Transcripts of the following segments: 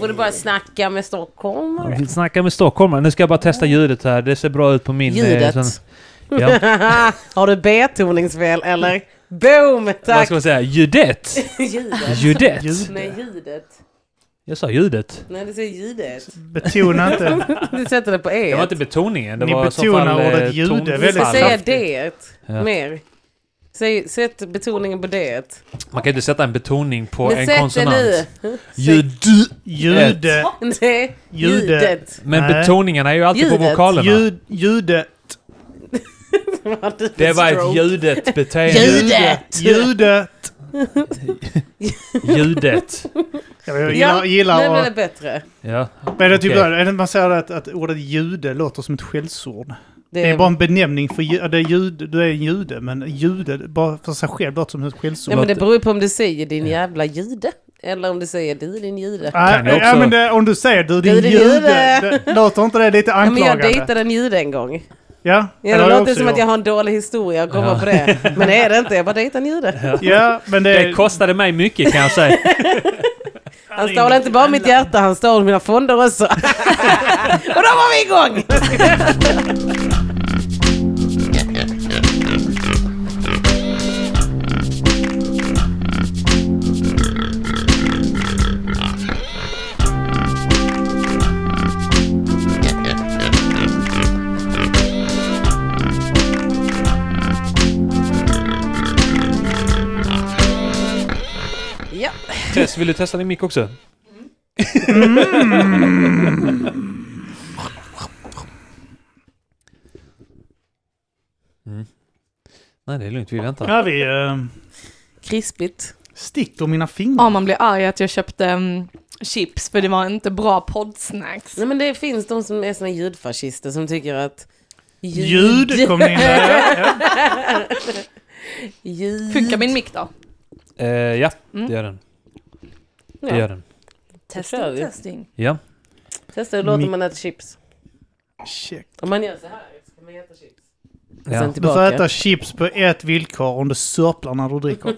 Borde Eh. bara snacka med stockholmare. Jag vill snacka med stockholmare. Nu ska jag bara testa ljudet här. Det ser bra ut på min... eh, Ljudet. sån- ja. Har du betoningsfel eller? Boom! Vad Tack! ska man säga? Ljudet! ljudet. Ljudet! Nej, ljudet. Jag sa ljudet. Nej, det säger ljudet. Betona inte. Du sätter det på e. Det var inte betoningen. Det Ni var i så betonar fall, eh, ordet ljude tonfall. Du ska väldigt säga kraftigt. det Ja. mer. Säg, sätt betoningen på det. Man kan inte sätta en betoning på Men en sätt konsonant. det nu. Ljud. Ljude. Nej, Ljudet. ljudet. Men Nej. betoningen är ju alltid på Ljudet. vokalerna. Ljud, ljudet. Det var ett Stroke. ljudet beteende. Ljudet. Ljudet. Ljudet. Jag Ja, gillar, nu gillar blev att... det bättre. Ja. Men det är typ Okej. okay. det, man säger att, att ordet jude låter som ett skällsord. Det Det är bara en benämning för ju- ja, det är ljud, du är en jude, men jude bara för sig själv låter som ett skällsord. Nej, men det beror ju på om du säger din jävla jude. Eller om du säger du din jude. Nej, Kan ju ja, också- men det, om du säger du din Du, din jude, jude. det, låter inte det lite Ja, men jag anklagande? dejtade en jude en gång. Ja, Ja, det har det jag låter också som att jag gjort. har en dålig historia att komma Ja. på det. Men det är det inte, jag bara dejtade en jude. Ja, men det... Det kostade mig mycket kan jag säga. Han stal inte bara mitt hjärta, han stal mina fonder också. och då var vi igång! ja. Tess, vill du testa din mick också? Mm. Nej, det är lugnt. Vi väntar. Ja, vi eh, Krispigt. sticker mina fingrar. Ja, man blir arg att jag köpte mm, chips för det var inte bra poddsnacks. Nej men det finns de som är såna ljudfascister som tycker att Ljud kom in där. Ja, ja. ljud. Funkar min mick då? Eh, ja, Mm. det gör den. Ja. Det gör den. Testing, kör vi. testing. Ja. Testa hur låter Mi- man äta chips. Check. Om man gör så här ska man äta chips. Och Sen ja. Du får tillbaka. äta chips på ett villkor om du sörplar när du dricker.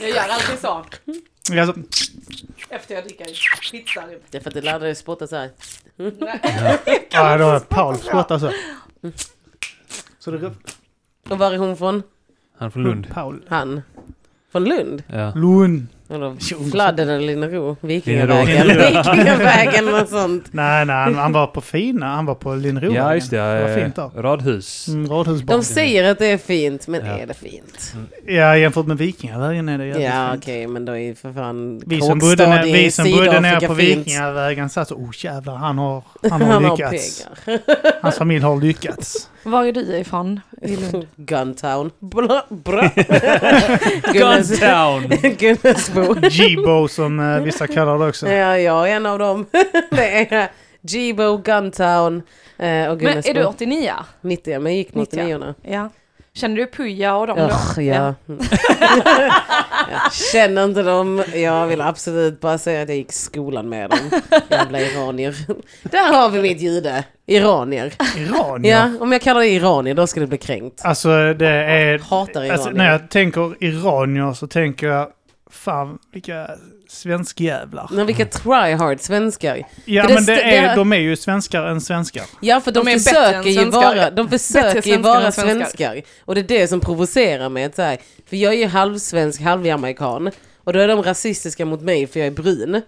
Jag gör alltid så. Alltså, Efter jag dricker pizza. Det är för att det lär dig spotta så här. ja, ah, då har Paul skottat så. Så det Och var är hon från? Han är från Lund. Paul. Han. Från Lund? Ja. Lund. Eller Tjong. Fladden eller Linnero? Vikingavägen? Linero. Vikingavägen och sånt. Nej, nej, han, han var på fina. Han var på Linnerovägen. ja, just det. Det var fint Eh, där. radhus. Mm, De radhusbarn. säger att det är fint, men Ja. är det fint? Ja, jämfört med Vikingavägen är det jävligt ja okej, fint. men då är ju för fan Vi som bodde, ner, Kråkstad i vi som bodde nere Sydafrika på fint. Vikingavägen satt så, oh jävlar, han har, han har Han har lyckats. pengar. Hans familj har lyckats. Var är du ifrån i Lund? Guntown. Bra, bra. Gunnes- Guntown! Gunnesbo. Jibo som eh, vissa kallar det också. Ja, jag är en av dem. Det är Jibo, Guntown eh, och Men Gunnesbo. är du 89? 90, men jag gick mot 90? 89 Ja. Känner du Puja och dem Ugh, då? ja. Mm. jag känner inte dem. Jag vill absolut bara säga att jag gick i skolan med dem. Jävla iranier. Där har vi mitt jude. Iranier. Iran, ja. Ja, om jag kallar det iranier då ska det bli kränkt. Alltså det är... Hatar iranier. Alltså, när jag tänker iranier så tänker jag, fan vilka svenskjävlar. Men vilka tryhard svenskar. Ja För det men det st- är, det- de är ju svenskar än svenskar. Ja för de, De är bättre försöker än ju svenskar. vara, de försöker Bättre ju vara svenskar än svenskar. Och det är det som provocerar mig. Att så här, för jag är ju halvsvensk, halvjamaican. Och då är de rasistiska mot mig för jag är brun.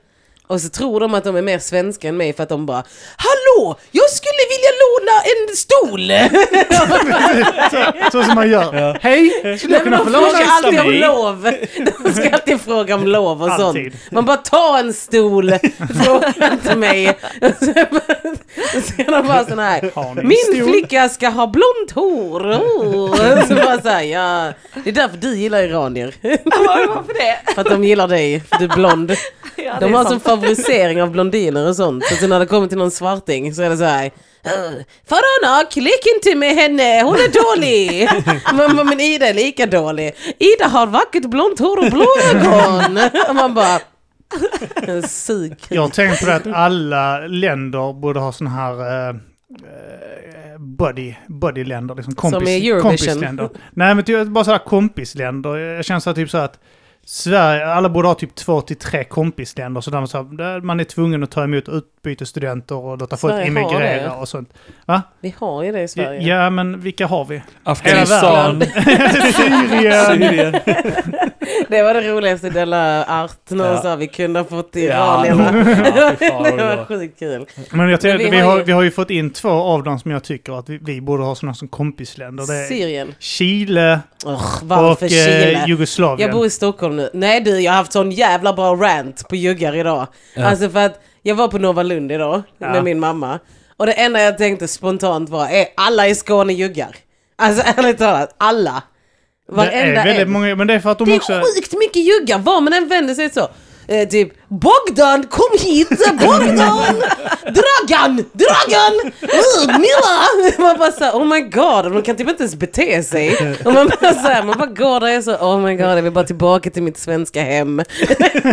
Och så tror de att de är mer svenska än mig för att de bara Hallå! Jag skulle vilja låna en stol! Så, så som man gör. Hej! Skulle jag kunna de få låna frågar en alltid om stol? lov. De ska alltid fråga om lov och sånt. Alltid. Man bara ta en stol, fråga inte mig. Så ska de bara sån här. Har ni en Min stol? flicka ska ha blont hår. Oh. Så bara så här, ja. Det är därför du gillar iranier. Var, varför det? För att de gillar dig, för du är blond. Ja, det De är har sån sant. favorisering av blondiner och sånt. Så sen när det kommer till någon svarting så är det så här. "Ugh, Farana, klick inte med henne, hon är dålig! Man bara, men Ida är lika dålig. Ida har vackert blont hår och blå ögon. Och man bara... Sug. Jag har tänkt på det att alla länder borde ha sån här eh, eh, buddy, buddyländer, liksom kompis, i Eurovision. kompisländer. Nej men typ, bara sådär kompisländer. Jag känner så här, typ så här att Sverige, alla borde ha typ två till tre kompisländer så där man, så här, där man är tvungen att ta emot utbytesstudenter och låta folk Sverige har immigrera det. och sånt. Vi har ju det i Sverige. Ja, men vilka har vi? Afghanistan, Syrien! Syrien. Det var det roligaste del av art Ja. någonstans vi kunde ha fått i Ja, Iranierna. ja, fy fan det vad det var var. sjukt kul. Men jag Men tycker, vi vi, har har, ju- vi har ju fått in två av dem som jag tycker att vi, vi borde ha sådana som kompisländer. Det är Syrien. Chile Urgh, varför och eh, Chile? Jugoslavien. Jag bor i Stockholm nu. Nej du, jag har haft sån jävla bra rant på juggar idag. Ja. Alltså för att jag var på Nova Lund idag Ja. med min mamma. Och det enda jag tänkte spontant var, är alla i Skåne juggar? Alltså ärligt talat, alla. det är Varenda väldigt en. många, men det är för att de Det är också... sjukt mycket juggar, var man än vänder sig så. Eh, typ Bogdan, kom hit! Bogdan! Dragan! Dragan! Uh, Milla! Man bara såhär, oh my god, och de kan typ inte ens bete sig. Och man bara såhär, man bara går där och är så, oh my god, jag vill bara tillbaka till mitt svenska hem.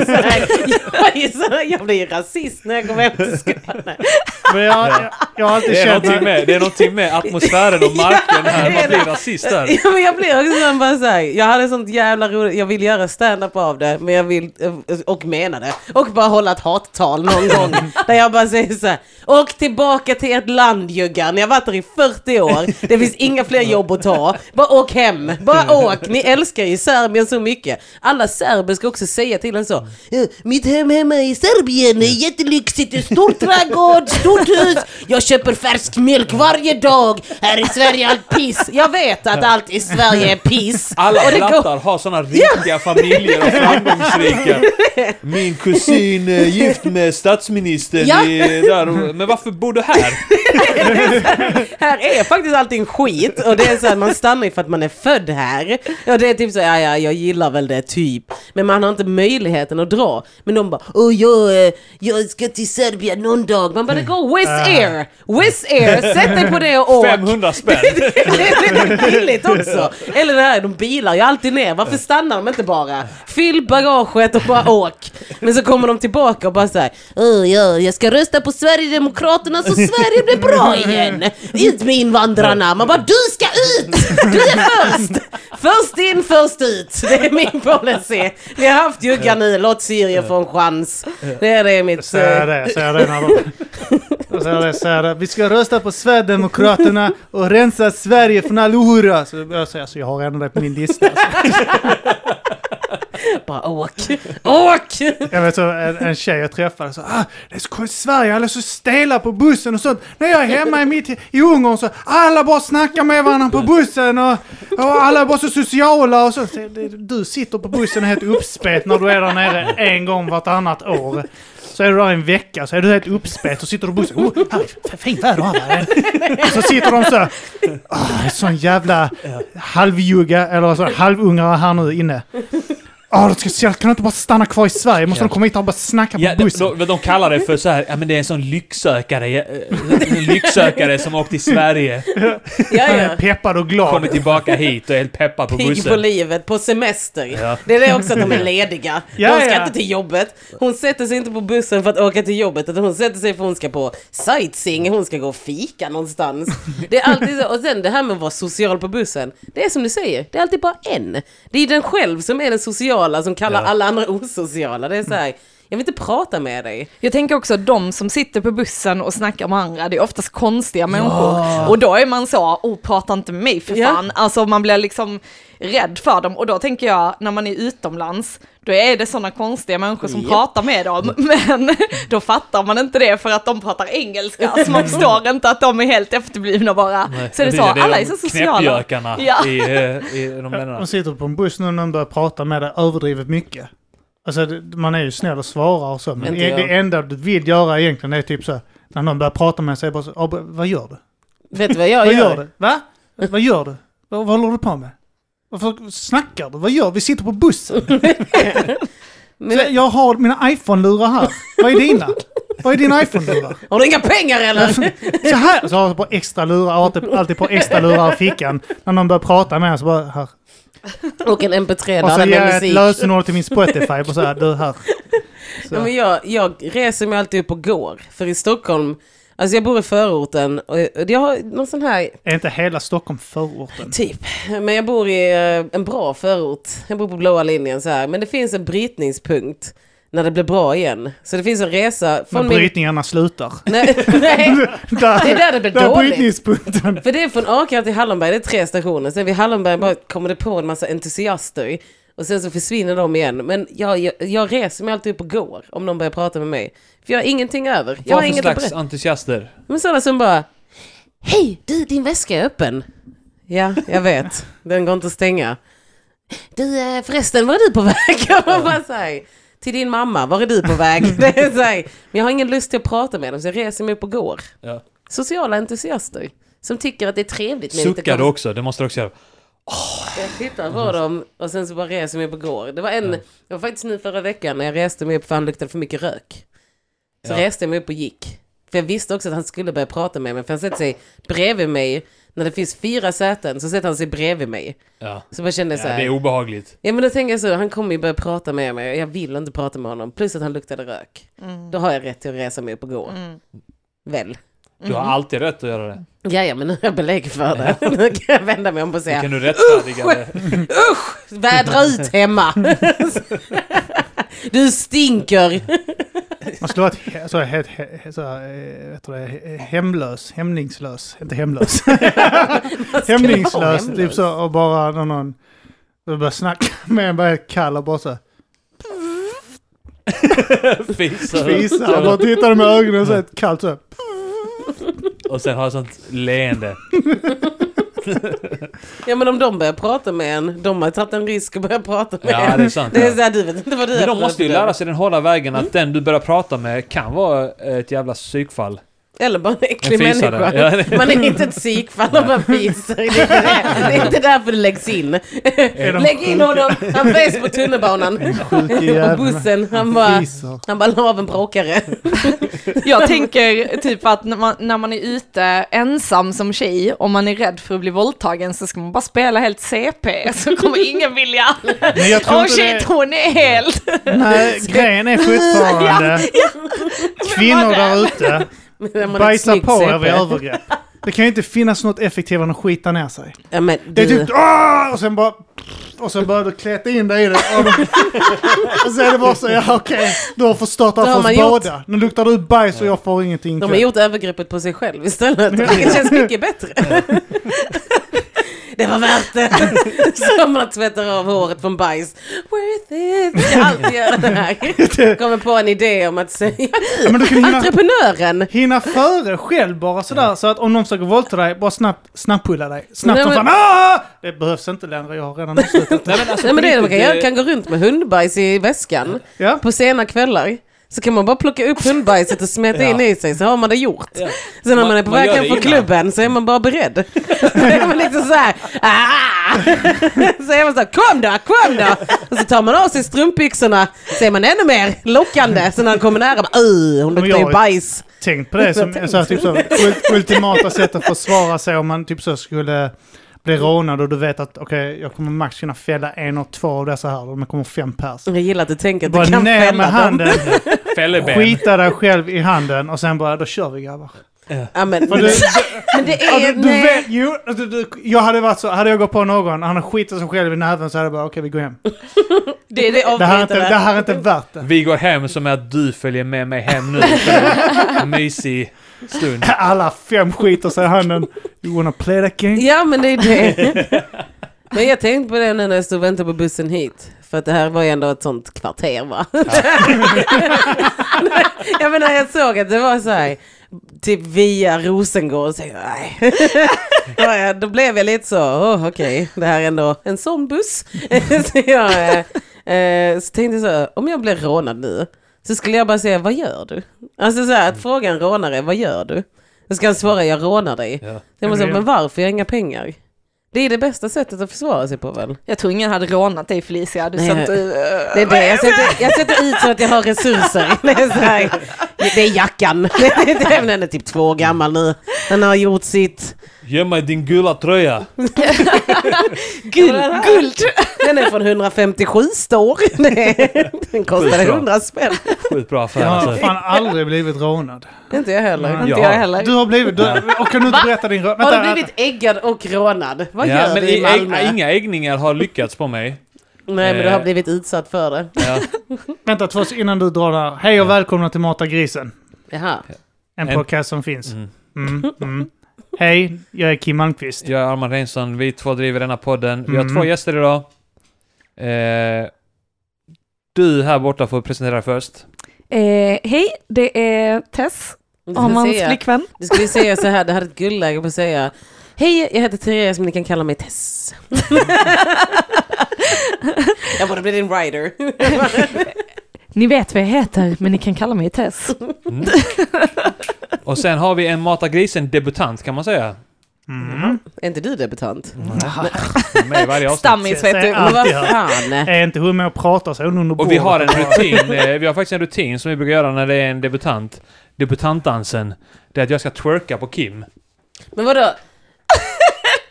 Så här, jag, är så här, jag blir ju rasist när jag kommer hem till Skåne. Men jag, jag, jag har alltid Det är känt... någonting med, det är någonting med atmosfären och marken här. Ja, det är Man blir det. rasist där. Ja, men jag blir också sån bara såhär, jag hade sånt jävla roligt, jag vill göra stand-up av det, men jag vill, eh, och mena det, och bara hålla ett hattal någon gång. Där jag bara säger såhär, åk tillbaka till ert land juggar, ni har varit där i 40 år, det finns inga fler jobb att ta, bara åk hem, bara åk, ni älskar ju Serbien så mycket. Alla serber ska också säga till en så, "Eh, mitt hem hemma i Serbien är jättelyxigt, det är stor trädgård, stort hus, jag köper färsk mjölk varje dag, här i Sverige är allt piss. Jag vet att allt i Sverige är piss. Alla Och det går- blattar har såna rika familjer och framgångsrika. Min kusin är gift med statsministern Ja. i, där. och- Men varför bor du här? här är faktiskt allting skit och det är så att man stannar ju för att man är född här. Och det är typ så, ja ja, jag gillar väl det typ. Men man har inte möjligheten att dra. Men de bara, åh jag, eh, jag ska till Serbien någon dag. Man bara, det går Wizz Air! Wizz Air, sätt dig på det och åk! 500 spänn! det är väldigt billigt också. Eller det här, de bilar ju alltid ner. Varför stannar de inte bara? Fyll bagaget och bara åk. Men så kommer de tillbaka och bara såhär, ja, jag ska rösta på Sverigedemokraterna så Sverige blir bra igen. Ut med invandrarna. Man bara, du ska ut! Du är först! Först in, först ut. Det är min policy. Vi har haft juggar nu, låt Syrien få en chans. Det är det mitt... Säger eh, det, säger det när de... Jag Säger det, säger det. Vi ska rösta på Sverigedemokraterna och rensa Sverige från all ohura. Så jag säger så jag har ändå det på min lista. eh, Bara åk, åk! Jag vet så en, en tjej jag träffade så ah, det är så konstigt, Sverige, alla är så stela på bussen och sånt. När jag är hemma i mitt, i Ungern så alla bara snackar med varandra på bussen och, och alla är bara så sociala och så. Så det- Du sitter på bussen och är helt uppspät när du är där nere en gång vartannat år. Så är du där en vecka så är du helt uppspät och sitter du på bussen. Oh, här är fint väder här. Så sitter de så. Oh, sån jävla halvjugga eller så halvungare här nu inne. Ja, oh, kan du inte bara stanna kvar i Sverige? Måste Ja. de komma hit och bara snacka på Ja, de, bussen? de, de kallar det för så här, ja men det är en sån lycksökare, ja, eh, en lycksökare som åkt till Sverige, Ja, Han ja. är peppad och glad. kommer tillbaka hit och är helt peppad på pigg på bussen. livet, på semester. Ja. Det är det också att de är lediga. Ja, de ska ja. inte till jobbet. Hon sätter sig inte på bussen för att åka till jobbet, utan hon sätter sig för att hon ska på sightseeing, hon ska gå och fika någonstans. Det är alltid så. Och sen det här med att vara social på bussen, det är som du säger, det är alltid bara en. Det är den själv som är den sociala, som kallar Ja. alla andra osociala. Det är så här, jag vill inte prata med dig. Jag tänker också att de som sitter på bussen och snackar med andra, det är oftast konstiga människor. Och då är man så, oh prata inte med mig för Ja. fan. Alltså man blir liksom rädd för dem. Och då tänker jag, när man är utomlands, då är det sådana konstiga människor som Ja. pratar med dem. Men då fattar man inte det för att de pratar engelska. Så man förstår inte att de är helt efterblivna bara. så är det så, alla är så sociala. Knäppjökarna Ja. i, eh, i de länderna. De sitter på en buss nu när de börjar prata med dig överdrivet mycket. Alltså, det- man är ju snäll och svarar och så, men Inte det, jag. det enda du vill göra egentligen är typ så här, när någon börjar prata med sig, bara så, "Ah, vad gör du? Vet du vad jag Vad gör? gör du? Va? Vad gör du? Vad, vad håller du på med? Varför snackar du? Vad gör du? Vi sitter på bussen. Men- Så jag har mina iPhone-lurar här. Vad är dina? Vad är dina iPhone-lurar? Alltså, Har du inga pengar eller? Så här! Så har jag på extra lurar, alltid, alltid på extra lurar i fickan. När någon börjar prata med en så bara här. Och en Och så mp3-lada ger med jag ett musik. lösenord till min Spotify och så här, du här. Ja, men jag, jag reser mig alltid upp och går. För i Stockholm Alltså jag bor i förorten och och jag har någon sån här, Är inte hela Stockholm förorten? typ, men jag bor i eh, en bra förort. Jag bor på blåa linjen så här. Men det finns en brytningspunkt när det blir bra igen. Så det finns en resa När från min... brytningarna slutar. Nej, nej, det är där det blir Där dåligt. brytningspunkten. För det är från Akalla till Hallonberg, det är tre stationer. Sen vid Hallonberg bara kommer det på en massa entusiaster. Och sen så försvinner de igen. Men jag, jag, jag reser mig alltid upp och går om någon börjar prata med mig. För jag har ingenting över. Jag har Vad för inget att slags berätta. entusiaster? Men sådana som bara, hej du din väska är öppen. Ja, jag vet. Den går inte att stänga. Du eh, förresten, var är du på väg? Och man bara så här, Till din mamma, var är du på väg? Det är så här, Men jag har ingen lust till att prata med dem så jag reser mig upp och går. Ja. Sociala entusiaster. Som tycker att det är trevligt med lite Suckar du konst. också? Det måste du också göra. Jag tittar på dem och sen så bara reser jag mig på går. Det var en, det var faktiskt nu förra veckan när jag reste mig upp för han luktade för mycket rök. Så Ja. reste jag mig upp och gick. För jag visste också att han skulle börja prata med mig. För han sätter sig bredvid mig. När det finns fyra säten så sätter han sig bredvid mig. Ja. Så jag kände Ja, så det är här. obehagligt. Ja men då tänker jag så, han kommer ju börja prata med mig. Jag vill inte prata med honom. Plus att han luktade rök. Då har jag rätt till att resa mig upp och gå. Väl? Du har Mhm. alltid rätt att göra det. Jaja, men nu har jag belägg för det. nu kan jag vända mig om och Det säga. kan du rättfärdiga det. Vädra ut hemma! Du stinker! Man skulle vara ett, he- så, he, he, så, eh, vet du det, he- hemlös, hämningslös, inte hemlös. hämningslös, hemlös? typ så och bara när någon och börjar snacka med en, bara kall och bara så Fisar. fisar och bara tittar de med ögonen och så ett kallt så. Och sen har jag sånt leende. Ja men om de börjar prata med en, de har tagit en risk och börjat prata med Ja, en. det är sant. Det är Mm. Ja. såhär, du vet inte vad du Men de måste ju lära sig den hårda vägen att den du börjar prata med kan vara eh, ett jävla psykfall. Eller bara en äcklig En fisare. människa. Ja, det- Man är inte ett psykfall om man fiser. Det är, inte det. det är inte därför det läggs in. de Lägg in sjuka? honom, han fes på tunnelbanan. Sjuke På jävla bussen, han bara... Fisar. Han bara la av en bråkare. Jag tänker typ att när man, när man är ute ensam som tjej och man är rädd för att bli våldtagen så ska man bara spela helt CP så kommer ingen vilja. Men jag tror Åh inte det. shit, hon är helt... Nej, grejen är fortfarande kvinnor där ute När man är ett bajsar snyggt på er vid CP. övergrepp. Det kan ju inte finnas något effektivare än att skita ner sig. Ja, men Det är du- typ "Åh!" och sen bara och sen börjar du kläta in dig i det. Och, och så är det bara så, ja okej, du har förstört allt har för oss man gjort. båda. Nu luktar du bajs och jag får ingenting. De har kvar. gjort övergreppet på sig själv istället. Det känns mycket bättre. Det var värt det. Som att tvätta av håret från bajs. Worth it. Jag alltid gör det här. Kommer på en idé om att säga ja, men du kan hinna, entreprenören. hinna före själv bara sådär. Så att om någon försöker våldta dig, bara snabbt snabbpulla dig. Snabbt Nej, som men- fan. "Åh!" Det behövs inte längre, jag har redan avslutat. Nej men alltså, Nej, men det är det på man kan göra. riktigt, Kan gå runt med hundbajs i väskan Ja. på sena kvällar. Så kan man bara plocka upp hundbajset och smeta Ja. in i sig så har man det gjort. Ja. Sen när Man- man är på man väg gör hem det från innan. klubben så är man bara beredd. så är man liksom så här. "Ah!" så är man så här, kom då, kom då. Och så tar man av sig strumpbyxorna så är man ännu mer lockande. Så när han kommer nära, bara, "Oj, hon Men luktar ju jag- bajs. tänkt på det som så här, typ så, ult- ultimata sätt att försvara sig om man typ så skulle bli rånad och du vet att okej, jag kommer max kunna fälla en och två av dessa här, och det kommer fem pers. Jag gillar att du tänker att Bara du kan ner med fälla dem. handen, Fälleben. skita dig själv i handen och sen bara, då kör vi grabbar. Ja, men, För du, men det ja, är... du, alltså, du nej. vet, jo, du, du, jag hade varit så, hade jag gått på någon, han har skitit sig själv i näven så hade jag bara, okej vi går hem. det, det, Det här, avbryter är inte, det. det här är inte värt det. Vi går hem som är att du följer med mig hem nu. för en Mysig stund. Alla fem skiter sig i handen. You wanna play that game? Ja men det är det. Men jag tänkte på det nu när jag stod och väntade på bussen hit. För att det här var ju ändå ett sånt kvarter va? jag menar jag såg att det var så här, typ via Rosengård. Så jag, nej. Ja, ja, Då blev jag lite så, oh, okej, det här är ändå en sån buss. så, jag, eh, eh, så tänkte jag så, här, om jag blir rånad nu så skulle jag bara säga, vad gör du? Alltså så här, att fråga en rånare, vad gör du? Då ska han svara, jag rånar dig. Ja. Jag måste Men säga, det- men varför? Jag har inga pengar. Det är det bästa sättet att försvara sig på väl? Jag tror ingen hade rånat dig Felicia, du eh, Nej, sa inte... Det är det. Jag sätter, jag sätter ut så att jag har resurser. Det är, så här, det är jackan. Den är typ två år gammal nu. Den har gjort sitt. Ge mig din gula tröja. Ja, men den här- Den är från 157 står. Nej, Den kostade Skitbra. 100 spänn. Skitbra affär Jag har alltså. fan aldrig blivit rånad. Inte jag heller. Nej. Inte Ja. jag heller. Du har blivit... Du, och kan du inte berätta din röst? Har du blivit äggad och rånad? Vad Ja, gör men du i i- ägg- Malmö? inga äggningar har lyckats på mig. Nej, men du har Eh. blivit utsatt för det. Ja. Vänta två sekunder innan du drar där. Hej och välkomna till Mata Grisen. Jaha. En En- podcast som finns. Mm, mm. Hej, jag är Kim Malmqvist. Jag är Arman Reinsson, vi två driver denna podden. Vi har Mm. två gäster idag. Eh, du här borta får presentera dig först. Eh, hej, det är Tess, Du skulle, Armans säga, flickvän. du skulle säga så här, det här är ett guldläge på att säga Hej, jag heter Therese men ni kan kalla mig Tess. jag borde bli din rider. Ni vet vad jag heter, men ni kan kalla mig Tess. Mm. Och sen har vi en Mata Grisen-debutant kan man säga. Mm. är inte du debutant? Mm. Med i varje avsnitt. Stammis Säg vet du. Men allt. vad Alltid hört. fan? Är inte hur med att prata så under Och vi har en bordet. rutin, eh, vi har faktiskt en rutin som vi brukar göra när det är en debutant. Debutantdansen. Det är att jag ska twerka på Kim. Men vadå?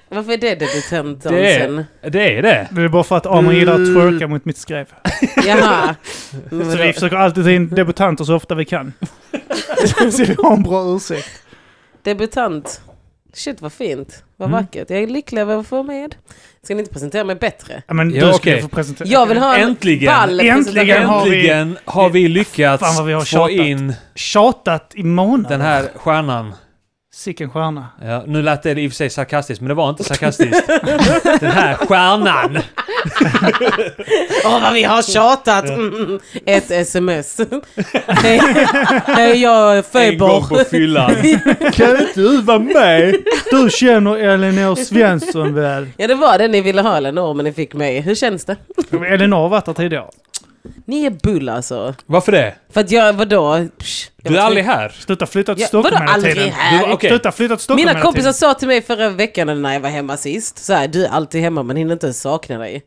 Varför är det debutant? Det är det. Är det. Det är bara för att Amon gillar att twerka mot mitt skrev. Jaha. Men Så vadå? vi försöker alltid ta in debutanter så ofta vi kan. så vi har en bra ursäkt. Debutant. Shit vad fint. Vad Mm. vackert. Jag är lycklig över att få med. Ska ni inte presentera mig bättre? Ja, men Ja, du skulle okej. få presentera. Jag vill ha en Äntligen. ball Äntligen presentation. har vi- Äntligen har vi Fan lyckats vad vi har få tjatat. in Tjatat i månader. den här stjärnan. Sicken stjärna. Ja, nu lät det i och för sig sarkastiskt, men det var inte sarkastiskt. Den här stjärnan! Åh vad vi har tjatat! Mm, mm. Ett sms. Hej, hej jag är En gång på Feber. fyllan. Kan inte du vara med? Du känner Elinor Svensson väl? Ja det var det ni ville ha Eleanor men ni fick mig. Hur känns det? Elinor har varit här tidigare. Ni är bull alltså. Varför det? För att jag, vadå? Psh, jag Du är var aldrig här. Sluta flytta till Ja, Stockholm vadå hela aldrig tiden. Du var- här? Okej. Sluta flytta till Stockholm Mina hela kompisar tiden. sa till mig förra veckan när jag var hemma sist, så här, du är alltid hemma men hinner inte ens sakna dig.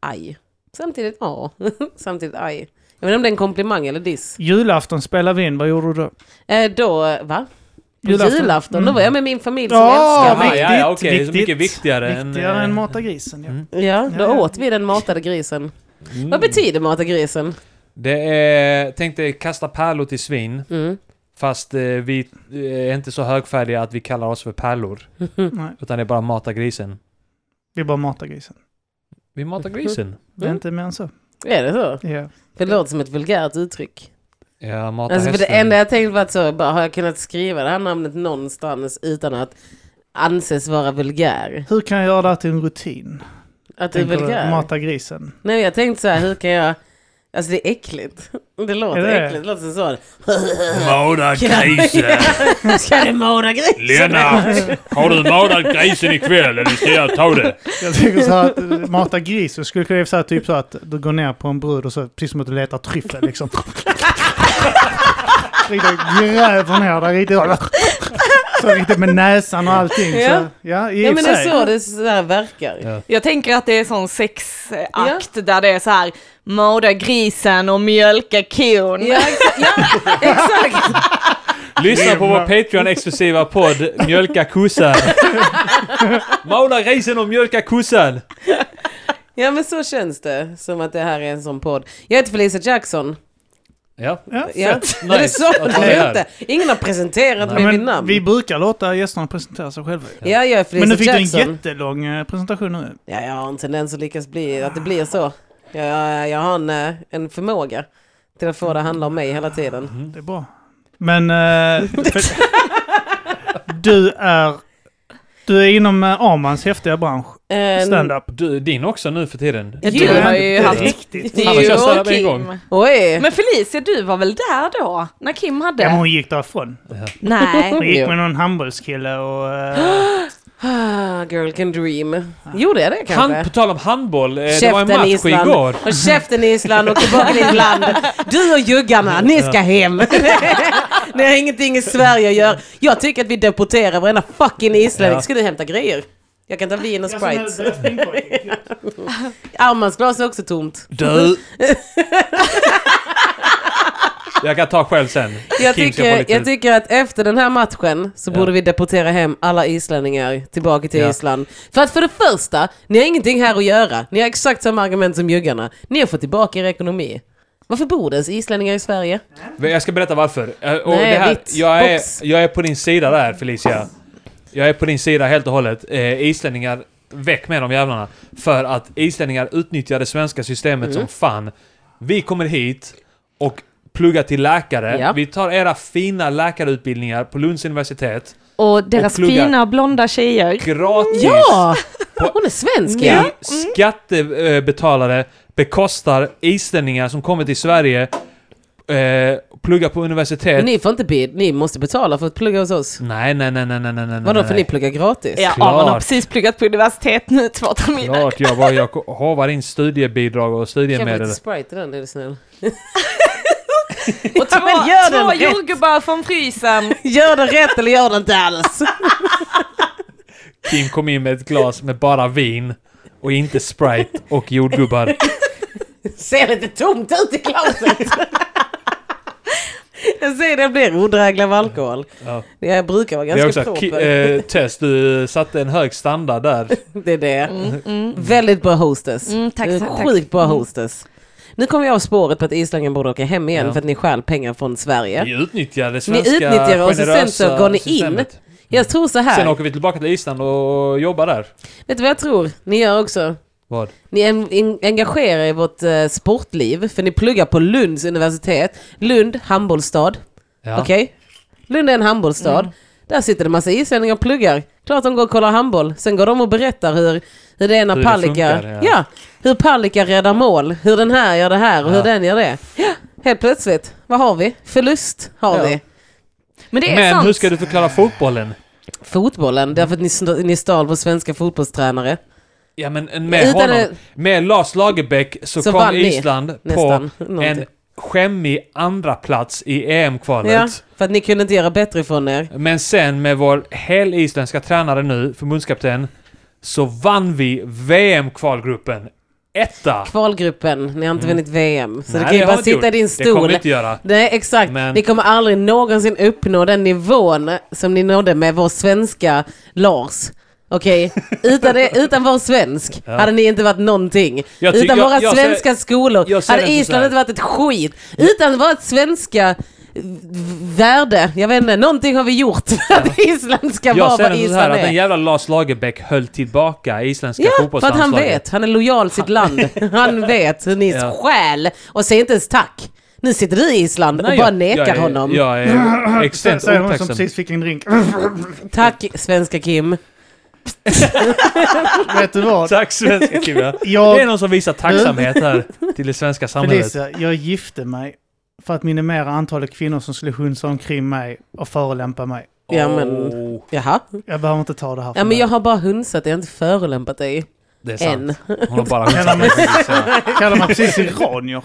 Aj. Samtidigt, ja. Samtidigt, aj. Jag vet inte om det är en komplimang eller diss. Julafton spelar vi in, vad gjorde du då? Eh, då, va? På Julafton. julafton, då var jag med min familj som Ja, jag Jaha, älskar mig. ja, ja, viktigt, okej. viktigt. Mycket viktigare, Viktigare än eh, mata grisen. Ja. Mm. Ja, då Ja, ja. åt vi den matade grisen. mm. Vad betyder mata grisen? Det är... Tänk dig kasta pärlor till svin. Mm. Fast eh, vi eh, är inte så högfärdiga att vi kallar oss för pärlor. Nej, Utan det är bara mata grisen. vi bara matar grisen. Vi matar grisen. Det är inte mer än så. Är det så? Ja. Det låter som ett vulgärt uttryck. Ja, mata Alltså för det hästen. enda jag tänkte var att så, bara, har jag kunnat skriva det här namnet någonstans utan att anses vara vulgär? Hur kan jag göra det här till en rutin? Att du är Tänker du, vulgär? Mata grisen. Nej jag tänkte så här, hur kan jag... Alltså det är äckligt. Det låter Är det? äckligt, det låter som sån. Matat Ska du måla grisen? Har du matat grisen ikväll eller ska jag ta det? Jag tänker så här att eh, mata grisen skulle kunna vara så här, typ så att du går ner på en brud och så precis som att du letar tryffel liksom. Riktigt gräver ner där riktigt. Så riktigt med näsan och allting. Ja. Så, ja, i Ja och men det för är sig. så det så här verkar. Ja. Jag tänker att det är sån sexakt där det är så här, mörda grisen och mjölka kon. Ja, exa- ja exakt! Lyssna på vår Patreon-exklusiva podd Mjölka kossan. Maula grisen och mjölka kossan. Ja men så känns det, som att det här är en sån podd. Jag heter Felicia Jackson. Ja. Ja, Ja. Fett Men det nice sa att man ha det ju här. inte. Ingen har presenterat mig Ja, vid men namn. Vi brukar låta gästerna presentera sig själva. ju. Ja, jag är Men nu Felicia fick du en Jackson. jättelång eh, presentation nu. Ja, jag har en tendens att lyckas bli, att det blir så. Jag, jag, jag har en, eh, en förmåga till att få det att handla om mig hela tiden. Det är bra. Men... eh, för, du är... Du är inom eh, Armans häftiga bransch, Eh, stand-up. Du, din också nu för tiden. Ja, Du du har ju inte haft... riktigt. Fan, vad känns det här med en gång? Kim. Oj! Men Felicia, du var väl där då? När Kim hade? Ja, men hon gick därifrån. Nej. Hon gick Ja. med någon handbollskille och... eh, Ah, girl can dream. Gjorde jag det kanske? Han, på tal om handboll, eh, det var en Käften i match Island. igår. Och käften i Island och tillbaka till ditt land. Du och juggarna, ni ska hem. ni har ingenting i Sverige att göra. Jag tycker att vi deporterar varenda fucking islänning. Ja. Ska du hämta grejer? Jag kan ta vin och jag som Sprite. hade drinkkork. Armans glas är också tomt. Du! Jag kan ta själv sen. Jag Kim ska få tycker, lite- jag tycker att efter den här matchen så borde vi deportera hem alla islänningar tillbaka till Ja. Island. För att för det första, ni har ingenting här att göra. Ni har exakt samma argument som juggarna. Ni har fått tillbaka er ekonomi. Varför bor det ens islänningar i Sverige? Men Jag ska berätta varför. Eh, Och Nej, det här, vitt. jag, är, Box. jag är på din sida där Felicia. Jag är på din sida helt och hållet. Eh, islänningar, väck med de jävlarna. För att islänningar utnyttjar det svenska systemet Mm. som fan. Vi kommer hit och pluggar till läkare. Ja. Vi tar era fina läkarutbildningar på Lunds universitet. Och deras plugga. fina blonda tjejer. Gratis! Ja! Hon är svensk ja! Vi skattebetalare bekostar islänningar som kommer till Sverige, eh, pluggar på universitet. Ni får inte bid, ni måste betala för att plugga hos oss. Nej, nej, nej, nej, nej, nej, nej. Vadå, nej. för ni pluggar gratis? Ja, Klart. Aron har precis pluggat på universitet nu två terminer. Klart jag var, jag hovar in studiebidrag och Kan jag få studiemedel. lite Sprite i den är du snäll? Och två, men gör den två rätt. jordgubbar från frysen. Gör det rätt eller gör det inte alls! Kim kom in med ett glas med bara vin och inte Sprite och jordgubbar. Ser lite tomt ut i glaset! jag säger det, jag blir odräglig av alkohol. Ja. Jag brukar vara Det är ganska också, proper. Ki- eh, Tess, du satte en hög standard där. det är det. Väldigt bra hostess. Mm, tack, Du är tack, tack. Sjukt bra hostess. Nu kommer jag av spåret på att Islänningen borde åka hem igen Ja. för att ni stjäl pengar från Sverige. Ni utnyttjar det Ni svenska utnyttjar oss och sen så generösa går ni in. systemet. Jag tror så här. Sen åker vi tillbaka till Island och jobbar där. Vet du vad jag tror ni gör också? Vad? Ni en, en, engagerar er i vårt eh, sportliv, för ni pluggar på Lunds universitet. Lund, handbollsstad. Ja. Mm. Okej? Lund är en handbollsstad. Där sitter det massa islänningar och pluggar. Klart de går och kollar handboll. Sen går de och berättar hur, hur det är när Hur det Palicka... funkar, ja. ja. hur Palicka räddar mål. Hur den här gör det här och Ja. hur den gör det. Ja, helt plötsligt. Vad har vi? Förlust har Ja. vi. Men det är Men sant. hur ska du förklara fotbollen? Fotbollen, därför att ni, sn- ni stal vår svenska fotbollstränare. Ja men en- med Utan honom, det- med Lars Lagerbäck så, Så kom vann ni, Island på nästan, någonting. en skämmig andra plats i E EM-kvalet. Ja, för att ni kunde inte göra bättre ifrån er. Men sen med vår helisländska tränare nu, förbundskapten, så vann vi VM-kvalgruppen. Etta! Kvalgruppen, ni har inte vunnit VM. Så Mm. Nej, du kan det ju har bara vi inte sitta i gjort. din Det kommer vi stol. inte göra. Nej, exakt. Men- Ni kommer aldrig någonsin uppnå den nivån som ni nådde med vår svenska Lars. Okej, utan, det- utan vår svensk hade ni inte varit någonting. Jag tycker- utan jag- våra jag ser- svenska jag skolor ser det hade som så här. Island inte varit ett skit. Utan vårt svenska eh, värde, jag vet inte, någonting har vi gjort för att Island ska Jag vara ser vad det så här Island att den är. jävla Lars Lagerbäck höll tillbaka isländska Ja, för att han fotbollslandslaget. vet. Han är lojal sitt land. Han vet hur ni Ja. stjäl och säger inte ens tack. Nu sitter du i Island och Nej, bara jag- nekar jag är, honom. Jag är extremt Säger hon som otacksam. precis fick en drink. Tack svenska Kim. Vet du vad? Tack svenska Kim. ja. Det är Jag, någon som visar tacksamhet här till det svenska samhället. Felicia, jag gifte mig för att minimera antalet kvinnor som skulle hunsa omkring mig och förolämpa mig. Ja, men- Åh, Jaha. Jag behöver inte ta det här för Ja, men mig. jag har bara hunsat dig, jag har inte förolämpat dig. det är sant. Än. Hon har bara Kallar mig, hundsat kallar mig precis iranier.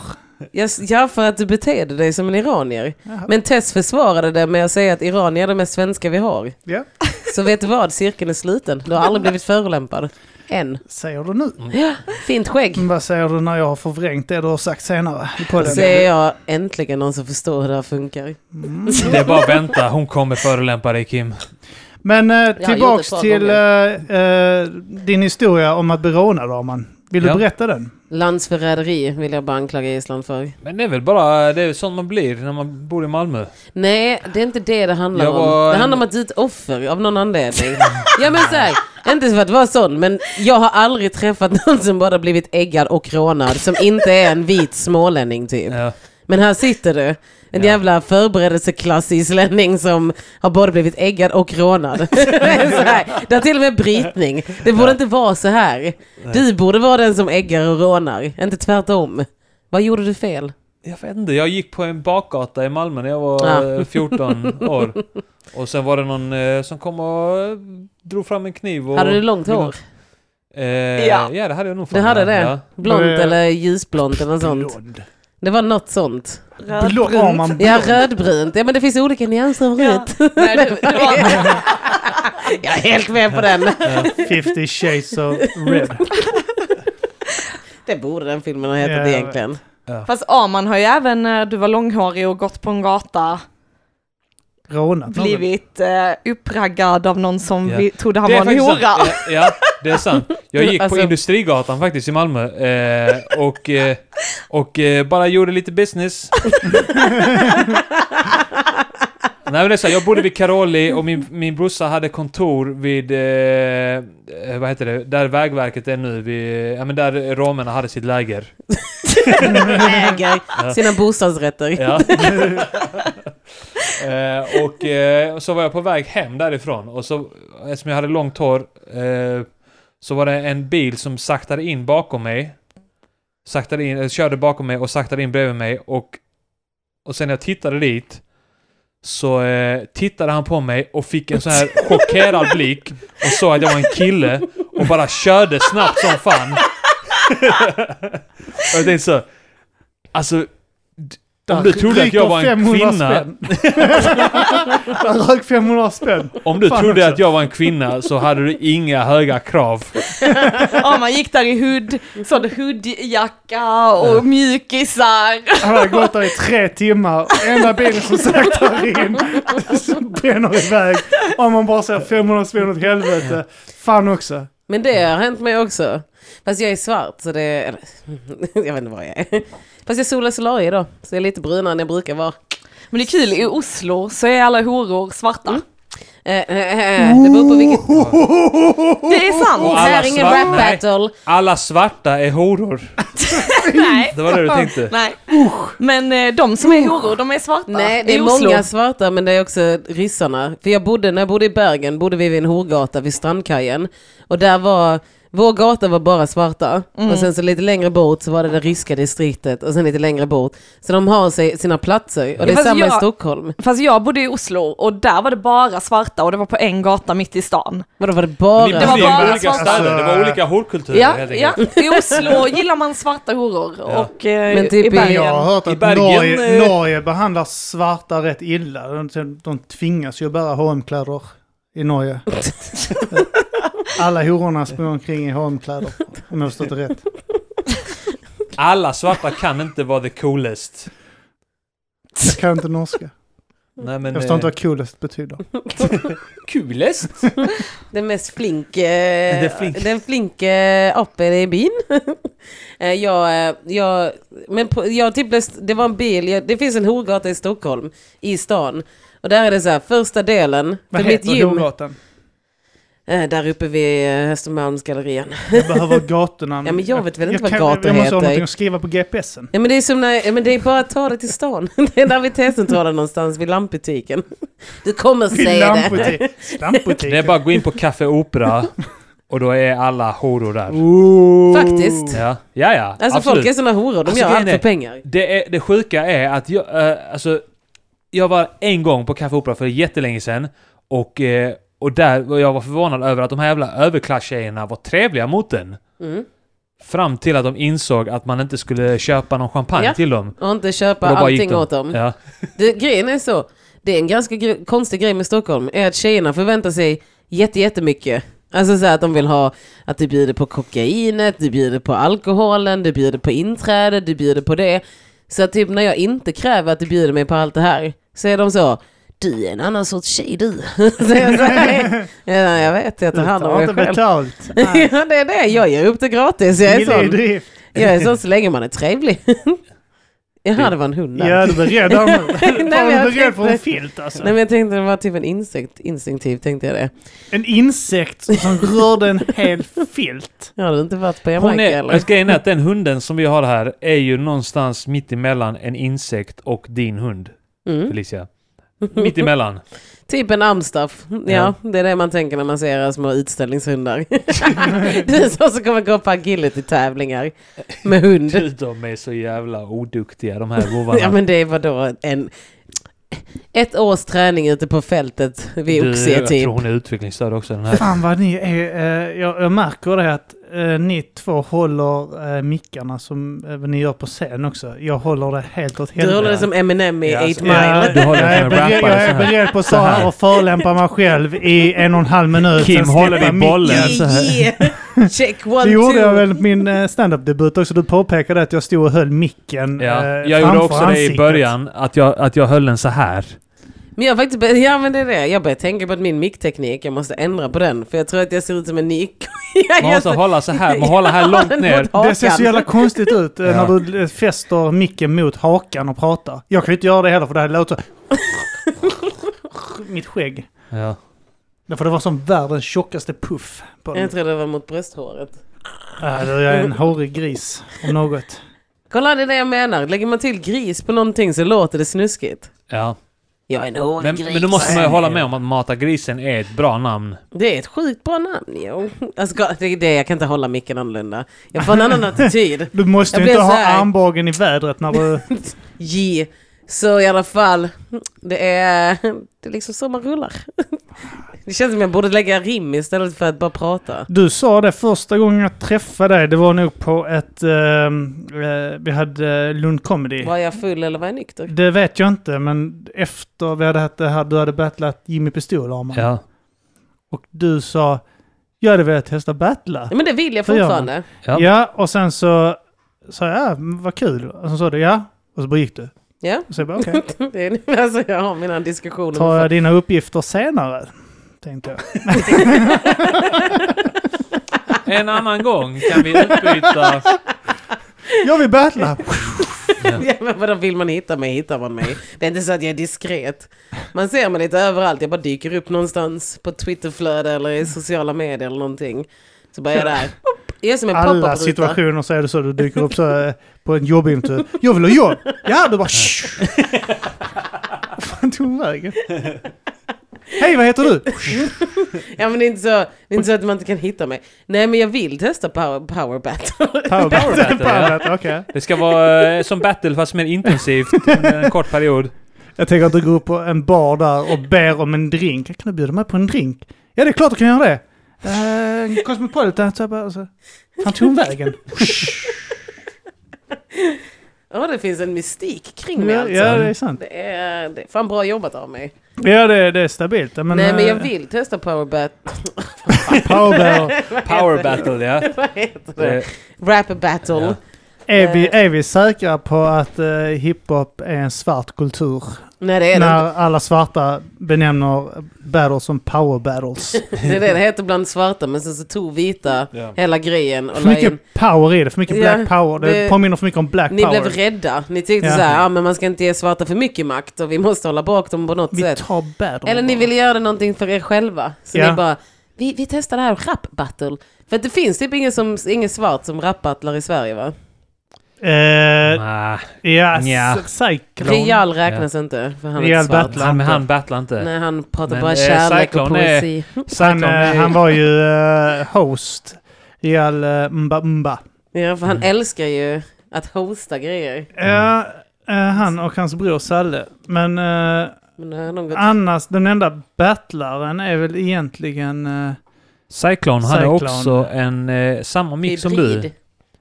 Jag, ja, för att du betedde dig som en iranier. Jaha. Men Tess försvarade det med att säga att iranier är de mest svenska vi har. Ja, Så vet du vad, cirkeln är sluten. Du har aldrig blivit förolämpad. Än. säger du nu. Mm. Ja, fint skägg. Men vad säger du när jag har förvrängt det du har sagt senare? i podden? Säger jag äntligen någon som förstår hur det här funkar. Det är bara att vänta, hon kommer förolämpa dig Kim. Men eh, gjort tillbaks ett par till eh, eh, din historia om att bli rånad, Arman. Vill Ja. du berätta den? Landsförräderi vill jag bara anklaga Island för. Men det är väl bara, det är sånt man blir när man bor i Malmö. Nej, det är inte det det handlar Jag om. var Det en- handlar om att du är ett offer av någon anledning. ja men så här, inte för att vara sån, men jag har aldrig träffat någon som bara blivit äggad och rånad, som inte är en vit smålänning typ. Ja. Men här sitter du, en Ja. jävla förberedelseklass islänning som har både blivit äggad och rånad. så här, det har till och med brytning. Det borde inte vara så här. Du borde vara den som äggar och rånar, inte tvärtom. Vad gjorde du fel? Jag vet inte, jag gick på en bakgata i Malmö när jag var Ja. eh, 14 år. Och sen var det någon eh, som kom och eh, drog fram en kniv och... Hade du långt hår? Eh, Ja. ja. det hade jag nog Det hade det. Ja. Blont Eh, eller ljusblont eller något sånt. Det var något sånt. Blå, Arman. Ja, rödbrunt. Ja, men det finns olika nyanser av Ja. rött. Nej, du, du var, Jag är helt med på den. 50 shades of red. Det borde den filmen ha hetat Ja, jag egentligen. Ja. Fast Arman har ju även när du var långhårig och gått på en gata Rånat någon. blivit eh, uppraggad av någon som Ja. vi trodde han Det är var en faktiskt sant. hora. Ja, ja, det är sant. Jag gick Alltså- på Industrigatan faktiskt i Malmö eh, och, eh, och eh, bara gjorde lite business. Nej men det är så här, jag bodde vid Karoli och min, min brorsa hade kontor vid, eh, eh, vad heter det, där Vägverket är nu, vid, ja men där romerna hade sitt läger. Äger Äh, sina bostadsrätter. Ja. eh, och eh, så var jag på väg hem därifrån och så, eftersom jag hade långt hår, eh, så var det en bil som saktade in bakom mig. Saktade in, eller körde bakom mig och saktade in bredvid mig och, och sen när jag tittade dit så eh, tittade han på mig och fick en sån här chockerad blick och sa att jag var en kille och bara körde snabbt som fan. och jag tänkte så, alltså Där om du trodde att jag var en ryker 500 kvinna- Alltså, spänn. Där rök 500 spänn. Om du Fan trodde också. att jag var en kvinna så hade du inga höga krav. Arman gick där i hood, sån hoodjacka och mjukisar. Han hade gått där i tre timmar. Enda bilen som saktar in. Som bränner iväg. Om man bara ser 500 spänn åt helvete. Fan också. Men det har hänt mig också. Fast jag är svart så det... Eller, jag vet inte vad jag är. Fast jag solar solarier idag. Så jag är lite brunare än jag brukar vara. Men det är kul, i Oslo så är alla horor svarta. Eh, eh, eh, Det beror på vilket... Det är Och Det sant! alla här är ingen svart- rap nej. battle. Alla svarta är horor. Nej. Det var det du tänkte. Nej. Men eh, de som är horor, de är svarta Nej, det i är Oslo. många svarta men det är också ryssarna. För jag bodde, när jag bodde i Bergen bodde vi vid en horgata vid Strandkajen. Och där var, vår gata var bara svarta. Mm. Och sen så lite längre bort så var det det ryska distriktet och sen lite längre bort. Så de har sig, sina platser och det är fast samma i jag- Stockholm. Fast jag bodde i Oslo och där var det bara svarta och det var på en gata mitt i stan. Vadå var det Ni bara... Det var bodde i bara olika svarta. städer, det var olika horkulturer Ja, helt ja, enkelt. i Oslo gillar man svarta horor och eh, Men typ i i- Bergen. Jag har hört I att Bergen, Norge, eh, Norge behandlar svarta rätt illa. De, de tvingas ju bära H&M-kläder i Norge. Alla hororna springer omkring i H&M-kläder. Om jag har förstått det rätt. Alla svarta kan inte vara the coolest. Jag kan inte norska. Nej men... Jag förstår inte eh, vad coolest betyder. coolest? Den mest flink, eh, Den flink. den flink eh, appen i byn. Eh, jag, eh, jag, men på, jag typ, blev st- det var en bil, jag, det finns en horgata i Stockholm, i stan. Och där är det så här, första delen, Vad för mitt heter gym, horgatan? eh, där uppe vid eh, Östermalmsgallerian. Jag behöver gatorna. Ja, men jag vet väl inte vad kan- gator Jag måste heter. ha någonting att skriva på GPSen. Ja, men det är som när, ja, men det är bara att ta det till stan. det är där vid T-centralen någonstans, vid lampbutiken. Du kommer säga det. Lampbutik. Det är bara att gå in på Café Opera och då är alla horor där. Faktiskt. Ja, ja, ja Alltså folk är absolut. såna horor, de Alltså, gör grejen allt för är- pengar. Det, är, det sjuka är att jag, eh, alltså, jag var en gång på Café Opera för jättelänge sedan och, eh, och där var jag var förvånad över att de här jävla överklasstjejerna var trevliga mot den. Mm. Fram till att de insåg att man inte skulle köpa någon champagne Ja. till dem. Och inte Och köpa då bara gick allting de. åt dem. Ja. Det, grejen är så, det är en ganska gre- konstig grej med Stockholm, är att tjejerna förväntar sig jätte, jättemycket. Alltså så här att de vill ha att du bjuder på kokainet, du bjuder på alkoholen, du bjuder på inträde, du bjuder på det. Så att typ när jag inte kräver att du bjuder mig på allt det här, så är de så du är en annan sorts tjej du. Så jag, säger, ja, jag vet, jag tar hand om har mig inte själv. betalt. Ja, det är det, jag ger upp det gratis. Jag är Gilla i sån, drift. jag är sån så länge man är trevlig. Jaha, det var en hund där. Ja, du är beredd här nu. Fan, men du är jag beredd för en tänkte- filt alltså. Nej men jag tänkte det var typ en insekt, instinktiv tänkte jag det. En insekt som rörde en hel filt. Jag hade inte varit på Hon Jamaica är, eller? grejen är att den hunden som vi har här är ju någonstans mitt emellan en insekt och din hund, Mm. Felicia. Mitt emellan. Typ en amstaff. Ja, Ja. det är det man tänker när man ser era små utställningshundar. det är så som kommer gå på agility-tävlingar med hund. Du, de är så jävla oduktiga de här ja vovvarna. men det var då en... Ett års träning ute på fältet vid Du, Oxie jag typ. tror hon är utvecklingsstörd också den här. Fan vad ni är. eh, jag, jag märker det att eh, ni två håller eh, mickarna som eh, ni gör på scen också. Jag håller det helt åt Du håller helvete. det som Eminem i Ja, 8 alltså, Mile. Du håller som jag, är en rappare beredd, jag så är här. beredd på att Så stå här. här och förelämpa mig själv i en och en halv minut. Kim Sen håller släppa i bollen. micken. så här. Yeah. Check one, Det gjorde two. jag väl på min eh, standup-debut också. Du påpekade att jag stod och höll micken Ja. eh, jag gjorde framför också det i ansiktet. början, att jag, att jag höll den så här. Men jag har faktiskt börjat, ja men det är det. Jag börjar tänka på att min mickteknik, jag måste ändra på den. För jag tror att jag ser ut som en nyk. Jag Man gör måste så- hålla så här, man håller här långt den ner. mot hakan. Det ser så jävla konstigt ut eh, Ja. när du eh, fäster micken mot hakan och pratar. Jag kan ju inte göra det heller för det här låter så... Mitt skägg. Ja. Därför det var som världens tjockaste puff. På den. Jag tror det var mot brösthåret. Äh, du, jag är en hårig gris om något. Kolla det är det jag menar. Lägger man till gris på någonting så låter det snuskigt. Ja. Jag är en hård Men, gris. men då måste man ju hålla med om att Mata grisen är ett bra namn. Det är ett sjukt bra namn jo. Alltså, ga- det är det, jag kan inte hålla micken annorlunda. Jag får en annan attityd. Du måste Jag ju inte blev ha så här. armbågen i vädret när du... J. Så i alla fall, det är, det är liksom så man rullar. Det känns som jag borde lägga rim istället för att bara prata. Du sa det första gången jag träffade dig, det var nog på ett... ehm, eh, vi hade eh, Lund Comedy. Var jag full eller var jag nykter? Det vet jag inte, men efter vi hade haft det här, du hade battlat Jimmy Pistolhammar. Ja. Och du sa, jag hade velat testa battla. Ja, Men det vill jag Det gör man. fortfarande. Ja. Ja. och sen så sa jag, ja, men vad kul. Och så sa du, ja. Och så bara gick du. Ja, Och så jag bara, okej. det är, alltså jag har mina diskussioner. Tar med jag dina uppgifter senare? Tänkte jag. En annan gång kan vi utbyta... Jag vill battla! folk. Ja, men vadå, vill man hitta mig hittar man mig. Det är inte så att jag är diskret. Man ser mig lite överallt. Jag bara dyker upp någonstans på Twitterflöde eller i sociala medier eller någonting. Så bara är jag där. Upp. Jag är som en Alla pop-up-ruta. situationer så är det så, du dyker upp så eh, på en jobbintervju. Jag vill ha jobb! Ja, du bara "Shh." Vad fan tog hon vägen? Hej, vad heter du? Ja men det är, inte så, det är inte så att man inte kan hitta mig. Nej men jag vill testa power, power battle. Power battle. battle, ja. Power battle, okej. Det ska vara eh, som battle fast mer intensivt under en kort period. Jag tänker att du går upp på en bar där och ber om en drink. Kan du bjuda mig på en drink? Ja, det är klart du kan göra det. Uh, Cosmopolitan, så jag bara... alltså, Så. Fan tog hon vägen? Ja det finns en mystik kring mig Ja, alltså. ja, det är sant. Det är, det är fan bra jobbat av mig. Ja, det, det är stabilt. Men, Nej men jag eh, vill testa power battle. Power battle. Power battle, ja. Vad heter det? Eh, Rap battle. Ja. Är vi, är vi säkra på att eh, hiphop är en svart kultur? Nej det är det När inte. alla svarta benämner battles som power battles. Det är det det heter bland svarta men sen så tog vita Eh, Ja. hela grejen och För la in. mycket power i det, för mycket Ja, black power. Det, det- påminner för mycket om black Ni power. blev rädda. Ni tyckte Ja. så här, ja men man ska inte ge svarta för mycket makt och vi måste hålla bak dem på något vi sätt. tar battle. Eller ni ville göra någonting för er själva. Så Ja. ni bara, vi, vi testar det här rap battle. För att det finns typ ingen, som, ingen svart som rapbattlar i Sverige va? Eh, Nah, ja, Nja. s- Cyclone. Rial räknas inte för han är Rial svart. battlar. han, men han battlar inte. Nej han pratar Men, bara eh, kärlek och Cyclone är- poesi. Han, Cyclone eh, är- han var ju eh, host i all eh, Mba Mba. Ja för han Mm. älskar ju att hosta grejer. Ja, eh, han och hans bror Salle. Men eh, Men nu har de gått... annars, den enda battlaren är väl egentligen... eh, Cyclone, han är Cyclone. också en... Eh, samma mick som du. Hybrid.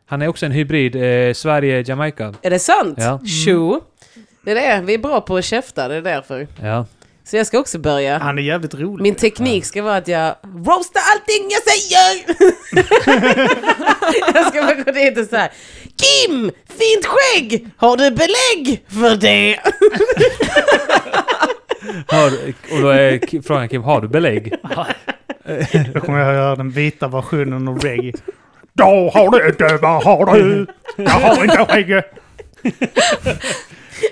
Han är också en hybrid. Eh, Sverige-Jamaica. Är det sant? Ja. Tjo! Det är det, vi är bra på att käfta, det är därför. Ja. Så jag ska också börja. han är jävligt rolig. Min teknik ska vara att jag roastar allting jag säger! jag ska bara gå dit och säga Kim! Fint skägg! Har du belägg för det? Har, och då är Ki- frågan Kim, har du belägg? Då kommer jag att göra den vita versionen av reggae. Jag har det inte, vad har du? Jag har inte reggae.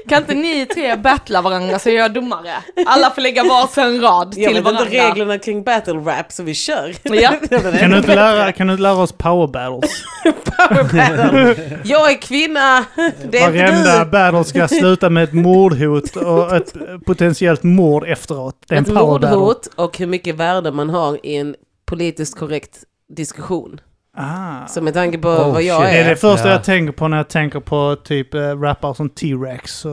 Kan inte ni tre battla varandra så jag är domare? Alla får lägga varsin rad Jag till vet inte varandra. reglerna kring battle rap så vi kör. Ja. Jag vet Kan du inte. inte lära, kan du inte lära oss power battles? Power battle. Jag är kvinna, det är Varenda inte du. battle ska sluta med ett mordhot och ett potentiellt mord efteråt. Det är en Ett power battle. mordhot och hur mycket värde man har i en politiskt korrekt diskussion. Ah. Så med tanke på Oh, vad jag shit. Det är. är det första Ja. jag tänker på när jag tänker på typ äh, rappare som T-Rex och...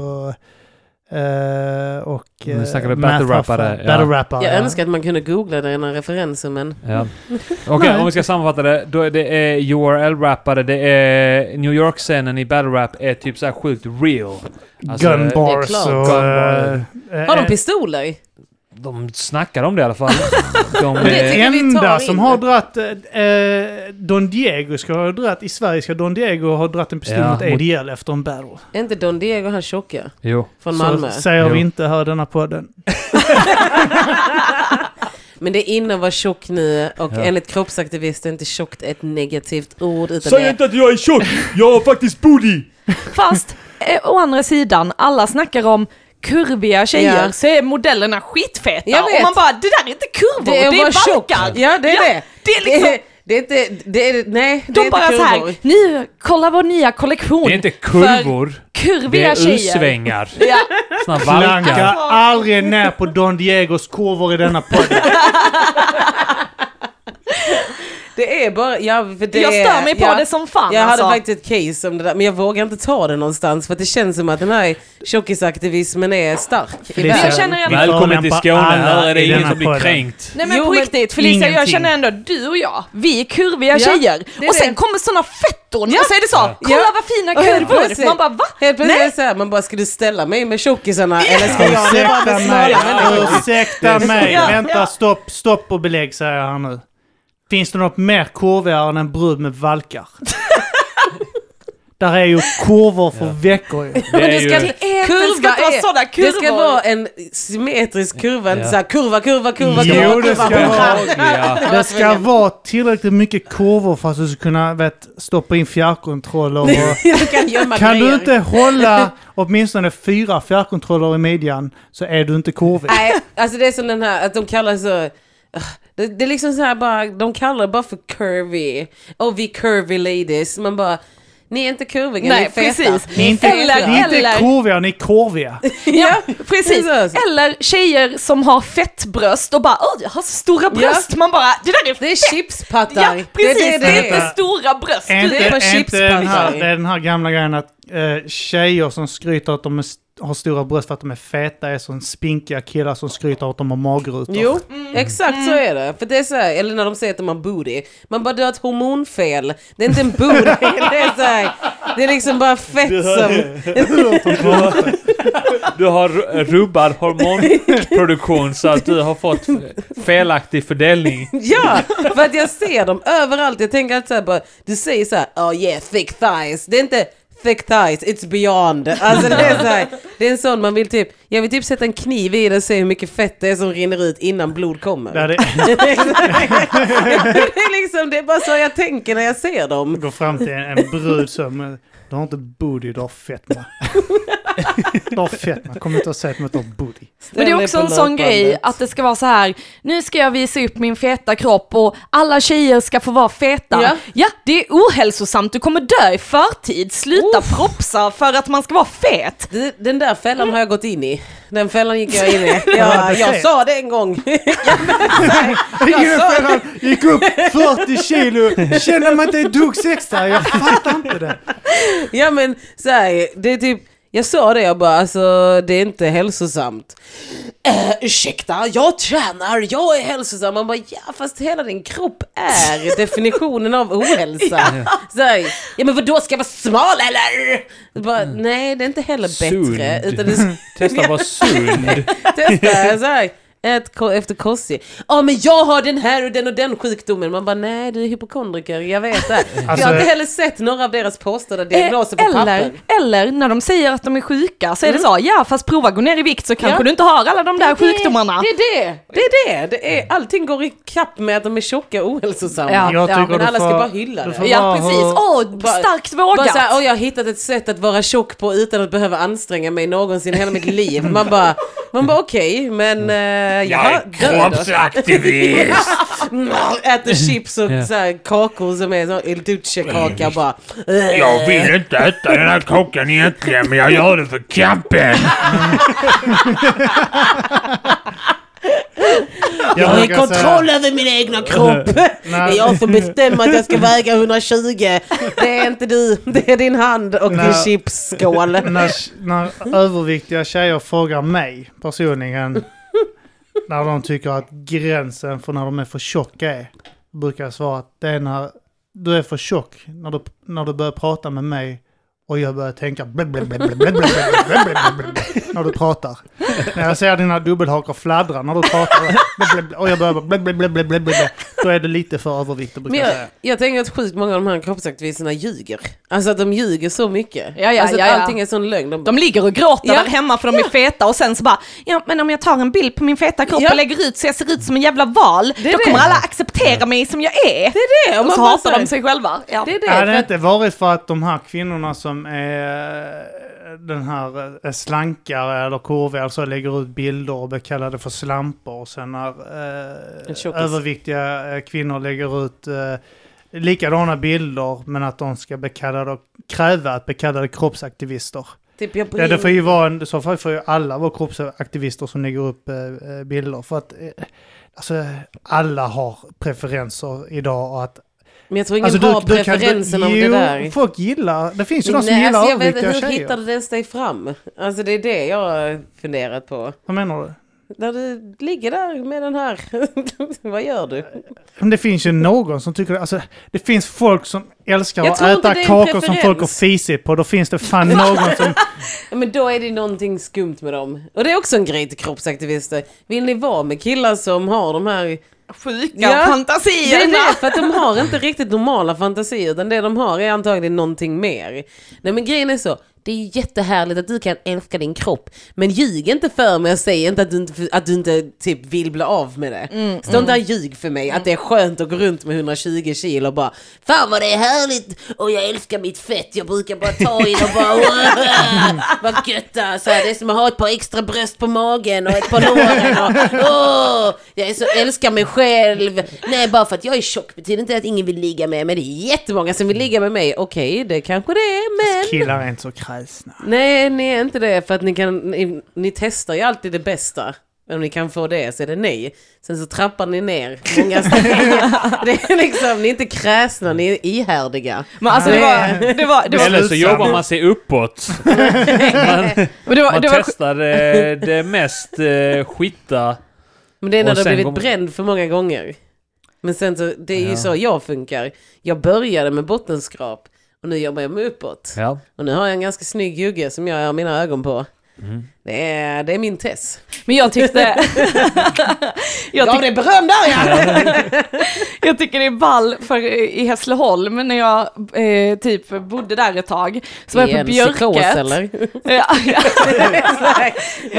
eh, och Nu snackar vi eh, battle-rappare, math-rappare. ja. Battle-rappare. Jag ja. önskar att man kunde googla den referensen men Ja. Okej, Nej. om vi ska sammanfatta det. Då är det eh, är URL-rappare, det är New York-scenen i battle rap är typ så här sjukt real. Alltså, Gun bars klart. och... Gun bar. eh, Har de eh, pistoler? De snackar om det i alla fall. De, Det eh, tycker vi tar enda in. som har dratt eh, eh, Don Diego ska ha dratt i Sverige ska Don Diego ha dratt en pistol Ja, mot mot- ADL efter en battle. Är inte Don Diego han tjocka? jo. Från Så Malmö? säger Jo. vi inte här i denna podden. Men det är inne att vara tjock nu och Ja. enligt kroppsaktivister är inte tjockt ett negativt ord utan det Säg inte att jag är tjock! Jag har faktiskt booty! Fast eh, å andra sidan, alla snackar om kurviga tjejer Ja. så är modellerna skitfeta. Jag vet. Och man bara, det där är inte kurvor, det är, att vara tjock. valkar. Ja, det är Ja, det. det är liksom- Det, det är inte... Det är, nej, det är De inte bara så kurvor. här, nu, kolla vår nya kollektion. Det är inte kurvor. Det kurviga är tjejer. U-svängar. Ja. Såna Klanka valkar. aldrig ner på Don Diegos kurvor i denna podden. Det är bara... Ja, för det Jag stör mig på ja, det som fan Jag alltså. hade faktiskt ett case om det där, men jag vågar inte ta det någonstans för att det känns som att den här tjockisaktivismen är stark i Felicia, världen. Jag känner att- vi Välkommen till förolämpar Skåne, alla här är det i ingen denna som blir podden. kränkt. Nej men Jo, på men riktigt Felicia, jag ingenting. känner ändå du och jag, vi är kurviga Ja, tjejer. det är Och sen det. kommer såna fetton Ja. och så är det så, Ja. kolla vad fina Och helt kurvor. plötsligt- Man bara va? Helt plötsligt Nej. är det så här, man bara ska du ställa mig med tjockisarna eller ska jag det vara Ursäkta med smala mig, människor? ursäkta mig. Ja, ja. Vänta, stopp, stopp och belägg säger han nu. Finns det något mer kurvigare än en brud med valkar? Där är ju kurvor för veckor ju. Det Men är du ska, ju... det är, det ska inte vara är- sådana kurvor. Det ska vara en symmetrisk kurva, inte Ja. så här kurva, kurva, kurva, Jo, kurva. det ska kurva. vara. Behagliga. Det ska vara tillräckligt mycket kurvor för att du ska kunna vet, stoppa in fjärrkontroller. Och Du kan gömma kan du grejer. inte hålla åtminstone fyra fjärrkontroller i midjan så är du inte kurvig. Nej, alltså det är som den här, att de kallar så... Det, det är liksom så här bara, de kallar det bara för curvy. Och vi curvy ladies. Man bara, ni är inte kurviga, ni Nej, är feta. precis. Ni är inte- feta. Eller- Ni är inte eller- kurviga, ni är korviga. Ja, Precis, Det är så. eller tjejer som har fettbröst och bara åh jag har så stora bröst, man bara det där är Det är fett. chipspattar. Ja precis, det, är inte är. stora bröst. Är inte, det är bara är inte den här, chipspannor. det är den här gamla grejen att eh, tjejer som skryter att de är, har stora bröst för att de är feta är som spinkiga killar som skryter att de har magrutor. Jo, exakt så är det. För det är så här, eller när de säger att de har booty. Man bara, du har ett hormonfel. Det är inte en booty. det, är så här, det är liksom bara fett som... Du har ru- rubbad hormonproduktion så att du har fått felaktig fördelning. Ja, för att jag ser dem överallt. Jag tänker alltid så här bara, du säger så här, oh yeah, thick thighs. Det är inte thick thighs, it's beyond. Alltså det är så här, det är en sån man vill typ, jag vill typ sätta en kniv i den och se hur mycket fett det är som rinner ut innan blod kommer. Där det det, är liksom, det är bara så jag tänker när jag ser dem. går fram till en, en brud som eh, du har inte booty, du har fetma. du har fetma, kom inte och säg att du har booty. Men det är också en Ställ dig på sån grej löpbandet. att det ska vara så här, nu ska jag visa upp min feta kropp och alla tjejer ska få vara feta. Ja. Ja, det är ohälsosamt, du kommer dö i förtid, sluta propsa för att man ska vara fet. Du, Den där fällan har jag gått in i. Den fällan gick jag in i. Jag, jag sa det en gång. Ungefär gick upp 40 kilo, känner man inte ett dugg sexta, jag fattar inte det. Ja men så här, det är typ, jag sa det, jag bara alltså det är inte hälsosamt. Eh, ursäkta, jag tränar, jag är hälsosam. Man bara ja fast hela din kropp är definitionen av ohälsa. Så här, ja men vadå ska jag vara smal eller? Bara, nej det är inte heller bättre. Sund. Utan det, Testa att vara sund. testa så här. Ät ko- efter kossi. Ja men jag har den här och den och den sjukdomen. Man bara nej du är hypokondriker, jag vet det. jag Alltså- har inte heller sett några av deras påstådda diagnoser på papper. Eh, Mm. Eller, eller när de säger att de är sjuka så är det så, ja fast prova gå ner i vikt så kanske Ja. du inte har alla de där sjukdomarna. Det är det. Det är det. det är, allting går i kapp med att de är tjocka och ohälsosamma. Ja. Jag tycker men du alla ska får- bara hylla du det. får Ja bara precis, ha- åh Bara- starkt Bara vågat. såhär, "Åh, jag har hittat ett sätt att vara tjock på utan att behöva anstränga mig någonsin i hela mitt liv. Man bara, man bara okej, men eh, Jag jaha, är dö då. kroppsaktivist! Mm, Äter chips och Ja. så här, kakor som är så El Mm. Duce-kaka bara. Mm. Jag vill inte äta den här kakan egentligen, men jag gör det för kampen. Jag har brukar kontroll över min egna kropp. Nej. Jag får bestämma att jag ska väga 120. Det är inte du, det är din hand och din Nej. chipsskål. när, när överviktiga tjejer frågar mig personligen när de tycker att gränsen för när de är för tjocka är, brukar jag svara att det är när du är för tjock, när du, när du börjar prata med mig Och jag börjar tänka blub, blub, blub, blub, blub, blub, blub, blub, blub, blub, när du pratar. När jag ser dina dubbelhakar fladdra när du pratar blub, blub, blub, och jag börjar bara blub, blub, blub, blub, blub, blub, då är det lite för övervikt brukar Men jag jag, säga. jag tänker att sjukt många av de här kroppsaktivisterna ljuger. Alltså att de ljuger så mycket. Ja, ja, alltså att ja, ja. allting är sån lögn. De, De ligger och gråter Ja. där hemma för de är feta och sen så bara, ja men om jag tar en bild på min feta kropp Ja. och lägger ut så jag ser ut som en jävla val, är då kommer det. alla acceptera mig som jag är. det är det! Och och så man bara så hatar de här, sig själva. Ja. Det är det. Hade för det att- inte varit för att de här kvinnorna som är den här eh, slankare eller kurviga alltså lägger ut bilder och blir kallade för slampor och sen när En eh, tjockis. överviktiga eh, kvinnor lägger ut eh, likadana bilder men att de ska bli kallade och kräva att bli kallade kroppsaktivister. Typ jag på Ja, det får ju vara en, i så fall får ju alla vara kroppsaktivister som lägger upp eh, eh, bilder för att eh, alltså, alla har preferenser idag och att Men jag tror ingen Alltså, har preferensen av det jo, där. folk gillar, det finns ju de som Nej, gillar alltså jag vet inte, överviktiga hur tjejer. hittar du ens dig fram? Alltså det är det jag har funderat på. Vad menar du? När du ligger där med den här, vad gör du? Men det finns ju någon som tycker, alltså det finns folk som älskar Jag att tror inte äta det är en kakor som folk har preferens. fisit på. Då finns det fan någon som, Men då är det någonting skumt med dem. Och det är också en grej till kroppsaktivister. Vill ni vara med killar som har de här... Sjuka Ja. Det fantasier. är det, för att de har inte riktigt normala fantasier. Utan det de har är antagligen någonting mer. Nej men grejen är så. Det är jättehärligt att du kan älska din kropp. Men ljug inte för mig och säg inte att du inte, att du inte typ, vill bli av med det. Stå inte där och ljug för mig att det är skönt att gå runt med 120 kilo och bara Fan vad det är härligt och jag älskar mitt fett. Jag brukar bara ta i det och bara "Wow, Vad gött det är." så här, Det är som att ha ett par extra bröst på magen och ett par låren. Och, "Åh, jag är så, älskar mig själv. Nej, bara för att jag är tjock betyder inte att ingen vill ligga med mig. Det är jättemånga som vill ligga med mig. Okej, det kanske det är, men... killar är inte så kräsna. Nej, ni är inte det för att ni kan, ni, ni testar ju alltid det bästa. Om ni kan få det så är det nej. Sen så trappar ni ner många steg. Det är liksom, ni är inte kräsna, ni är ihärdiga. Men alltså det var, det var, det var, Eller så jobbar man sig uppåt. Man, och det var, man det var testar eh, det mest eh, skitta. Men det är när Och du har sen blivit kommer- bränd för många gånger. Men sen så, det är ju Ja. så jag funkar. Jag började med bottenskrap och nu jobbar jag mig uppåt. Ja. Och nu har jag en ganska snygg jugge som jag har mina ögon på. Mm. Det, är, det är min Tess. Men jag tyckte... jag, Gav tyck, dig beröm där ja! jag tycker det är ball för eh, i Hässleholm när jag eh, typ bodde där ett tag. Så var Det är jag på en psykos, Björket. eller? Ja, ja,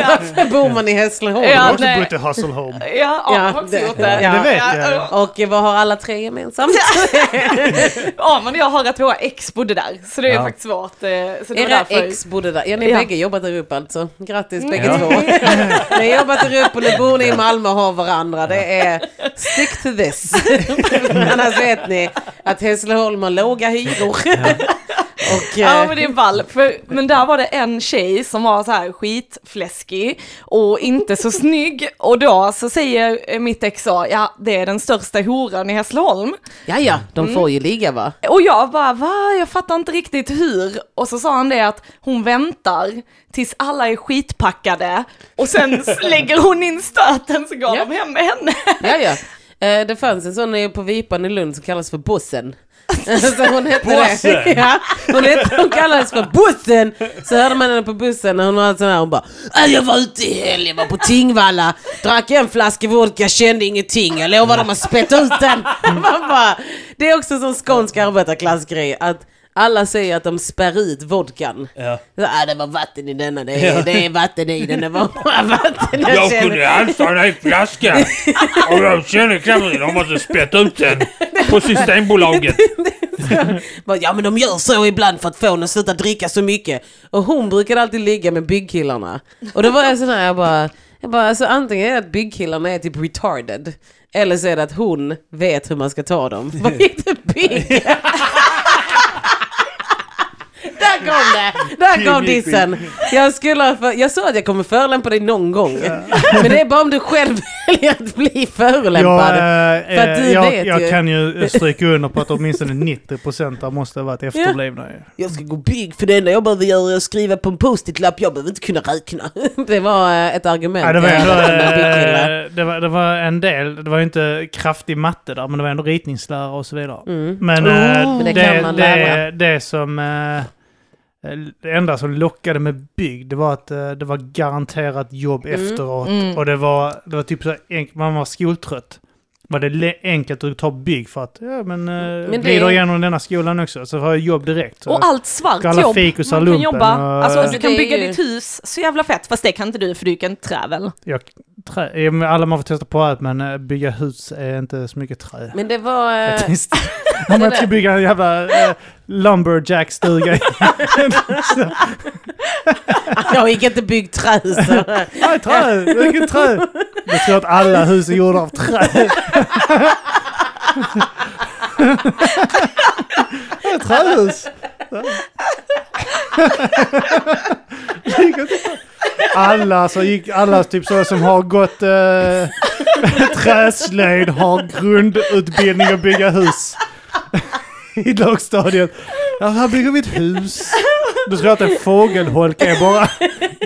Varför bor man i Hässleholm? Jag har Ja, också nej. bott i Hasselholm. ja, ja, jag har också det- gjort det. ja. Det vet jag. Ja, Och vad har alla tre gemensamt? Ja, men jag har att våra ex bodde där, så det är Ja. faktiskt svårt. eh, Så det var Era därför. ex bodde där. Ja, ni har Ja. bägge jobbat där uppe alltså. Grattis bägge Ja. två. ni har jobbat där uppe och nu bor ni i Malmö och har varandra. Det är stick to this. Annars vet ni att Hässleholm har låga hyror. och, Ja eh, men det är ball, för, men där var det en tjej som var så här skitfläskig och inte så snygg och då så säger eh, mitt ex så, ja det är den största horan i Hässleholm. ja, ja, de Mm. får ju ligga va? Och jag bara, va? Jag fattar inte riktigt hur. Och så sa han det att hon väntar tills alla är skitpackade och sen s- lägger hon in stöten så går Ja. de hem med henne. Ja, ja. Eh, Det fanns en sån eh, på Vipan i Lund som kallas för Bossen. Så hon hette Bossen? det. Ja, hon, hette, hon kallades för Bossen. Så hörde man henne på bussen när hon var sån här, hon bara "Äh, Jag var ute i helgen, var på Tingvalla, drack en flaska vodka, kände ingenting, jag lovar dem att spätta ut den. Man bara, det är också en sån skånsk arbetarklassgrej att alla säger att de spär ut vodkan. Ja. Så, "Ah, det var vatten i denna, det är, det är vatten i den, det var bara vatten. Jag Jag känner- kunde anställa en hel flaska och jag kände knappt att jag måste spätta ut den på Systembolaget. Bara, Ja men de gör så ibland för att få henne att sluta dricka så mycket. Och hon brukade alltid ligga med byggkillarna. Och då var jag sån här, jag bara, jag bara alltså, antingen är det att byggkillarna är typ retarded. Eller så är det att hon vet hur man ska ta dem. Vad heter bygg? Där kom det! Där kom dissen. Jag, skulle, ha för, jag sa att jag kommer förolämpa dig någon gång. Men det är bara om du själv väljer att bli förolämpad. Jag, eh, För att du jag, vet jag ju. kan ju stryka under på att åtminstone 90% där måste ha varit efterblivna. ju. Jag ska gå bygg för det enda jag behöver göra är att skriva på en post-it-lapp. Jag behöver inte kunna räkna. Det var eh, ett argument. Ja, det, var jag ändå, hade med en byggkille. eh, det, var, det var en del, det var ju inte kraftig matte där, men det var ändå Mm. ritningslära och så vidare. Men, eh, Men det det, kan man det, lära. det, som... eh, eh, Det enda som lockade med bygg, det var att eh, det var garanterat jobb efteråt. mm. Och det var, det var typ så enkelt, man var skoltrött. Var det le- enkelt att ta bygg för att, ja men, eh, det- glider igenom denna skolan också så har jag jobb direkt. Så Och allt svart ska alla jobb. fikusar Man kan lumpen jobba, och- eh, alltså Så du kan det är bygga ju- ditt hus så jävla fett. Fast det kan inte du för du kan trävel. jag, trä, ja, men alla man får testa på allt men eh, bygga hus är inte så mycket trä. Men det var... eh, Faktiskt. Om man ska bygga en jävla eh, lumberjack-stuga. jag gick inte byggt trä så. Nej, trä! Vilket trä! Jag tror att alla hus är gjorda av trä. Ja, Trähus! Alla, så gick, alla typ så som har gått eh, träslöjd har grundutbildning att bygga hus. I lågstadiet. Ja, här bygger vi ett hus. Du tror jag att en fågelholk är bara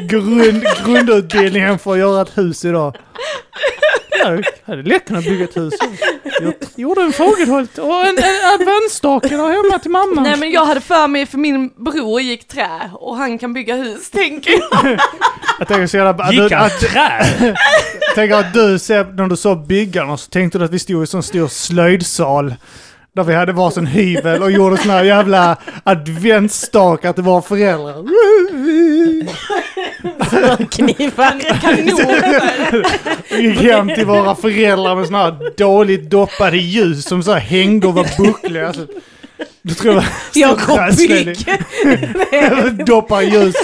grund, grundutbildningen för att göra ett hus idag. Jag hade lätt kunnat bygga ett hus. Jag gjorde en fågelholk och en, en adventsstake där hemma till mamma. Nej men jag hade för mig, för min bror gick trä och han kan bygga hus tänker jag. Jag tänker så jävla... att Gick du- han att- trä? Tänk att du, Seb, när du såg byggarna så tänkte du att vi stod i en sån stor slöjdsal. Där vi hade varsin hyvel och gjorde såna här jävla adventsstakar till våra föräldrar. Knivar. Kanoner. Vi gick hem till våra föräldrar med såna här dåligt doppade ljus som så här hängde och var buckliga. Alltså, du tror jag Jag kom bygg. Doppar ljus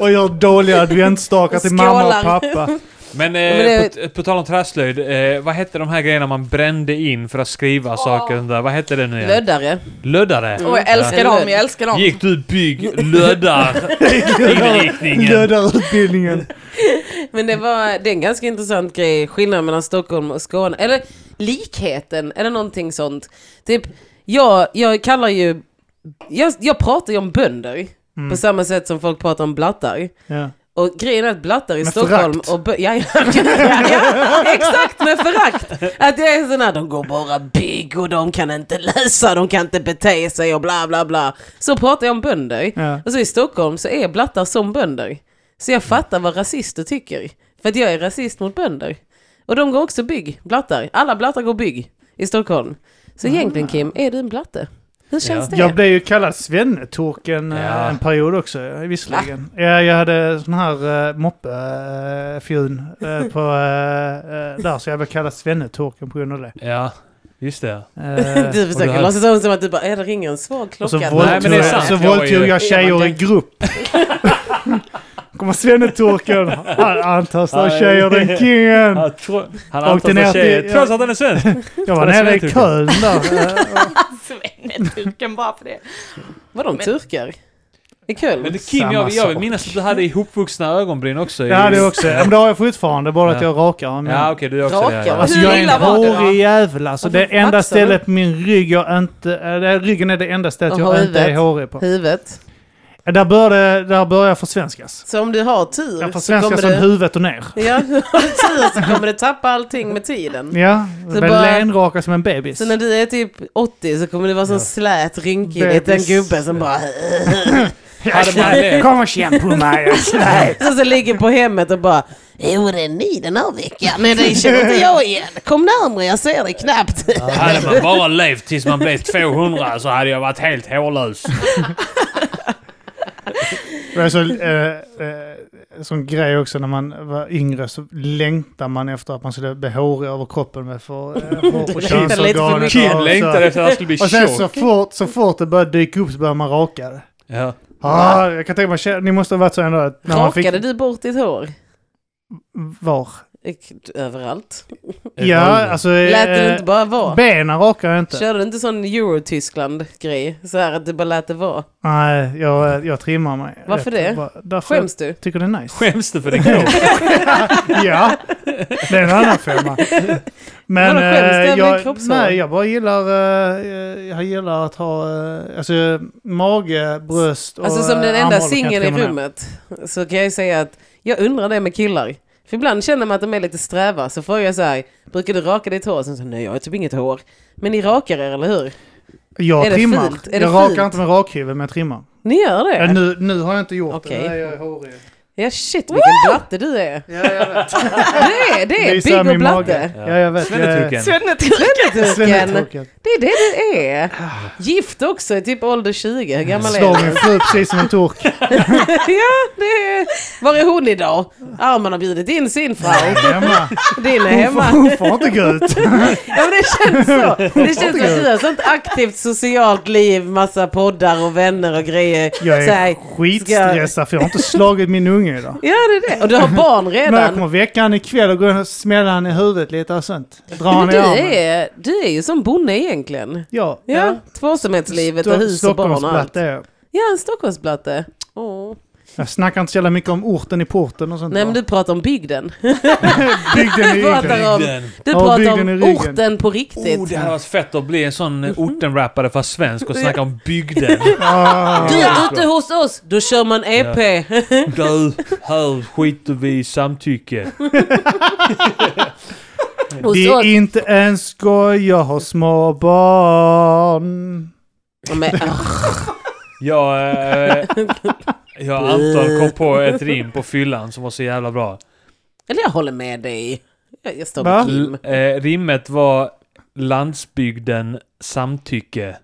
och gör dåliga adventsstakar till mamma och Skålar. pappa. Men, eh, Men På, på tal om träslöjd, eh, vad hette de här grejerna man brände in för att skriva saker under? Vad hette det nu igen? Löddare. Löddare? Och jag älskar dem, jag älskar dem. Gick du bygg löddar inriktningen? Löddarutbildningen. Men det, var, det är en ganska intressant grej, skillnaden mellan Stockholm och Skåne. Eller likheten, eller någonting sånt. Typ, jag, jag kallar ju... Jag, jag pratar ju om bönder Mm. på samma sätt som folk pratar om blattar. Ja. Och grejen är att blattar i Med Stockholm förakt. och bö- ja, ja, ja, ja, exakt med förakt. Att det är sådana, de går bara bygg och de kan inte läsa, de kan inte bete sig och bla bla bla. Så pratar jag om bönder. Ja. Och så i Stockholm så är blattar som bönder. Så jag fattar vad rasister tycker. För att jag är rasist mot bönder. Och de går också bygg, blattar. Alla blattar går bygg i Stockholm. Så egentligen Kim, är du en blatte? Hur känns det? Ah. Jag blev ju kallad svennetorken eh, Ja. en period också, eh, visserligen. Ja, jag hade sån här eh, moppefjun eh, på, eh, eh, där, så jag blev kallad svennetorken på grund av det. Ja, just det. Eh, Du Och du försöker har- låtsas som- som att du bara, är det ringer en svag och så klocka? Nej, men våldtog det är jag, sant. så Jag var våldtog ju- jag tjejer i Eva, det- grupp. Kommer svennetorken, han antastar tjejer den kingen. Han tro- han Åkte antar ner sig tjejer, till- trots att han är svensk. Jag var nere i Köln där. eh, Svenneturken bara för det. Var de turkar? I Köln? Men det- Kim, Samma jag, jag vill sak. minnas att du hade ihopvuxna ögonbryn också. i- Det hade jag också. Ja, Men det har jag fortfarande, bara att Ja. jag rakar. dem. Ja, okej, du är också Raka, det. Ja. va? Alltså Hur jag är illa en var det då? hårig jävel alltså. Det Varför enda vaxar du? stället på min rygg jag inte... äh, det- Ryggen är det enda stället Och jag inte är huvudet. hårig på. Huvudet. Där började, där började jag försvenskas. Så om du har tur Jag så kommer försvenskas från du... huvudet och ner. Ja, om du har tur så kommer du tappa allting med tiden. Ja, jag blev bara- lenraka som en bebis. Så när du är typ 80 så kommer du vara sån slät, rynkig liten Bebis. gubbe som bara... Hade man det? Kom och känn på mig. Så, så ligger på hemmet och bara... Jo, det är ni den här veckan. Nej, det känner inte jag igen. Kom närmare, jag ser dig knappt. Hade man bara levt tills man blev 200 så hade jag varit helt hårlös. Det var så, eh, eh, sån grej också när man var yngre så längtade man efter att man skulle bli hårig över kroppen med för, eh, hår på Längtade lite för könsorganet. mycket. Kim och längtar så- efter att han skulle bli Och sen så tjock. fort, så fort det började dyka upp så började man raka det. Ja. Ja, jag kan tänka mig, tje- ni måste ha varit så ändå att när man fick... Rakade du bort ditt hår? Var? Överallt. Ja, alltså... Lät det eh, inte bara vara? Benen rakar jag inte. Körde du inte sån Euro-Tyskland-grej? Så här att du bara lät det vara? Nej, jag, jag trimmar mig. Varför Rätt. det? Bara- Därför Skäms du? jag tycker det är nice. Skäms du för din kropp? Ja, det är en annan femma. Men Vadå, skäms det eh, över din jag, kroppshår? nej, jag bara gillar, eh, jag gillar att ha eh, alltså, mage, bröst och Alltså som den eh, enda armhålor kan jag singeln i trimma ner. rummet så kan jag ju säga att jag undrar det med killar. För ibland känner man att de är lite sträva så frågar jag så här, brukar du raka ditt hår? Sen så, nej jag har typ inget hår. Men ni rakar er, eller hur? Är Jag det trimmar. fult? Är det Jag rakar fult? inte med rakhyveln, men jag trimmar. Ni gör det? Ja, nu, nu har jag inte gjort Okej. det. Nej, jag är hårig. Ja shit vilken blatte du är. Ja, jag vet. Det är, det är Visar Big och min mage. blatte. Ja. Ja, jag vet. Jag är- Svennetuken. Svennetuken! Svennetuken. Svennetuken. Det är det det är. Gift också, i typ ålder 20. Hur gammal är Slår min du? fru precis som en turk. ja, det är... Var är hon idag? Arman har bjudit in sin fru. Hemma. Din är Hon får, hemma. hon får inte gå ut. Ja, men det känns så. Det känns som att du har sånt aktivt socialt liv, massa poddar och vänner och grejer. Jag Så här, är skitstressad för jag har inte slagit min unge idag. Ja, det är det. Och du har barn Men jag redan. kommer väcka han ikväll och gå och smälla han i huvudet lite och sånt. Dra Men han i du, armen. är, du är ju som bonde egentligen. Ja. Ja, tvåsamhetslivet och Sto- hus och barn och allt. Stockholmsplatt är jag. Ja, en Stockholmsplatte. Åh. Jag snackar inte så jävla mycket om orten i porten och sånt. Nej, men du pratar om bygden. Bygden i Eglinge. pratar om, Bygden. du Ja, pratar bygden i om ryggen. orten på riktigt. Oh, det hade varit fett att bli en sån ortenrappare fast svensk och snacka om bygden. Ah, Du är ute hos oss, då kör man E EP. Du, här skiter vi i samtycke. hos Det är oss. inte en skoj, jag har små barn. Men, Jag, eh, jag Anton kom på ett rim på fyllan som var så jävla bra. eller jag håller med dig. Jag, jag står Va? med Kim. L- eh, rimmet var landsbygden samtycke.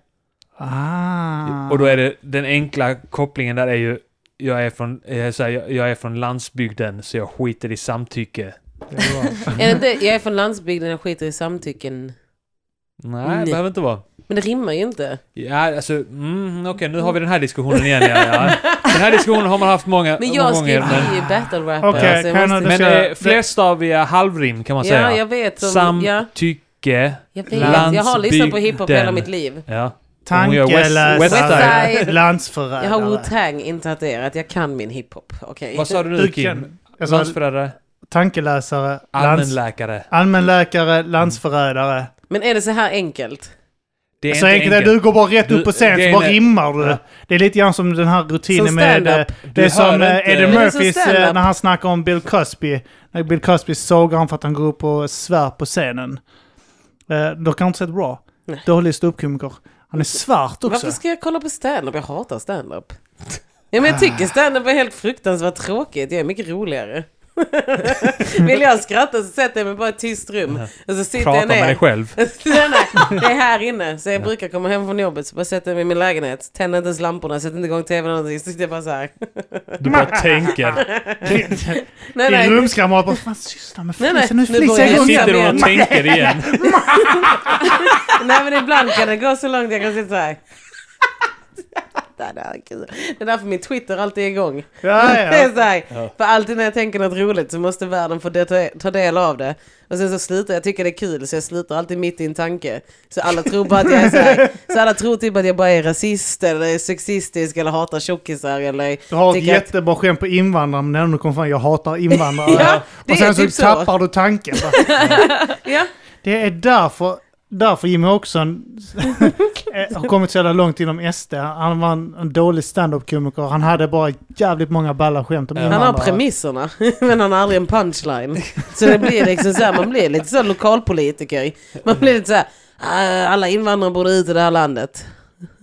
Ah. Och då är det den enkla kopplingen där är ju jag är, från, eh, så här, jag, jag är från landsbygden så jag skiter i samtycke. Är det inte, jag är från landsbygden, jag skiter i samtycken. Nej, Nej. det behöver inte vara. Men det rimmar ju inte. Ja, alltså, mm, okej, nu har vi den här diskussionen igen. Ja, ja. Den här diskussionen har man haft många, Men många jag gånger. skriver Men, ju battle-rapper. Okej, så jag kan jag måste- nu- men ska jag- eh, flerstaviga halvrim kan man Ja, säga. jag vet. Om, ja, Samtycke. jag, vet. jag har lyssnat på hiphop hela landsbygden. mitt liv. Ja. Hon gör West- Tankeläsare, Westside. landsförrädare. Jag har Wu-Tang intatuerat, jag kan min hiphop. Okej. Vad sa du nu Du Kim? kan- alltså, Landsförrädare? Tankeläsare, lands, Allmänläkare? allmänläkare, Mm. landsförrädare. Men är det så här enkelt? Det är Så enkelt är det, du går bara rätt Du- upp på scen grejen så bara är- rimmar du. Det är lite grann som den här rutinen Som med... stand-up. eh, Det hör är som inte- eh, Eddie Men det är som Murphys eh, stand-up. när han snackar om Bill Cosby. När Bill Cosby sågar han för att han går upp och svär på scenen. Eh, Dock har jag inte sett Raw. Nej. Dålig ståuppkomiker. Han är svart också. Varför ska jag kolla på stand-up? Jag hatar stand-up. Ja, men jag tycker stand-up är helt fruktansvärt tråkigt. Jag är mycket roligare. Vill jag skratta så sätter jag mig bara i ett tyst rum. Och så sitter Prata jag med dig ner. själv. nej, nej, det är här inne. Så jag brukar komma hem från jobbet så bara sätter jag mig i min lägenhet. Tänder inte ens lamporna, sätter inte igång tvn eller någonting. Så sitter jag bara så här. Du bara tänker. Nej, I nej. rumskamrat bara, fan sysslar med Nej, nej, flisen, nu nu går flisar jag jag igång. hem. Sitter och tänker igen. nej, men ibland kan det gå så långt jag kan sitta så här. Det där är kul. Det är därför min Twitter alltid är igång. Ja, Det ja. är så här, För alltid när jag tänker något roligt så måste världen få det, ta del av det. Och sen så slutar jag tycka det är kul så jag slutar alltid mitt i en tanke. Så alla tror bara att jag är så här, Så alla tror typ att jag bara är rasist eller sexistisk eller hatar tjockisar eller... Du har ett tycker att- jättebra skämt på invandrare, men när du kommer fram, jag hatar invandrare. Ja, det och är sen så typ så. tappar du tanken. Ja. Det är därför, därför Jimmy Åkesson eh, har kommit så jävla långt inom SD. Han var en, en dålig standup-komiker. Han hade bara jävligt många balla skämt om Han har invandrare. premisserna, men han har aldrig en punchline. Så det blir liksom så här, man blir lite så här lokalpolitiker. Man blir lite så här, "Ah, alla invandrare borde ut i det här landet.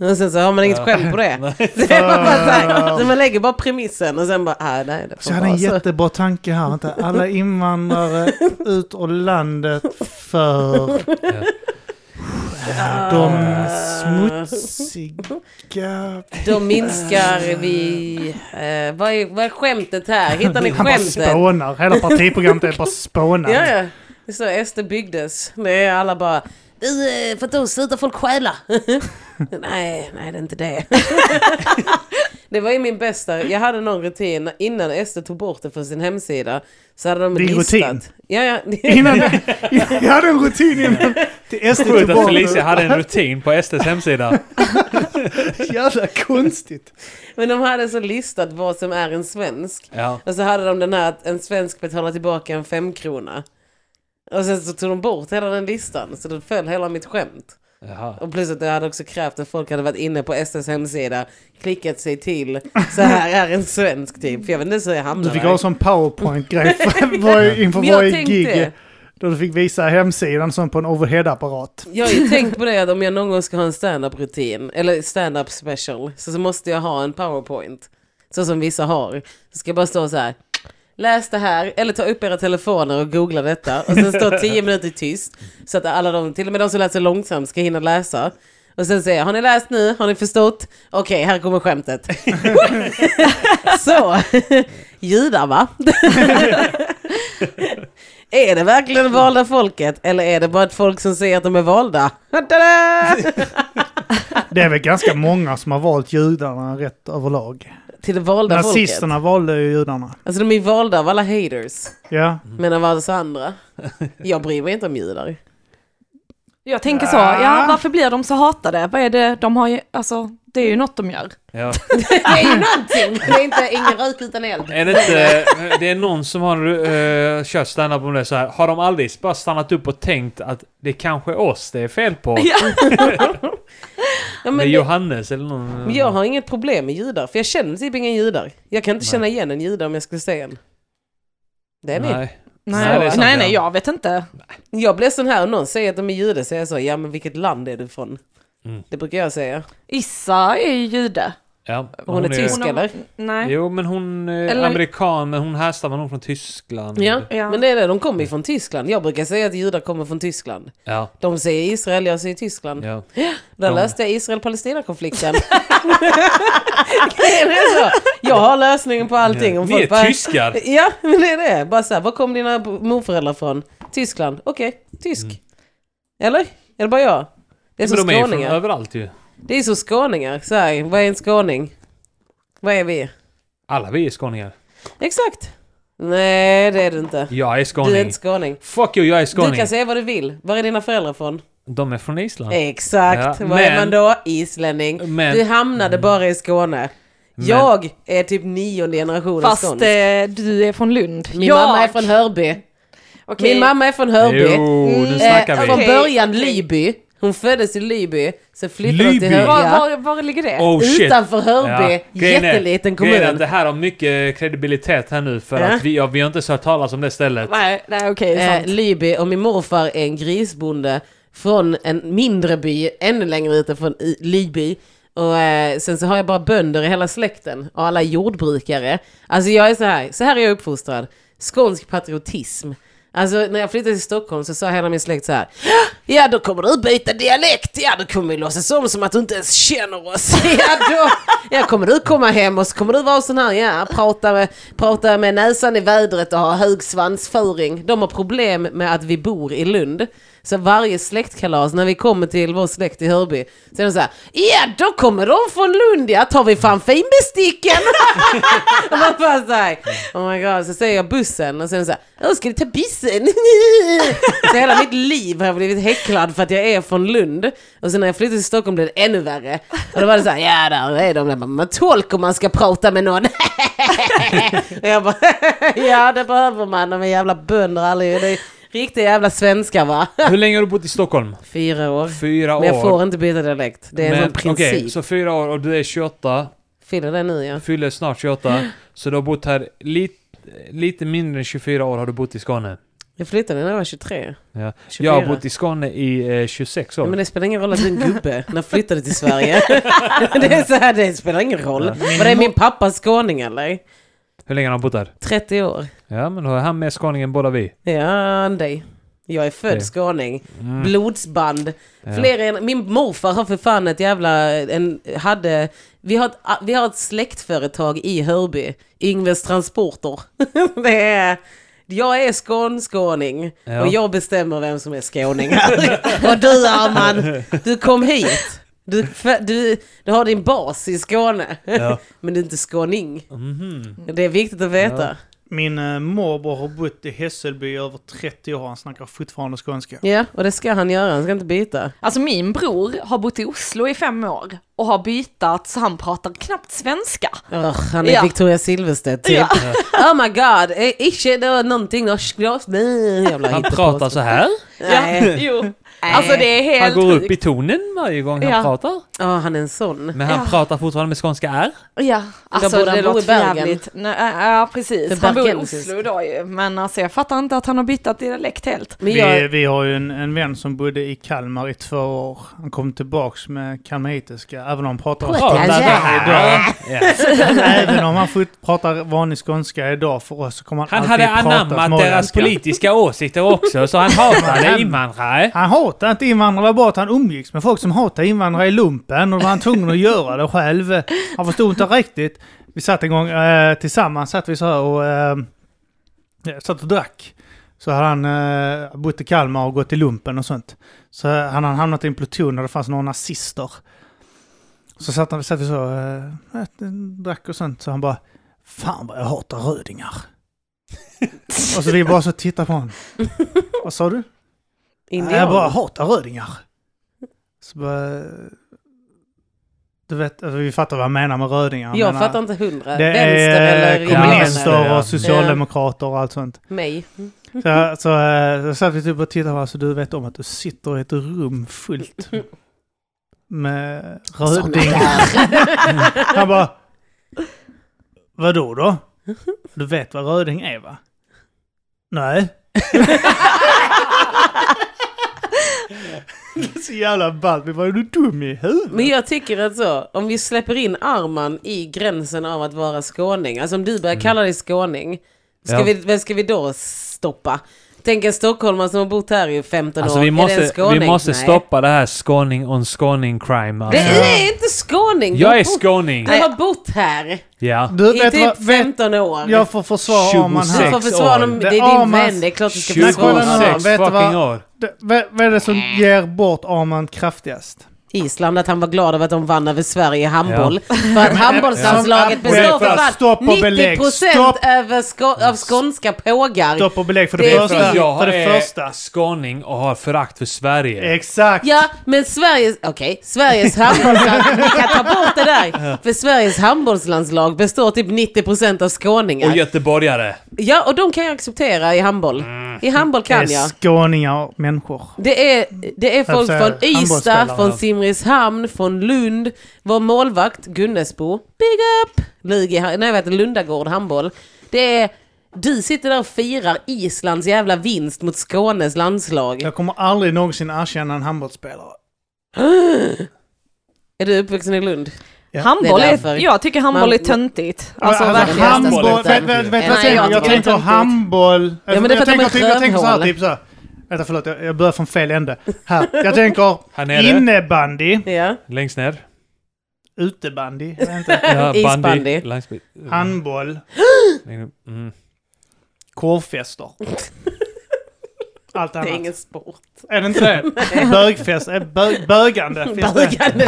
Och sen så har man inget skämt på det. Så man, bara så här, så man lägger bara premissen och sen bara, ah, nej det Så får jag hade en vara så. jättebra tanke här. Vänta, alla invandrare ut ur landet för de Ah. smutsiga... Då minskar vi, eh, vad, är, vad är skämtet här? Hittar ni Han bara skämtet? spånar. Hela partiprogrammet är bara spånar. Ja, ja. Det står SD byggdes. Det är alla bara, du, eh, för att då slutar folk stjäla. nej, nej det är inte det. det var ju min bästa, jag hade någon rutin innan SD tog bort det från sin hemsida. Så hade de Din listat. rutin? Ja, ja. Innan, jag hade en rutin innan. Till SD Sjukt att tillbaka. Felicia hade en rutin på SDs hemsida. Jävla konstigt. Men de hade så listat vad som är en svensk. Ja. Och så hade de den här att en svensk betalar tillbaka en femkrona. Och sen så tog de bort hela den listan, så då föll hela mitt skämt. Jaha. Och plus att det hade också krävt att folk hade varit inne på SDs hemsida, klickat sig till, så här är en svensk typ. För jag vet inte så jag Du hamnade fick ha en sån powerpoint-grej för- var- inför Men jag varje tänkte, gig. Då du fick visa hemsidan som på en overhead-apparat. Jag har ju tänkt på det att om jag någon gång ska ha en stand-up rutin eller stand-up special så, så måste jag ha en powerpoint. Så som vissa har. Så ska jag bara stå så här. Läs det här eller ta upp era telefoner och googla detta. Och sen stå tio minuter tyst. Så att alla de, till och med de som läser långsamt ska hinna läsa. Och sen säger jag, har ni läst nu? Har ni förstått? Okej, här kommer skämtet. så, judar va? Är det verkligen det valda folket eller är det bara ett folk som säger att de är valda? Ta-da! Det är väl ganska många som har valt judarna rätt överlag. Till det valda folket. Nazisterna valde ju judarna. Alltså de är valda av alla haters. Ja. Men av oss andra. Jag bryr mig inte om judar. Jag tänker så, ja varför blir de så hatade? Vad är det de har, ju- alltså det är ju något de gör. Ja. Det är ju någonting. Det är inte ingen rök utan eld. Är det inte... eh, Det är någon som har uh, kört standup om det så här. Har de aldrig bara stannat upp och tänkt att det kanske är oss det är fel på? Ja. Ja, det är men det, Johannes eller någon... eh, men jag har inget problem med judar. För jag känner typ ingen judar. Jag kan inte Nej. känna igen en jude om jag skulle se en. Det är min. Nej. Nej, Nej, det är nej, sant, nej, ja. jag vet inte. Jag blir sån här om någon säger att de är jude. Säger jag så, ja men vilket land är du från? Mm. Det brukar jag säga. Issa är ju jude. Ja, Hon, är tysk Hon har- eller? Nej. Jo, men hon är Eller- amerikan, men hon härstammar nog från Tyskland. Ja, Ja. men det är det. De kommer ju från Tyskland. Jag brukar säga att judar kommer från Tyskland. Ja. De säger Israel, jag säger Tyskland. ja. Där Ja. löste jag Israel-Palestina-konflikten. det är så. Jag har lösningen på allting. Ja. Om Ni är folk bara- tyskar! Ja, men det är det. Bara så här, var kom dina morföräldrar från? Tyskland. Okej, tysk. Eller? Är det bara jag? Det är Mm. Men som de är ju från skåningar. överallt ju. Det är så skåningar. Så här, vad är en skåning? Vad är vi? Alla vi är skåningar. Exakt. Nej, det är du inte. Jag är Du är skåning. inte skåning. Fuck you, jag är skåning. Du kan säga vad du vill. Var är dina föräldrar från? De är från Eh, Island. Exakt. Ja, Vad är men- man då? Islänning. Men- Mm. du hamnade bara i Skåne. Men- Jag är typ nionde generationen Fast skånsk. eh, du är från Lund. Min Jag- mamma är från Hörby. Okej. Min mamma är från Hörby. Jo, nu snackar eh, vi. från Okej, början okej. Lyby. Hon föddes i Lyby, sen flyttade hon till Lyby? Hörby. Var, Ja. var, var ligger det? Oh shit. Utanför Hörby, Grejen är- jätteliten grejen är att kommun. Det här har mycket kredibilitet här nu för Ja. att vi, ja, vi har inte ens hört talas om det stället. Nej, nej okej, Eh, sant. Lyby och min morfar är en grisbonde från en mindre by, ännu längre ute från i- Lyby. Och eh, sen så har jag bara bönder i hela släkten och alla jordbrukare. Alltså jag är så här, så här är jag uppfostrad. Skånsk patriotism. Alltså när jag flyttade till Stockholm så sa hela min släkt så här. Ja då kommer du byta dialekt, ja då kommer vi låtsas om som att du inte ens känner oss. Ja då ja, kommer du komma hem och så kommer du vara sån här, ja prata med, prata med näsan i vädret och ha hög svansföring. De har problem med att vi bor i Lund. Så varje släktkalas, när vi kommer till vår släkt i Hörby, så är de så här, ja då kommer de från Lund ja, tar vi fram finbesticken. Och man bara såhär, oh my god, så säger jag bussen och sen såhär, åh ska du ta bussen? så hela mitt liv har jag blivit häcklad för att jag är från Lund. Och sen när jag flyttade till Stockholm blev det ännu värre. Och då var det såhär, ja där är de där, man tolk om man ska prata med någon. och jag bara, ja det behöver man, de är jävla bönder allihop. Det är riktiga jävla svenskar va? Hur länge har du bott i Stockholm? Fyra år. Fyra år. Men jag får inte byta dialekt, det är en Men, sån princip. okej, så fyra år och du är 28, Fyller det nu ja. fyller snart 28, så du har bott här lite, lite mindre än 24 år har du bott i Skåne. Jag flyttade när jag var 23. Ja. 24. Jag har bott i Skåne i eh, 26 år. Ja, men det spelar ingen roll att du är en gubbe när jag flyttade till Sverige. det, är så här, det spelar ingen roll. Var det min pappa skåning eller? Hur länge har du bott där? 30 år. Ja, men då är han med skåningen båda vi. Ja, dig. Jag är född Det. skåning. Mm, Blodsband. Flera, gener- min morfar har för fan ett jävla... En, hade, vi, har ett, vi har ett släktföretag i Hörby. Yngves Transporter. det är, jag är skånskåning Ja. och jag bestämmer vem som är skåning här. och du Arman, du kom hit. Du, fö- du, du har din bas i Skåne. Ja. Men du är inte skåning. Mhm. Det är viktigt att veta. Min eh, morbror har bott i Hässelby i över 30 år. Han snackar fortfarande skånska. Ja, och det ska han göra. Han ska inte byta. Alltså min bror har bott i Oslo i fem år och har bytat så han pratar knappt svenska. Ugh, han är Ja. Victoria Silvstedt typ. Ja. Oh my god, eh, ikke det någonting norskt glas. Nej, jävla Han hittepå. pratar så här. Nej. Jo. Alltså det är helt Han går upp i sjukt. tonen varje gång han Ja. pratar. Ja, han är en sån. Men han Ja. pratar fortfarande med skånska R. Ja, alltså borde han det bo i låter för Bergen. jävligt. Nej, ja, precis. För Han bor i Bergen, precis. Oslo idag ju. Men alltså jag fattar inte att han har bytt dialekt helt. Men Vi, jag, vi har ju en, en vän som bodde i Kalmar i två år. Han kom tillbaks med kalmaritiska, även om han pratar Pratar skånska jag? idag. Ja. Även om han fort- pratar vanlig skånska idag för oss så kommer han, Han alltid hade prata anammat deras småländska. politiska åsikter också, så han hatade Han- invandrare. Han hatade inte invandrare, det var bara att han umgicks med folk som hatade invandrare i lumpen och då var han tvungen att göra det själv. Han förstod inte riktigt. Vi satt en gång eh, tillsammans, satt vi så här och eh, ja, satt och drack. Så hade han eh, bott i Kalmar och gått i lumpen och sånt. Så han hade hamnat i en pluton där det fanns några nazister. Så satt, han, satt vi så eh, ät- drack och sånt, så han bara Fan vad jag hatar rödingar. och så vi bara så tittar på honom. Vad sa du? Nej, Jag bara indian. hatar rödingar. Så bara, du vet, alltså, vi fattar vad han menar med rödingar. Han Jag äh, menar, fattar inte hundra. Det Vänster är eller eh, kommunister. indianer. kommunister Ja. och socialdemokrater och allt sånt. Mig. Så, så, eh, så satt vi typ och tittade på så du vet om att du sitter i ett rum fullt med rödingar. Han bara, vadå då? Du vet vad röding är va? Nej. Det är så jävla ballt, men vad är du dum i huvudet? Men jag tycker att så, om vi släpper in Arman i gränsen av att vara skåning, alltså om du börjar kalla dig skåning, ska Mm. Ja. vi, vem ska vi då stoppa? Tänk en stockholmare som har bott här i 15 Alltså år, vi är det en måste, skåning? vi måste Nej. stoppa det här skåning on skåning Det crime. Alltså. är inte skåning! Du Jag har är bott- skåning! Du har bott här Ja. Du i vet typ vad, vet, 15 år. jag får försvara om han du här. får 26 försvara dem, år. det är Det- din Armans- vän, det är klart du ska 26 försvara kolla nu. honom. Vet du vad? fucking år. Det- Vad vad är det som Äh. ger bort Arman kraftigast? Island att han var glad över att de vann över Sverige i handboll. För att handbollslandslaget Ja. består Stopp för och fan belägg. 90% Stopp. över sko- av skånska pågar. Stopp och belägg för det, Det är första. vi. Jag För det första. är skåning och har förakt för Sverige. Exakt. Ja, men Sveriges, okej, Sveriges handbollslandslag, vi kan ta bort det där. För Sveriges handbollslandslag består typ 90% av skåningar. Och göteborgare. Ja, och de kan jag acceptera i handboll. Mm. I handboll Det är kan jag. skåningar och människor. Det är, det är folk Alltså, från Ystad, handbollsspelare. från Simrishamn, från Lund. Vår målvakt Gunnesbo, big up! Lugi, nej jag vet Lundagård handboll. Det är, du sitter där och firar Islands jävla vinst mot Skånes landslag. Jag kommer aldrig någonsin erkänna en handbollsspelare. Är du uppvuxen i Lund? Ja. Handboll Det är är, därför. jag tycker handboll är Man- töntigt. Alltså, Men verkligen. handboll- handboll, nästan vet, slutar. vet, vet, Nej, jag tänker, jag jag tycker tänker det är handboll. men det är för jag, att de är tänker typ, jag tänker så här, skönhål. typ så här. Vänta förlåt, jag, jag börjar från fel ände. Här. Jag tänker Här nere. innebandy, Ja. Längst ner. utebandy, jag vet inte. Ja, Äh, Isbandy. Landsby- Ah. handboll, Mm. korvfester. Allt annat. Det är Är, ingen sport. det inte det? Bögfest, eh, bög, bögande. finns det? Bögande.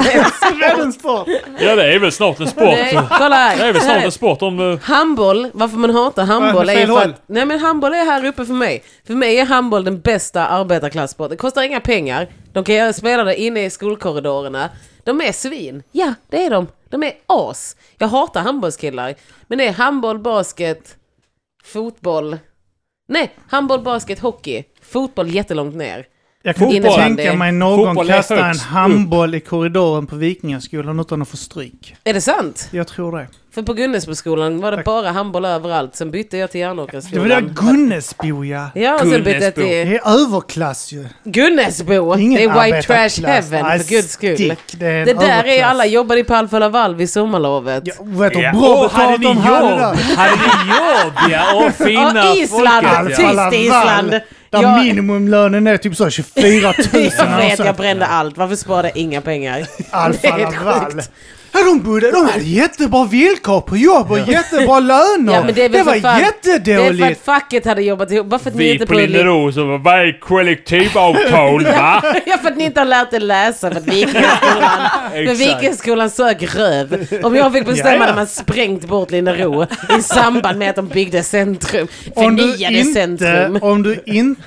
Världens sport. Ja, det är väl snart en sport. Nej, kolla Det är här. väl snart en här. sport om... eh, Handboll, varför man hatar handboll Äh, är ju fel för håll. att, Nej men handboll är här uppe för mig. För mig är handboll den bästa arbetarklassporten. Det kostar inga pengar. De kan göra spela det inne i skolkorridorerna. De är svin. Ja, det är de. De är as. Jag hatar handbollskillar. Men det är handboll, basket, fotboll. Nej, handboll, basket, hockey. Fotboll jättelångt ner. Jag kan inte Innebandy. tänka mig någon Fotboll är kasta en högst upp. handboll i korridoren på Vikingaskolan utan att få stryk. Är det sant? Jag tror det. För på Gunnesboskolan var det bara handboll överallt. Sen bytte jag till Det var där Järnåkersskolan. Gunnesbo ja. Ja, och sen bytte jag Gunnesbo. till... Det är överklass ju. Gunnesbo! Ingen det är white arbetarklass. trash heaven Nej, för guds skull. stick, Det, är en Det där är överklass. alla jobbade i Palmfalla valv i sommarlovet. Ja, vet du, Ja. bra Åh, hade betalt ni de hade jobb? där. Hade ni jobb, ja? Åh, fina Ja, Island. folket, Tyst ja. Alla Island. vall, Där Jag- minimumlönen är typ så 24 000. Jag vet, jag alltså. brände allt. Varför sparade jag inga pengar? Alfa Det är helt Laval. sjukt. Ja, de, bodde, de hade jättebra villkor på jobb och jättebra löner. Ja, men det är väl det för var fan- Det är för jättedåligt. att facket hade jobbat ihop. Varför att ni Vi inte på bryr er? Linderos, och vad är kollektivavtal va? Ja, för att ni inte har lärt er läsa för att Vikenskolan, för Vikenskolan sög röv. Om jag fick bestämma Ja, ja. hade man sprängt bort Linnero i samband med att de byggde centrum. Om du, Förnyade inte, centrum. om du inte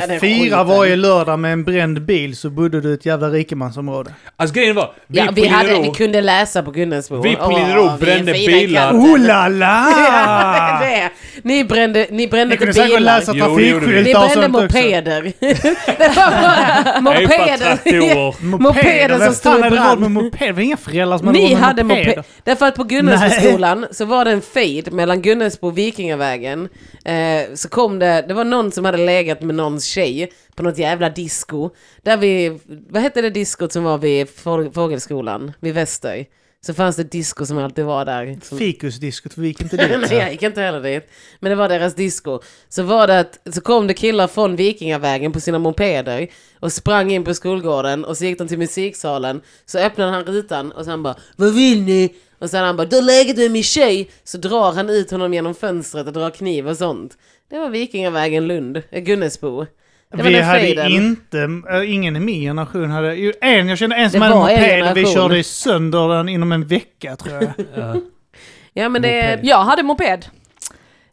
Förnyade fira skiten. varje lördag med en bränd bil så bodde du i ett jävla rikemansområde. Alltså grejen var, vi Ja, på vi, hade, Linero- vi kunde läsa på Gunnelsbron. Vi på Åh, Linnero vi är brände fina i bilar. kanten. Oh la la! Ja, det är det. Ni brände, ni brände Ni kunde inte säkert bilar. läsa Jo, det gjorde vi. Ni trafikskyltar och brände sånt också. mopeder. det var bara mopeder. Epatraktorer. Mopeder som Vem stod fan i hade brand. råd med mopeder? Det var inga föräldrar som hade råd Ni med hade mopeder. moped. Därför att på Gunnelsboskolan så var det en fejd mellan Gunnelsbo och Vikingavägen. Eh, så kom det, det var någon som hade legat med någons tjej på något jävla disco. Där vi, vad hette det diskot som var vid Fåg- Fågelskolan, vid Väster? Så fanns det ett disco som alltid var där. Som, Fikusdiskot, vi gick inte Nej, jag dit. gick inte heller dit. Men det var deras disco. Så, var det att, så kom det killar från Vikingavägen på sina mopeder och sprang in på skolgården och så gick de till musiksalen. Så öppnade han rutan och sen bara Vad vill ni? Och sen han bara Du har legat med min tjej! Så drar han ut honom genom fönstret och drar kniv och sånt. Det var Vikingavägen Lund, eh, Gunnesbo. Det var Vi den hade fejden. inte, äh, ingen i min generation hade, ju, en jag kände en som Det hade var en moped och vi generation. körde sönder den inom en vecka tror jag. Ja men det är... Jag hade moped.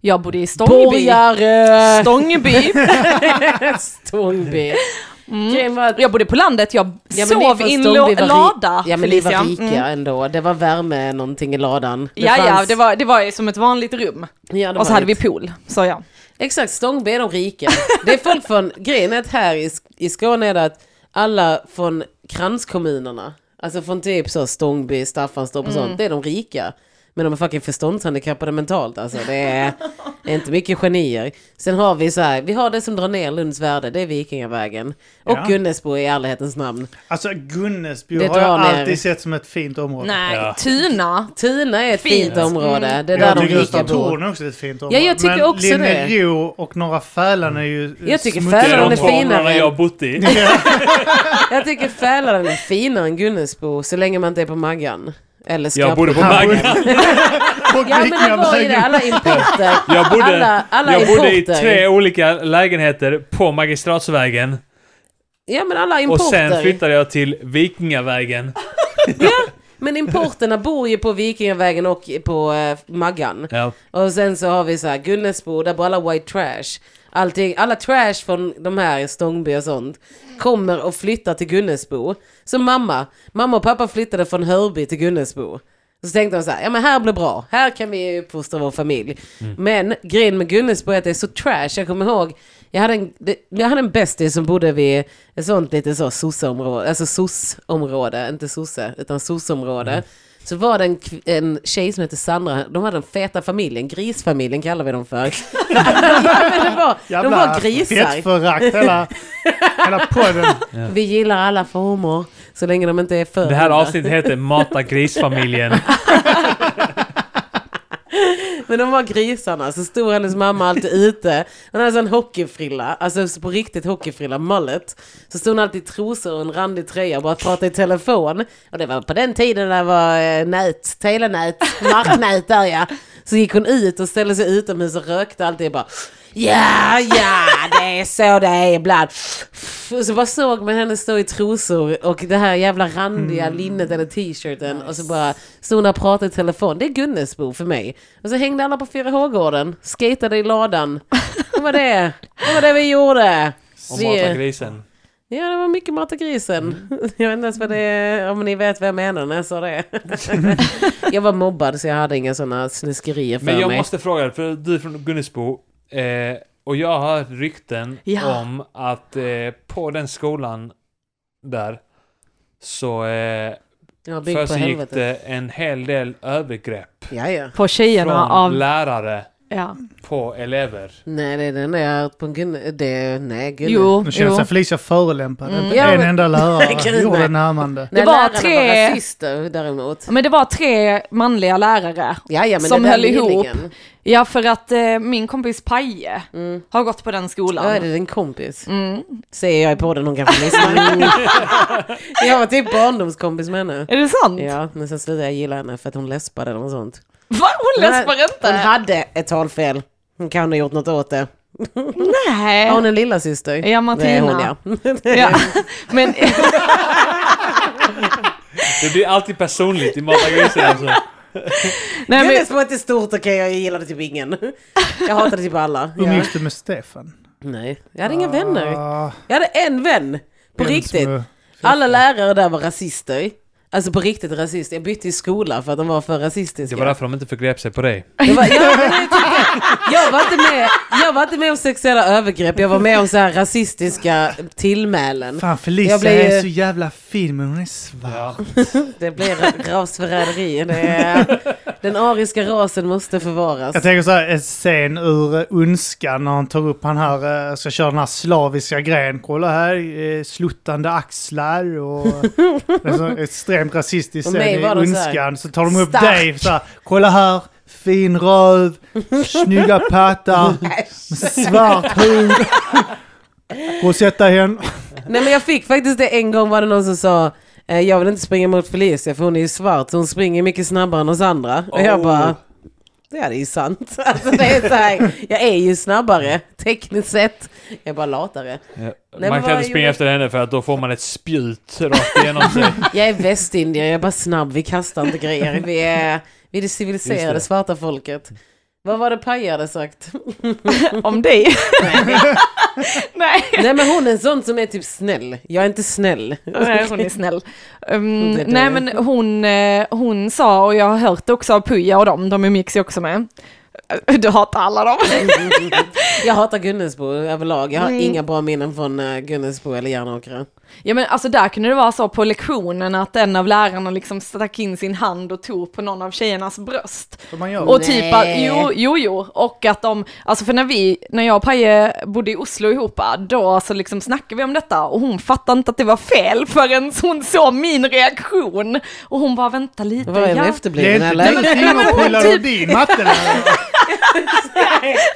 Jag bodde i Stångby. Eh, Borgare! Stångby. Stångby. Grejen var att Mm. Jag bodde på landet, jag men sov ni i en förstod, vi lo- var ri- lada. Ja men ni var Felicia. rika Mm. ändå. Det var värme någonting i ladan. Ja, ja, fanns- det var, det var ju som ett vanligt rum. Ja, det Och så var hade vi ett- pool, sa jag. Exakt, Stångby är de rika. Det är folk från... Grejen är att här i, Sk- i Skåne är det att alla från kranskommunerna, alltså från typ så Stångby, Staffanstorp Mm. och sånt, det är de rika. Men de är fucking förståndshandikappade mentalt alltså. Det är, det är inte mycket genier. Sen har vi så här, vi har det som drar ner Lunds värde, det är Vikingavägen. Och Ja. Gunnesbo i ärlighetens namn. Alltså Gunnesbo Det har jag drar ner. alltid sett som ett fint område. Nej, Tuna. Tuna är ett fint, Mm. Fint. område, det är Jag där de tycker rika Gustav bor. Torn är också ett fint Ja, område. jag tycker men också det. Linnero och Norra Fälaren är ju eh, Jag tycker smutsiga. Det är Fälaren de är två finare. områdena jag har bott i. Jag tycker Fälaren är finare än Gunnesbo så länge man inte är på Maggan. Eller Jag bodde på Maggan. Maggan. Och Ja men det var ju det, Vikingavägen. alla importer. Jag bodde, alla, alla jag importer. bodde i tre olika lägenheter på Magistratsvägen. Ja men alla Och importer. sen flyttade jag till Vikingavägen. Men importerna bor ju på Vikingavägen och på eh, Maggan. Ja. Och sen så har vi så här Gunnesbo, där bor alla white trash. Allting, alla trash från de här i Stångby och sånt kommer och flyttar till Gunnesbo. Så mamma, mamma och pappa flyttade från Hörby till Gunnesbo. Så tänkte de så här, ja men här blir bra, här kan vi uppfostra vår familj. Mm. Men grejen med Gunnesbo är att det är så trash, jag kommer ihåg, jag hade en, det- jag hade en bästis som bodde vid ett sånt lite så sosse-område, alltså soss-område, inte sosse, utan soss-område. Mm. Så var det en, kv- en tjej som hette Sandra, de hade den feta familjen, grisfamiljen kallar vi dem för. ja, men det var, de var grisar. fettförakt hela, hela podden. Vi gillar alla former, så länge de inte är för Det här onda. avsnittet heter Mata grisfamiljen. Men de var grisarna, så stod hennes mamma alltid ute. Hon hade en hockeyfrilla, alltså på riktigt hockeyfrilla, mullet. Så stod hon alltid i trosor och en randig tröja och bara pratade i telefon. Och det var på den tiden när det var eh, nät, telenät, marknät där ja. Så gick hon ut och ställde sig utomhus och rökte alltid och bara Ja, ja, det är så det är ibland. Och så bara såg man henne stå i trosor och det här jävla randiga linnet eller t-shirten och så bara stod hon där och pratade i telefon. Det är Gunnesbo för mig. Och så hängde alla på 4H-gården, skatade i ladan. Det var det. Det var det vi gjorde. Och Vi- Mata grisen. Ja, det var mycket Marta Mm. Grisen. Jag vet inte ens vad det är, om ni vet vad jag menar när jag sa det. jag var mobbad så jag hade inga sådana snuskerier för Men jag mig. måste fråga dig, för du är från Gunnesbo. Eh, och jag har hört rykten Ja. om att eh, på den skolan där så eh, Jag bygg på försiggick helvete. det en hel del övergrepp Ja, ja. På tjejerna från av... lärare Ja. på elever. Nej, det är den där på en gun- det, Nej, gud. Jo, Nu jo. känns det Felicia förolämpad. Inte Ja, en men- enda lärare Gud, gjorde nej. ett närmande. Nej, Det var lärarna tre- var rasister däremot. Men det var tre manliga lärare. Ja, ja, men Som det där höll är ihop. meningen. Ja, för att eh, min kompis Paje har gått på den skolan. Mm. Ja, Mm. är det din kompis? Säger jag i podden, hon kanske lyssnar. jag var typ barndomskompis med henne. Är det sant? Ja, men sen slutade jag gilla henne för att hon läspade eller något sånt. Va? Hon läspar Hon inte? hade ett talfel. Hon kan ha gjort något åt det. Nej. Har hon en lilla syster? Ja, Martina. Det är hon, ja. Ja. Men, Det blir alltid personligt i Matagrisen alltså. nej, Gud, det men, är som att det är stort, okej, jag gillade typ ingen. Jag hatade typ alla. Ja. Umgicks du med Stefan? Nej, jag hade inga vänner. Mm. Ah, Jag hade en vän. På en riktigt. som är- Alla lärare där var rasister. Alltså på riktigt rasister. Jag bytte ju skola för att de var för rasistiska. Det var därför de inte förgrep sig på dig. Det var, jag, jag, var inte med, jag var inte med om sexuella övergrepp, jag var med om så här rasistiska tillmälen. Fan Felicia Jag blir- är så jävla fin men hon är svart. Det blir rasförräderi. Det är, den ariska rasen måste förvaras. Jag tänker så här, en scen ur eh, Ondskan när han tar upp han här, eh, ska köra den här slaviska grejen. Kolla här, eh, sluttande axlar och... eh, det är så extremt rasistisk För scen mig i var det så här, Ondskan. Så tar de upp stark. dig så här, kolla här, fin röv, snygga pattar, svart hud. Gå och sätt dig hen. Nej men jag fick faktiskt det en gång var det någon som sa eh, jag vill inte springa mot Felicia för hon är ju svart så hon springer mycket snabbare än oss andra. Och jag Oh. bara, ja det är ju sant. Alltså, det är så här, jag är ju snabbare tekniskt sett. Jag är bara latare. men man vad kan inte springa gjorde- efter henne för att då får man ett spjut rakt igenom sig. Jag är västindier, jag är bara snabb, vi kastar inte grejer. Vi är, vi är det civiliserade Just det. svarta folket. Vad var det Paja hade sagt? om dig. nej. Nej men hon är en sån som är typ snäll. Jag är inte snäll. Nej, hon är snäll. Um, Det är det. nej, men hon, eh, hon sa, och jag har hört det också av Puja och dem, de umgicks ju också med. Du hatar alla dem. Jag hatar Gunnesbo överlag. Jag har Mm. inga bra minnen från eh, Gunnesbo eller Järnåkra. Ja men alltså där kunde det vara så på lektionen att en av lärarna liksom stack in sin hand och tog på någon av tjejernas bröst. Som man gör. Och typ att, Nej. jo, jo, jo, och att de, alltså för när vi, när jag och Paje bodde i Oslo ihop, då alltså liksom snackade vi om detta och hon fattade inte att det var fel förrän hon såg min reaktion. Och hon bara, vänta lite, Var är den ja. Det efterbliven är inte eller? någonting att pilla typ- ur din mattelärare.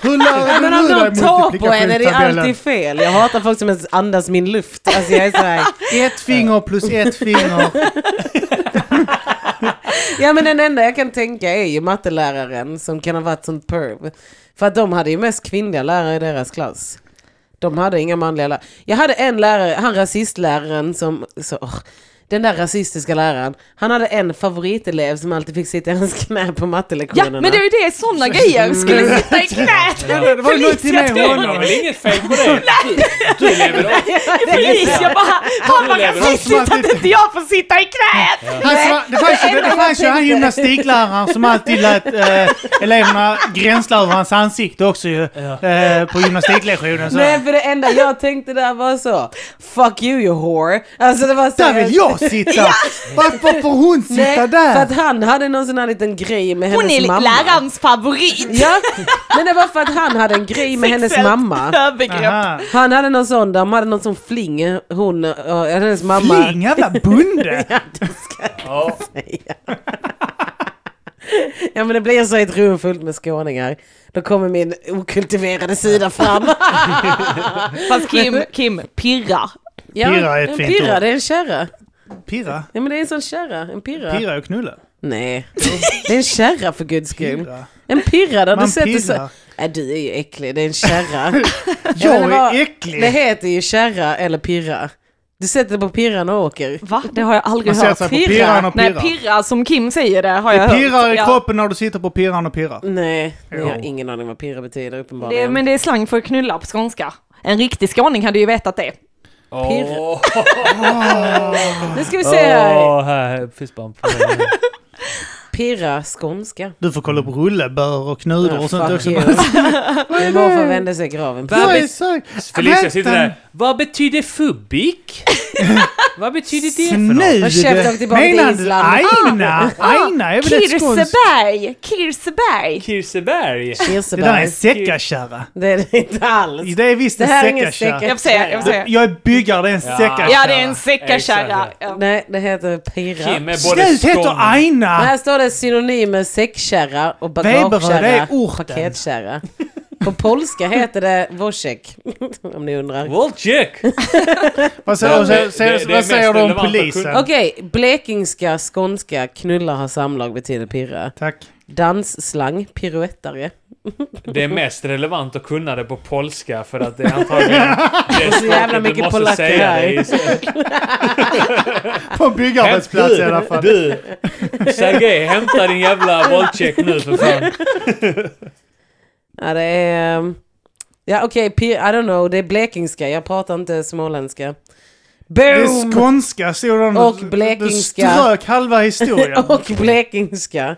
Hur lärde Men du om dig de tar på en är det multiplikationstabellen? alltid fel. Jag hatar folk som ens andas min luft. Alltså jag är så här, Ett finger plus ett finger. Ja men den enda jag kan tänka är ju matteläraren som kan ha varit sånt perv. För att de hade ju mest kvinnliga lärare i deras klass. De hade inga manliga lärare. Jag hade en lärare, han rasistläraren som... Så, åh, den där rasistiska läraren, han hade en favoritelev som alltid fick sitta i hans knä på Ja, mattelektionerna. men det är ju det, sådana Mm. grejer skulle sitta i knät. Det var ju någonting med Det är honom. väl inget fel på det? Du, du lever upp. Felicia bara, han var lever rasistiskt att inte jag får sitta i knät. Alltså, det fanns ju, det fanns ju en gymnastiklärare som alltid lät eh, eleverna gränsla över hans ansikte också ju. Eh, på gymnastiklektionen. Så. Nej för det enda jag tänkte där var så, fuck you you whore. Alltså det var så Där vill jag sitta! Varför får hon sitta Nej, för att där? han hade någon sån här liten grej med Hon hennes är mamma. lärarens favorit. Ja, men det var för att han hade en grej med hennes Sexuellt mamma. Övergrepp. Aha. Han hade någon sån, de hade någon sån fling, hon, uh, hennes mamma. Fling, jävla bonde! Ja. Ja men det blir så i ett rum fullt med skåningar. Då kommer min okultiverade sida fram. Fast Kim, Kim pirrar. Ja, Pirra är ett en fint pirra, ord. det är en kärra. Pirra? Ja men det är en sån kärra, en pirra. Pirra och knulla? Nej, det är en kärra för guds skull. Pirra? En pirra, då du Man sätter sig... pirrar. Nej du är ju äcklig, det är en kärra. Ja, men Jag det var- är Det äcklig! heter ju kärra eller pirra. Du sätter dig på pirran och åker. Va? Det har jag aldrig Man sätter hört. sig på pirran och Nej, pirrar. pirra som Kim säger det har jag Det hört. pirrar i Ja. kroppen när du sitter på pirran och pirrar. Nej, jag har Jo. ingen aning vad pirra betyder uppenbarligen. Det, men det är slang för knulla på skånska. En riktig skåning hade ju vetat det. Åh, Nu ska vi se här. här finns bara en Pirra skånska. Du får kolla upp rullebör och knudor och sånt fuck också. you. Det var för att vända sig i graven. Vad Jag är bet- så- Felicia Vänta. sitter där. Vad betyder fubik? Vad betyder det för något? Snud! Och köpte dem tillbaka till Menar du Island. Ah! aina? Aina är väl ett skånskt... Kirseberg! Kirseberg! Kirseberg! Det där är Kirseberg. en säckarkärra. Det är det inte alls. Det är visst Det här är en ingen Jag säckarkärra. får säga, jag får säga. Jag är byggare, det är en Ja. säckarkärra. Ja, det är en Exakt, säckarkärra. ja. Ja. Nej, det heter pirra. Kim är både Slut heter skåning... Men aina! här står det synonymer säckkärra och Weberö, det Ah. är bagagekärra, orten. paketkärra. På polska heter det Wozzeck, om ni undrar. Wolczyk! Vad Ja, säger, vad det- säger, det- det är vad säger mest du om relevanta polisen? kunden. Okej, blekingska, skånska, knulla har samlag betyder pirra. Tack. Dansslang, piruettare. Det är mest relevant att kunna det på polska för att det är antagligen det så jävla språket mycket du måste polacker säga här. det i. På en byggarbetsplats i alla Du, fall. du! Sergej, hämta din jävla Wolczyk nu för fan. Ja, det är... ehm, Ja, okej, pir- I don't know, det är blekingska, jag pratar inte småländska. Det är Boom! skånska, stod det. Och Du- blekingska. Du strök halva historien. Och blekingska.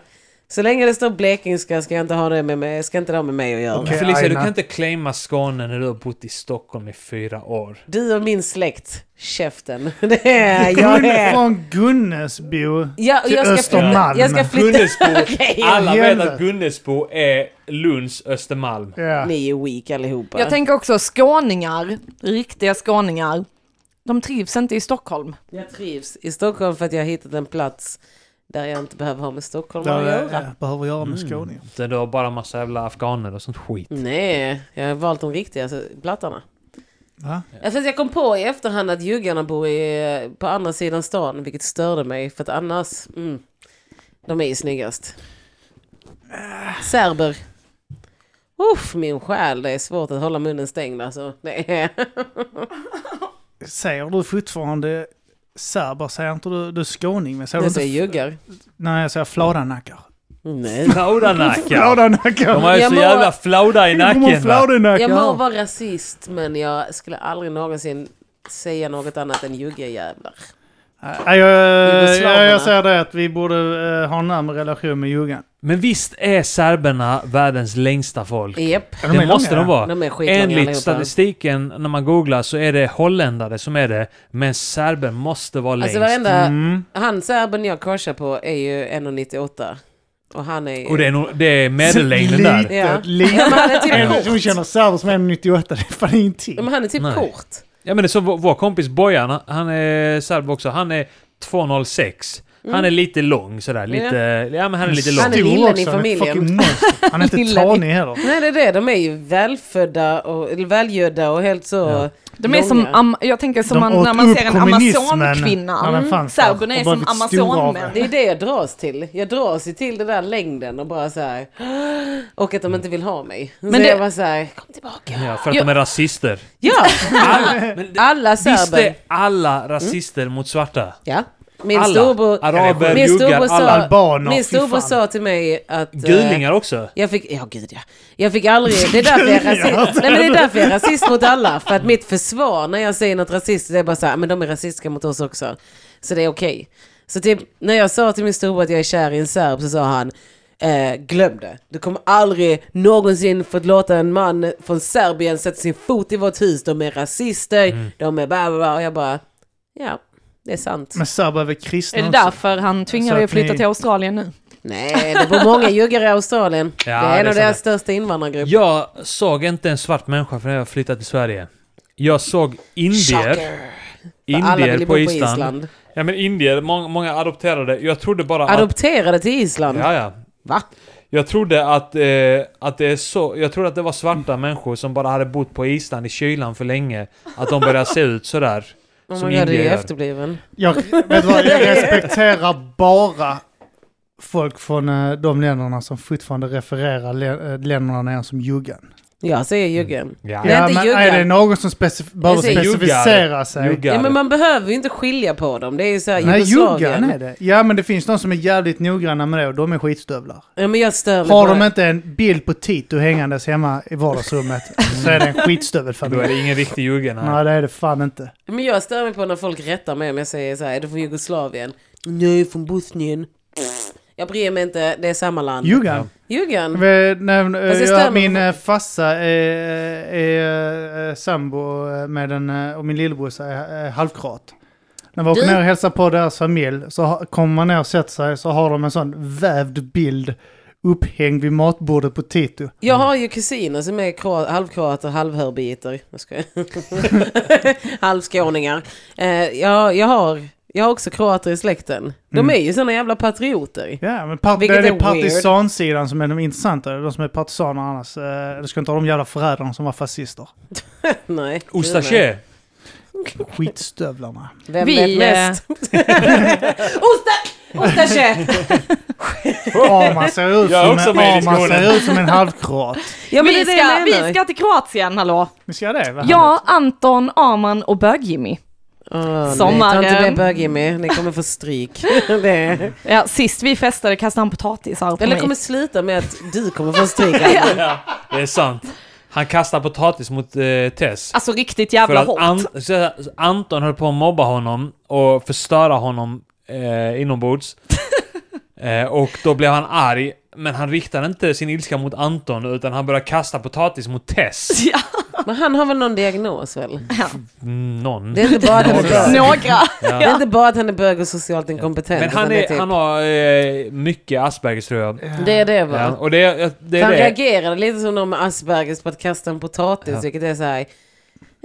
Så länge det står blekingska ska jag inte ha det med mig, ska inte det ha med mig att göra. Okej. Felicia, du Aina. kan inte claima Skåne när du har bott i Stockholm i fyra år. Du och min släkt, käften. Det är, jag Gun, är... från Gunnesbo Jag, till jag, ska flytta, Östermalm. jag ska flytta... Gunnesbo, Okej. alla vet Helvete. att Gunnesbo är Lunds Östermalm. Ja. Ni är weak allihopa. Jag tänker också skåningar, riktiga skåningar. De trivs inte i Stockholm. Jag trivs i Stockholm för att jag har hittat en plats där jag inte behöver ha med Stockholm att Där, göra. eh, behöver göra med skåningar. Utan Du har bara massa jävla afghaner och sånt skit. Nej, jag har valt de riktiga alltså, plattarna. Va? Ja. För att jag kom på i efterhand att juggarna bor i, på andra sidan stan, vilket störde mig. För att annars, mm, de är ju snyggast. Serber. Uff, min själ, det är svårt att hålla munnen stängd alltså. Det är... Säger du fortfarande serber? Säger inte du, du skåning? Men säger du Jag inte, säger juggar. nej, jag säger fladanackar. Nej. Flaudanacka! De Fladanackar! har ju Jag så mår- jävla flauda i nacken va? Jag må Fladanackar! vara rasist men jag skulle aldrig någonsin säga något annat än juggejävlar. Nej, jag, jag, Jugoslaverna. jag säger det att vi borde eh, ha en närmare relation med juggan. Men visst är serberna världens längsta folk? Japp, Ja, de är Det måste långa. de vara. de är skitlånga Enligt allihopa. statistiken när man googlar så är det holländare som är det, men serber måste vara längst. Alltså varenda, Mm. han serben jag korsar på är ju 1,98. Och han är ju... Och det är, nog- det är medellängden där. Ja. Litet, litet. Men han är typ En kort. som känner serber som är 98, det är fan Ja, ingenting. Men han är typ Nej. kort. Ja men det är så vår, vår kompis Bojan, han- han är serb också, han är 206. Han är lite lång sådär, lite... Ja men han är lite Mm. Han lång. är Stor lillen i också, han är ett familjen. fucking monster. Han är inte Lillen i- tanig heller. Nej det är det, de är ju välfödda och eller välgödda och helt så... De är som, långa. am, jag tänker som De man, åt när man upp ser en kommunismen amazonkvinna. när den Mm. fanns där Serberna är och som blivit stora av det. amazonmän. Det är det jag dras till. Jag dras ju till den där längden och bara så här. Och att de inte vill ha mig. Men så det- jag bara så här, kom tillbaka. Ja, för att Ja. de är rasister. Ja! Men det, Alla visst är serber. alla rasister mot svarta? Ja. Min alla. storbror... Araber, Min storbror juggar, sa, alla. albaner, min fy storbror fan. sa till mig att... eh, Gulingar också? Jag fick, ja gud ja. Jag fick aldrig, det är därför jag är rasist. Nej men det är därför jag är rasist mot alla. För att mitt försvar när jag säger något rasistiskt det är bara så här, men de är rasistiska mot oss också. Så det är okej. Så typ, när jag sa till min storbror att jag är kär i en serb så sa han, eh, glöm det. Du kommer aldrig någonsin få låta en man från Serbien sätta sin fot i vårt hus. De är rasister, Mm. de är bla bla bla. Och jag bara, ja. Det är sant. Men serber är väl kristna Är det också? därför han tvingar Så dig att att flytta ni- till Australien nu? Nej, det bor många juggar i Australien. det Ja, är en det är av sant. deras största invandrargrupper. Jag såg inte en svart människa förrän jag flyttade till Sverige. Jag såg Shocker. indier, För alla vill indier ju på bo på Island. Island. Ja men indier, många, många adopterade. Jag trodde bara att... Adopterade till Island? Ja, ja. Va? Jag trodde att, eh, att det är så, jag trodde att det var svarta människor som bara hade bott på Island i kylan för länge. Att de började se ut sådär. Oh som my god, indier du är gör. efterbliven. Jag, vet du vad, jag respekterar bara folk från eh, de länderna som fortfarande refererar lä- eh, länderna när jag är som juggan. Jag säger jugge. Mm. Ja. Det är inte juggar. är det någon som specif- behöver säger specificera sig? Juggar. Ja, men man behöver ju inte skilja på dem. Det är ju såhär Nej, juggan är Jugoslavien. det. Ja, men det finns de som är jävligt noggranna med det och de är skitstövlar. Ja, men jag stör mig Har på de det. inte en bild på Tito hängandes hemma i vardagsrummet så är det en Då är skitstövelfamilj. det ingen riktig jugge. nej. Nej, det är det fan inte. Men jag stör mig på när folk rättar mig om jag säger såhär, är du från Jugoslavien? Nej, från Bosnien. Jag bryr mig inte, det är samma land. Juggan. Juggen? Vi- när- Fast det jag- stämmer. min eh, farsa eh, är, är, eh, sambo med en, eh, och min lillebrorsa är, är halvkroat. När vi åker Du- ner och hälsar på deras familj så ha- kommer man ner och sätter sig så har de en sån vävd bild upphängd vid matbordet på Tito. Jag Mm. har ju kusiner som är kro- halvkroater, halvhörbiter. Jag skojar. Halvskåningar. Eh, jag, jag, har, jag har också kroater i släkten. De Mm. är ju såna jävla patrioter. Ja, men part- det Vilket är, är är weird. partisansidan som är de intressanta. De som är partisaner annars. Eh, du ska inte ha de jävla förrädarna som var fascister. Nej. Ostache! Skitstövlarna. Vem Vi, eh, vet mest? Osta! Ostache! Arman ser ut Jag är som, också en, med i Arman diskussionen. ser ut som en halvkroat. Ja, men det vi, är det jag ska, menar. vi ska till Kroatien, hallå! Ni ser det? Vad Jag, Anton, Arman och Bög-Jimmy. Åh, Sommaren. Nej, ta inte det bög med. Ni kommer få stryk. det. Ja, sist vi festade kastade han potatisar på Eller mig. kommer sluta med att du kommer få stryk. Anna. Ja, det är sant. Han kastar potatis mot eh, Tess. Alltså riktigt För jävla att hårt. Ant- så- så Anton höll på att mobba honom och förstöra honom eh, inombords. eh, och då blev han arg. Men han riktade inte sin ilska mot Anton utan han började kasta potatis mot Tess. Ja, Men han har väl någon diagnos väl? Mm, Någon. Det är inte bara att han är Några. bög. några. Det är inte bara att han är bög och socialt inkompetent. Men han, utan är, typ- han har eh, mycket Aspergers tror jag. Det är det va? Ja, och det, är- det är han det. reagerade lite som någon med Aspergers på att kasta en potatis, vilket är så här...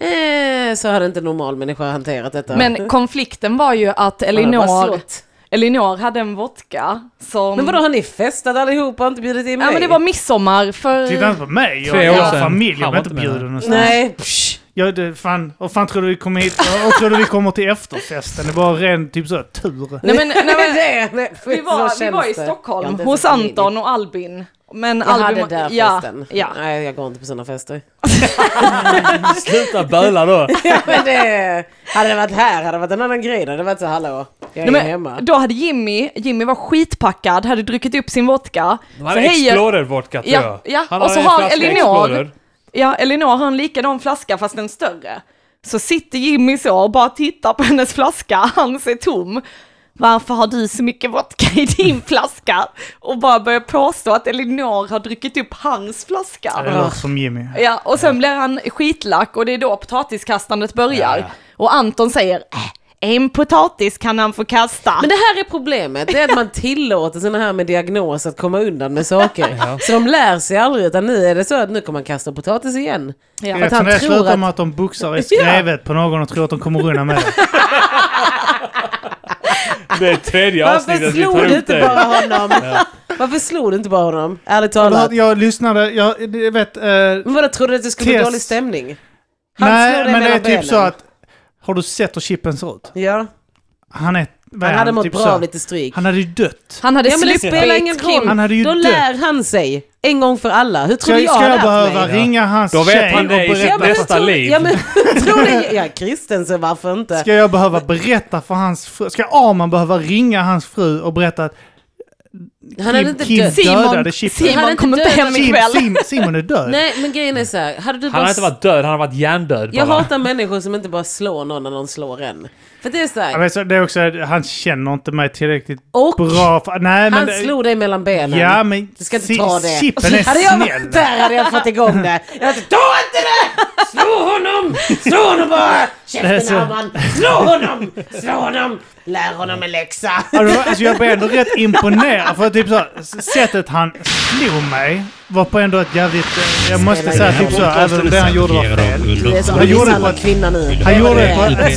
Eh, så hade inte en normal människa hanterat detta. Men konflikten var ju att Man hade bara Elinor, Mm. slått. Elinor hade en vodka som... Men vadå, har ni festat allihopa och inte bjudit in mig? Ja men det var midsommar för... Titta inte på mig. Jag, Tre år jag har sedan. familj. Han Jag blir var inte inte med. bjuden någonstans. Nej, psh. Ja, det, fan. Och fan tror du vi kommer hit? Och, och tror du vi kommer till efterfesten? Det var ren typ så tur. Nej, men, nej, men, det, nej, vi, så var, vi känns var i det. Jag Stockholm har inte hos ens en Anton och Albin. Men Jag Albin hade där ja, festen. Ja. Nej, jag går inte på sådana fester. Sluta böla då. ja, men det, hade det varit här hade det varit en annan grej. Det hade varit så, hallå, jag är Nej, hemma. men, då hade Jimmy, Jimmy var skitpackad, hade druckit upp sin vodka. De hade Så hej- Explorer-vodka tror Ja, jag. ja. Han Och så en har flaska Elinor- Explorer. Ja, Elinor har en likadan flaska fast en större. Så sitter Jimmy så och bara tittar på hennes flaska, hans är tom. Varför har du så mycket vodka i din flaska? Och bara börjar påstå att Elinor har druckit upp hans flaska. Det låter som Jimmy. Ja, och sen blir han skitlack och det är då potatiskastandet Ja, börjar. ja. Och Anton säger, "Äh, en potatis kan han få kasta. Men det här är problemet, det är att man tillåter sådana här med diagnos att komma undan med saker. Så de lär sig aldrig utan nu är det så att nu kommer man kasta potatis igen. Ja. För att han Eftersom det tror slutar att... med att de boxar i skrevet på någon och tror att de kommer undan med det. Det är tredje Varför avsnittet vi slog tar du upp inte det. bara honom? Varför slog du inte bara honom? Ärligt Jag talat. hörde- Jag lyssnade, jag jag vet... eh, Men vadå, trodde du att det skulle bli Tess. dålig stämning? Han slår Nej, dig men det är mellan typ så benen. att... Har du sett hur Chippen ser ut? Ja. Han är... vad är Han hade mått typ bra så? av lite stryk. Han hade ju dött. Han hade Ja men det sluppit spelar ingen roll. Han hade ju Då dött. lär han sig. En gång för alla. Hur Ska, trodde jag ska hade jag haft behöva mig? ringa hans Då vet tjej han och det i sitt Ja, berätta? men jag Nästa tror- liv. Ja men tror det, ja Kristensen varför inte? Ska jag behöva berätta för hans fru? Ska Arman behöva ringa hans fru och berätta att han hade inte Kim dött. dödade Simon, Chippen? Han hade Simon inte kommer inte dödat hem Sim, ikväll. Sim, Simon är död. Nej men grejen är så här. hade du Han bara... har inte varit död, han har varit hjärndöd jag bara. hatar människor som inte bara slår någon när någon slår en. För det är så Ja, här. men så- Det är också, att han känner inte mig tillräckligt Och bra. För, nej, men, han slog dig mellan benen. Ja, men Du ska inte Si- ta det. Chippen är hade jag varit snäll. där hade jag fått igång det. Jag hade, ta inte det! Slå honom! Slå honom bara! Det är Käften så- Arman! Slå honom! Slå honom! Lär honom en läxa! Alltså, alltså, jag blev ändå rätt imponerad. För typ så, här, s- sättet han slog mig var på ändå ett jävligt... eh, Jag måste säga typ så, även om det han gjorde var fel. Du är som Han en gjorde det misshandlad på ett- kvinna nu. Han gjorde det på, han gjorde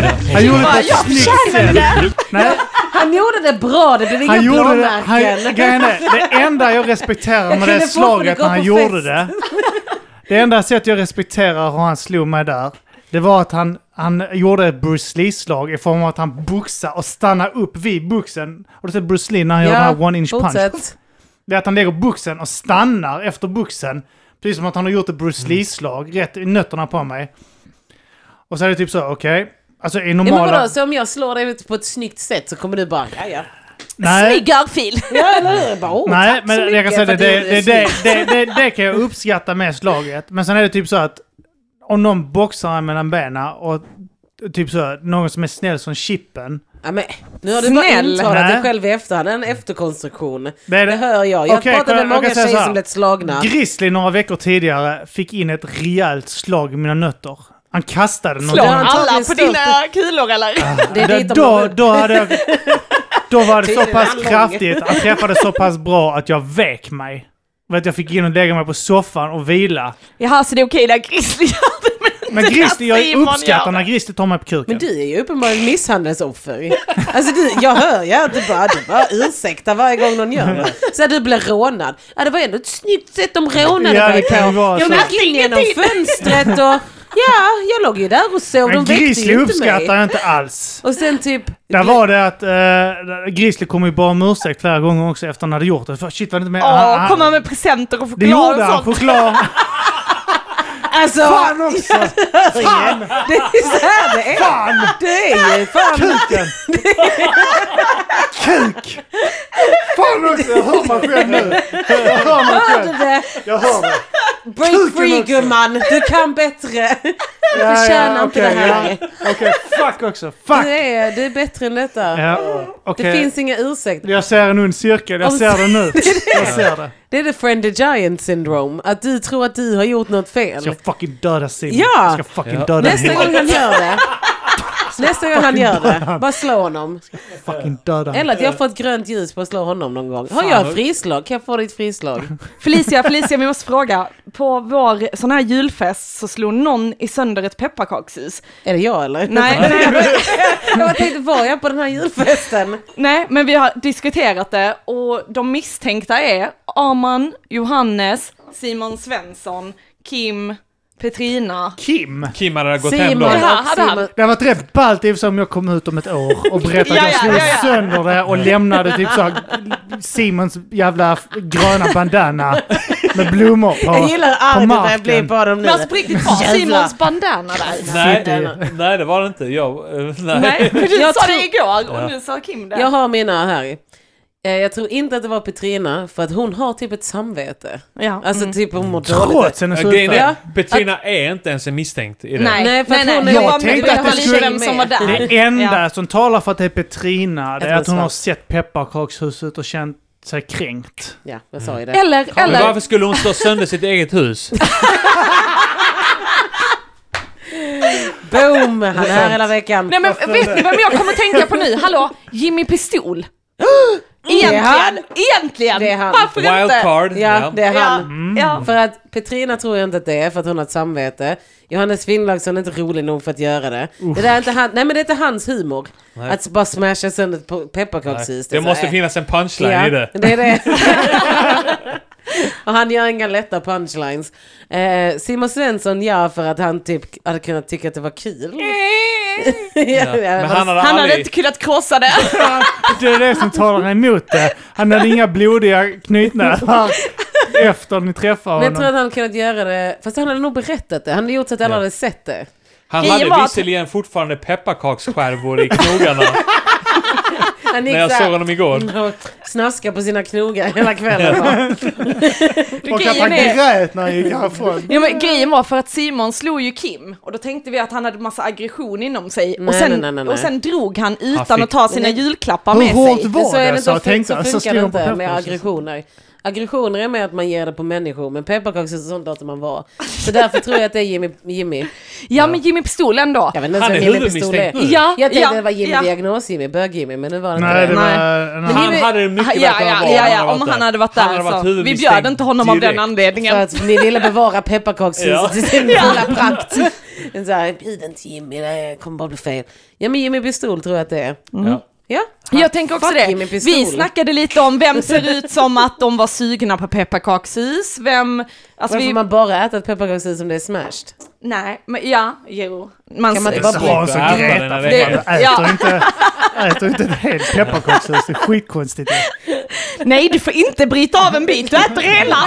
det på Bara, ett jag snyggt sätt. Nej, Han gjorde det bra, det blev inga han gjorde det... Han, blåmärken. grejen är, det enda jag respekterar med kunde det få slaget för att när han gå på gjorde fest. det. Det enda sätt jag respekterar hur han slog mig där. Det var att han, han gjorde ett Bruce Lee-slag i form av att han boxade och stannade upp vid boxen. Har du sett Bruce Lee när han gör den här one-inch punch? fortsätt. Det är att han lägger boxen och stannar efter boxen. Precis som att han har gjort ett Bruce Lee-slag rätt i nötterna på mig. Och så är det typ så, okej. Alltså i Ja, men normala... vadå, så om jag slår dig ut på ett snyggt sätt så kommer du bara, ja ja. nej, Snygg örfil. Ja eller hur? Bara, åh, nej tack så men mycket jag kan säga för det, att det, du gjorde det, det, snyggt. det, det, det kan jag uppskatta med slaget. Men sen är det typ så att om någon boxar en mellan benen och typ så, någon som är snäll som Chippen. Ja, men, nu har du bara Snäll. intalat dig Nej. själv i efterhand, en efterkonstruktion. Det är Det hör jag. Jag Okej, pratade kan- med jag många kan säga så tjejer här. som blivit slagna. Grizzly några veckor tidigare fick in ett rejält slag i mina nötter. Han kastade något. Slå har antagligen alla på stått- dina kulor eller? Det är dit de då, har- då hade jag... Då var det så Tiden pass är lång. kraftigt, han träffade så pass bra att jag vek mig. För att jag fick in och lägga mig på soffan och vila. Jaha, så det är okej när Grizzly gör det, men Men inte Christer, när jag Simon uppskattar gör när det. Christer tar mig på kuken. Men du är ju uppenbarligen misshandelsoffer. Alltså du, jag hör ju att du bara, du bara ursäktar varje gång någon gör det. Så att du blir rånad. Ja det var ändå ett snyggt sätt de rånade Ja, det mig kan ju vara jag så. gick in genom fönstret och ja, jag låg ju där och sov. De Men väckte Grizzly ju inte uppskattar mig. jag inte alls. Och sen typ... Där var det att uh, Grizzly kom ju bara om ursäkt flera gånger också efter han hade gjort det. För shit var det inte med... han- Åh, han- komma med presenter och det choklad gjorde och han, sånt. choklad. Alltså, Fan också! Fan! det är så här det är. Det är ju fan... Kuken! Kuk! Fan också, jag hör mig själv nu. Jag hör mig Hörde själv. det? Jag hör mig. Kuken Break free också. gumman, du kan bättre. Ja, ja, förtjänar inte okej, det här. ja. Okej, fuck också. Fuck! Du är, du är bättre än detta. Ja, Det okej. finns inga ursäkter. Jag ser en ond cirkel, jag Om- ser det nu. Jag ser det. Det är the friend the giant syndrome. Att du tror att du har gjort något Jag fel. ska fucking döda Simon. Ja. Jag ska fucking Ja. döda Nästa henne. gång han gör det. Nästa gång han gör det, bara slå honom. Fucking döda henne. Eller att jag får ett grönt ljus på att slå honom någon gång. Har jag frislag? Kan jag få ditt frislag? Felicia, Felicia, vi måste fråga. På vår sån här julfest så slog någon i sönder ett pepparkakshus. Är det jag eller? Nej, nej, Jag bara tänkte, var jag på den här julfesten? nej, men vi har diskuterat det och de misstänkta är Arman, Johannes, Simon Svensson, Kim, Petrina. Kim! Kim hade gått hem Simon då. och Ja, hade han. Simon. Det hade varit rätt ballt i och för sig om jag kom ut om ett år och berättade att jag Ja, ja, slog ja, ja. sönder det och lämnade typ så här Simons jävla f- gröna bandana med blommor Jag på. gillar arg när jag marken. blir på dem nu. Men alltså på riktigt, var Jävlar. Simons bandana där? Nej, Sitter ju. nej, nej, det var det inte. Jag, eh, nej. Nej, för du Jag sa tror- det igår och nu sa Kim det. Jag har mina här. Eh, Jag tror inte att det var Petrina, för att hon har typ ett samvete. Ja. Alltså typ hon mår dåligt. Trots hennes Ja, grejen är, Ja. utfall. Petrina är inte ens en misstänkt i det. Nej, Nej, nej, för nej. att hon är- Det Jag var- det tänkte var att det lite skulle- vem som var där. Det enda Ja. som talar för att det är Petrina det tror är att det hon är har svart. sett pepparkakshuset och känt sig kränkt. Ja, jag sa ju det. Eller, Men eller, varför skulle hon slå sönder sitt eget hus? Boom! Han är här hela veckan. Nej men vet ni vem jag kommer tänka på nu? Hallå, Jimmy Pistol. Det är han. Egentligen, egentligen. Det är han. Varför inte? Wildcard. Ja, det är Ja, han. Mm. ja. För att Petrina tror jag inte att det är för att hon har ett samvete. Johannes Finnlaugsson är inte rolig nog för att göra det. Det, där är inte han, nej, men det är inte hans humor. Att bara smasha sönder ett pe- pepparkakshus. Det är så måste här, finnas en punchline ja, i det. det är det. Och han gör inga lätta punchlines. Eh, Simon Svensson ja för att han typ hade kunnat tycka att det var kul. Mm. ja, ja, Men han hade Han hade aldrig... inte kunnat krossa det. Det är det som talar emot det. Han hade inga blodiga knytnävar efter ni träffade Men jag tror honom. att han kunnat göra det, fast han hade nog berättat det. Han hade gjort så att alla Ja. hade sett det. Han Grejen var hade att- visserligen fortfarande pepparkaksskärvor i knogarna Han gick när jag så här- såg honom igår. och snaska på sina knogar hela kvällen. va? Och att Grejen han är- grät när han gick härifrån. Ja, men grejen var för att Simon slog ju Kim och då tänkte vi att han hade massa aggression inom sig och, Nej, sen, nej, nej, nej, nej. och sen drog han utan fick- att ta sina Nej. julklappar Hur med hårt sig. var Men så är det det? inte, så, Så jag så tänkte, så funkar det skrev hon på inte med pepparkakshuset. aggressioner. Aggressioner är med att man ger det på människor, men pepparkakshus är sånt låter man vara. Så därför tror jag att det är Jimmy. Jimmy. Ja men Jimmy Pistolen då. Jag vet inte ens Han vem är Jimmy Pistol är. huvudmisstänkt nu. Ja, Jag tänkte ja, att det var Jimmy ja. Diagnos-Jimmy, bög-Jimmy, men det var det inte Nej, det det. var... Nej. en Han Jimmy- hade det mycket ja, bättre än ja, vad ja, han ja, hade om varit han där. hade varit Han där hade varit så. Vi huvudmisstänkt bjöd inte honom av den direkt. För anledningen. att ni ville bevara pepparkakshuset Ja. i sin fulla prakt. Så här, Bjud inte Jimmy, det kommer bara bli fel. Ja men Jimmy Pistol tror jag att det är. Ja. Ja. Jag tänker också Fuck det. Jimmy Pistol. Vi snackade lite om vem ser ut som att de var sugna på pepparkakshus, vem... Alltså Varför vi, man bara äter ett pepparkakshus om det är smashed? Nej, men ja, jo. Man, Kan man inte Det bara sa hon Det så är Greta. annorlunda för det. fan, du Äter, Ja. inte, äter inte en hel pepparkakshus. Det är skitkonstigt. Nej, du får inte bryta av en bit, du äter hela!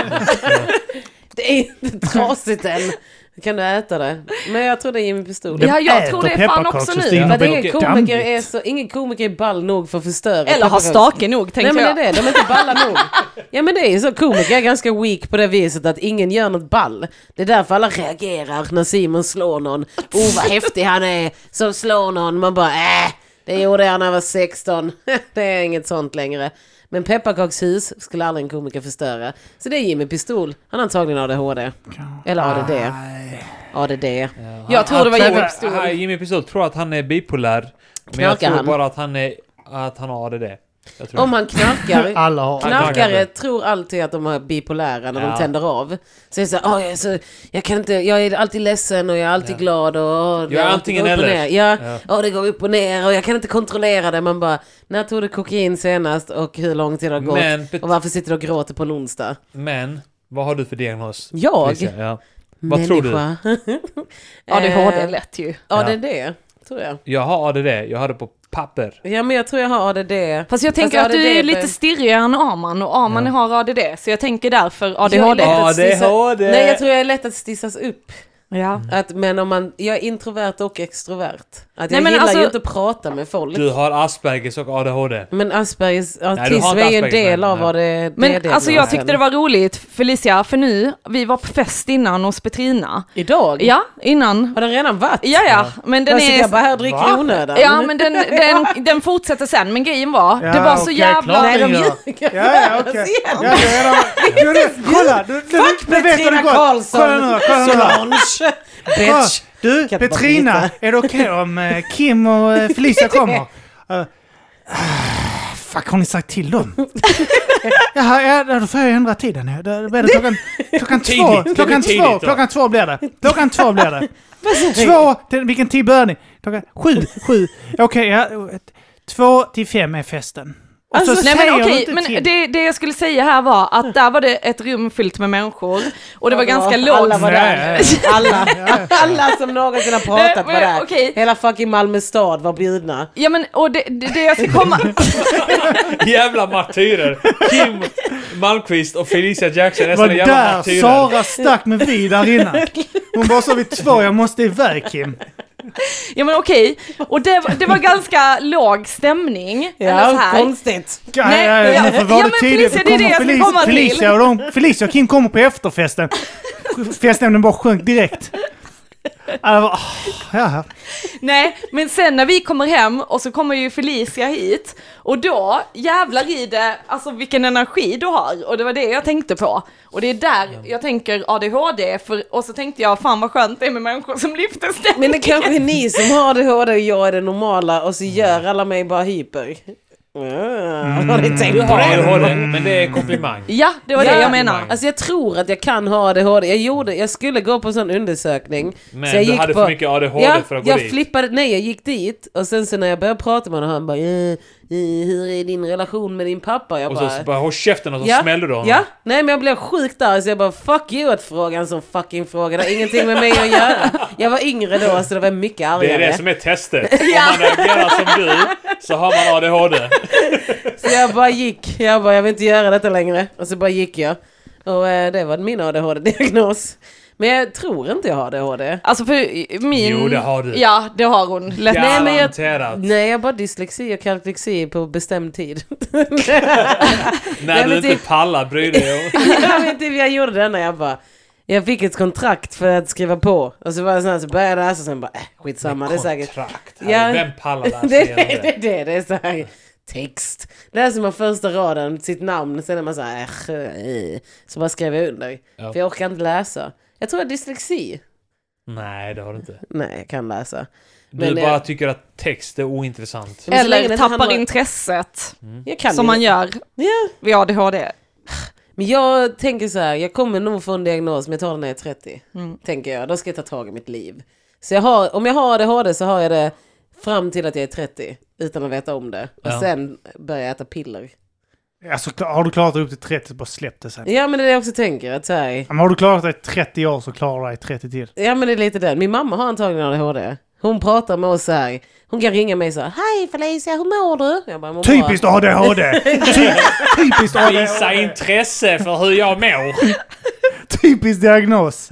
Det är inte trasigt än. Kan du äta det? Men jag tror det är Jimmy Pistol. Ja, jag Äter tror det är fan också pepparkakshus, nu. det är För att innebär ingen något komiker, dammigt. är så, ingen komiker är ball nog för att förstöra. Eller har pepparkakshus. stake nog, Nej tänker men det är jag. det, de är inte balla nog. Ja men det är ju så, komiker är ganska weak på det viset att ingen gör något ball. Det är därför alla reagerar när Simon slår någon. Oh vad häftig han är som slår någon. Man bara äh, det gjorde jag när jag var 16. Det är inget sånt längre. Men pepparkakshus skulle aldrig en komiker förstöra. Så det är Jimmy Pistol. Han har antagligen ADHD. Eller ADD. ADD. Jag tror det var Han- Joel han- Stol. han- Jimmy Pistol tror att han är bipolär. Men jag Knarkar tror han? Oh bara att han är... Att han har ADD. Jag tror Om han knarkar. Alla har. Knarkare tror alltid att de är bipolära när Ja. de tänder av. Så det är så, här, "Åh, jag, är så jag, kan inte, jag är alltid ledsen och jag är alltid glad. Och, åh, det är alltid antingen går upp och eller." Ner. Ja, åh, det går upp och ner och jag kan inte kontrollera det. Man bara, när tog du kokain senast och hur lång tid har gått? Men bet- och varför sitter du och gråter på en onsdag? Men, vad har du för diagnos? Jag? Felicia? Ja. Vad tror du? ADHD är lätt ju. Ja, det är det. Tror jag. Jag har ADD, jag har det på papper. Ja, men jag tror jag har ADD. Fast jag tänker Fast att du ADD är lite bör- stirrigare än Arman och Arman har ADD, så jag tänker därför Jag är lätt ADHD. att stissa- ADHD. Nej, jag tror jag är lätt att stissas upp. Ja. Att, men om man, jag är introvert och extrovert. Att jag Nej, men gillar alltså- ju inte att prata med folk. Du har Aspergers och ADHD. Men Aspergers autism är inte ju en Aspergers, del men- av vad det Men det är alltså jag diagnosen. tyckte det var roligt, Felicia, för nu, vi var på fest innan hos Petrina. Idag? Ja, innan. Har den redan varit? Ja, ja, men den Den sitter jag bara är... här och dricker i onödan. Ja, men den, den, den fortsätter sen, men grejen var, Ja, det var så okej, jävla... klart. Nej, de Ja. ljuger. Ja, ja, okej. Ja, det är de. Du, du, kolla! Du, du, Fuck du vet hur det Petrina går. Karlsson! Kolla nu, kolla nu. Solange! Kolla. Bitch! Du, Kan inte bara Petrina, byta. är det okej om eh, Kim och eh, Felicia kommer? Eh, fuck, har ni sagt till dem? Jaha, ja, då får jag ändra tiden. ja. Då blir det klockan, klockan två. Tidigt, det Klockan blir två, tidigt då. klockan två blir det. Klockan två blir det. Två, till, vilken tid börjar ni? Klockan sju, sju. Okej, ja. ett- Två till fem är festen. Och så Alltså, nej säger men du okej, inte till. men det, det jag skulle säga här var att där var det ett rum fyllt med människor och det var ganska lågt. Alla var där. Alla, alla som någonsin har pratat var Nej, men där. okej. Hela fucking Malmö stad var bjudna. Ja men och det, det, det jag ska komma... Jävla martyrer! Kim Malmqvist och Felicia Jackson är var såna jävla där martyrer. Sara stack med vi där innan. Hon bara sa vid två, jag måste iväg Kim. Ja men okej, och det, var- det var ganska låg stämning. eller så Ja, här. konstigt. Ja, Nej, ja, ja, ja, varför var ja, det men tidigt? Felicia, det är det jag ska Felicia, komma till. Felicia, och de, Felicia och Kim kommer på efterfesten. Festnämnden bara sjönk direkt. Alla bara, "Åh, ja. Nej, men sen när vi kommer hem och så kommer ju Felicia hit och då jävlar i det, alltså vilken energi du har och det var det jag tänkte på. Och det är där jag tänker ADHD för, och så tänkte jag fan vad skönt det är med människor som lyfter stämning. Men det kanske är ni som har ADHD och jag är det normala och så Mm. gör alla mig bara hyper. Mm. Har ni Du tänkt på har det? ADHD, men det är en komplimang. Ja, det var det jag menar. Alltså jag tror att jag kan ha ADHD. Jag, gjorde, jag skulle gå på en sån undersökning. Mm. Men så jag du hade för mycket ADHD ja, för att gå jag dit. Flippade, nej, jag gick dit och sen så när jag började prata med honom han bara eh, eh, Hur är din relation med din pappa? Jag Och bara, så bara håll käften och så smäller du honom. Ja, nej men jag blev sjukt arg så jag bara fuck you att fråga en sån fucking fråga. Det har ingenting med mig att göra. Jag var yngre då så det var mycket Det är argare. det som är testet. Om man reagerar som du så har man ADHD. Så jag bara gick. Jag bara, jag vill inte göra detta längre. Och så bara gick jag. Och eh, det var min ADHD-diagnos. Men jag tror inte jag har ADHD. Alltså för min... Jo, det har du. Ja, det har hon. Lätt. Nej, men jag- Garanterat. Nej, jag har bara dyslexi och kalkylexi på bestämd tid. När men du typ- inte pallar bry dig om... jag, vet inte, jag gjorde det när jag bara... Jag fick ett kontrakt för att skriva på. Och så var jag sån här, så började jag läsa och sen bara, äh, skitsamma, det är säkert... Kontrakt. Ja. Vem pallar läsa Det, igenom det, det? det, det, det är så här text. Läser man första raden, sitt namn, sen är man så här... "Äh, äh." Så bara skrev jag under. Ja. För jag orkar inte läsa. Jag tror jag har dyslexi. Nej, det har du inte. Nej, jag kan läsa. Du Men eh, jag- bara tycker att text är ointressant. Men så länge det Eller inte tappar handlar- intresset, Mm. Jag kan som ju- man gör Ja. vid ADHD. Men jag tänker så här, jag kommer nog få en diagnos men jag tar den när jag är 30. Mm. Tänker jag, då ska jag ta tag i mitt liv. Så jag har, om jag har ADHD så har jag det fram till att jag är 30 utan att veta om det. Och Ja. sen börjar jag äta piller. Alltså klar- har du klarat dig upp till 30 så bara släpp det sen. Ja, Ja men det är det jag också tänker. Att så här, Men har du klarat dig 30 år så klarar du dig 30 till. Ja men det är lite den. Min mamma har antagligen ADHD. Hon pratar med oss så här. Hon kan ringa mig så här. Hej Felicia, hur mår du? Jag bara, "Mår bra." Typiskt ADHD! Ty- Typiskt Visa ADHD! intresse för hur jag mår. Typisk diagnos!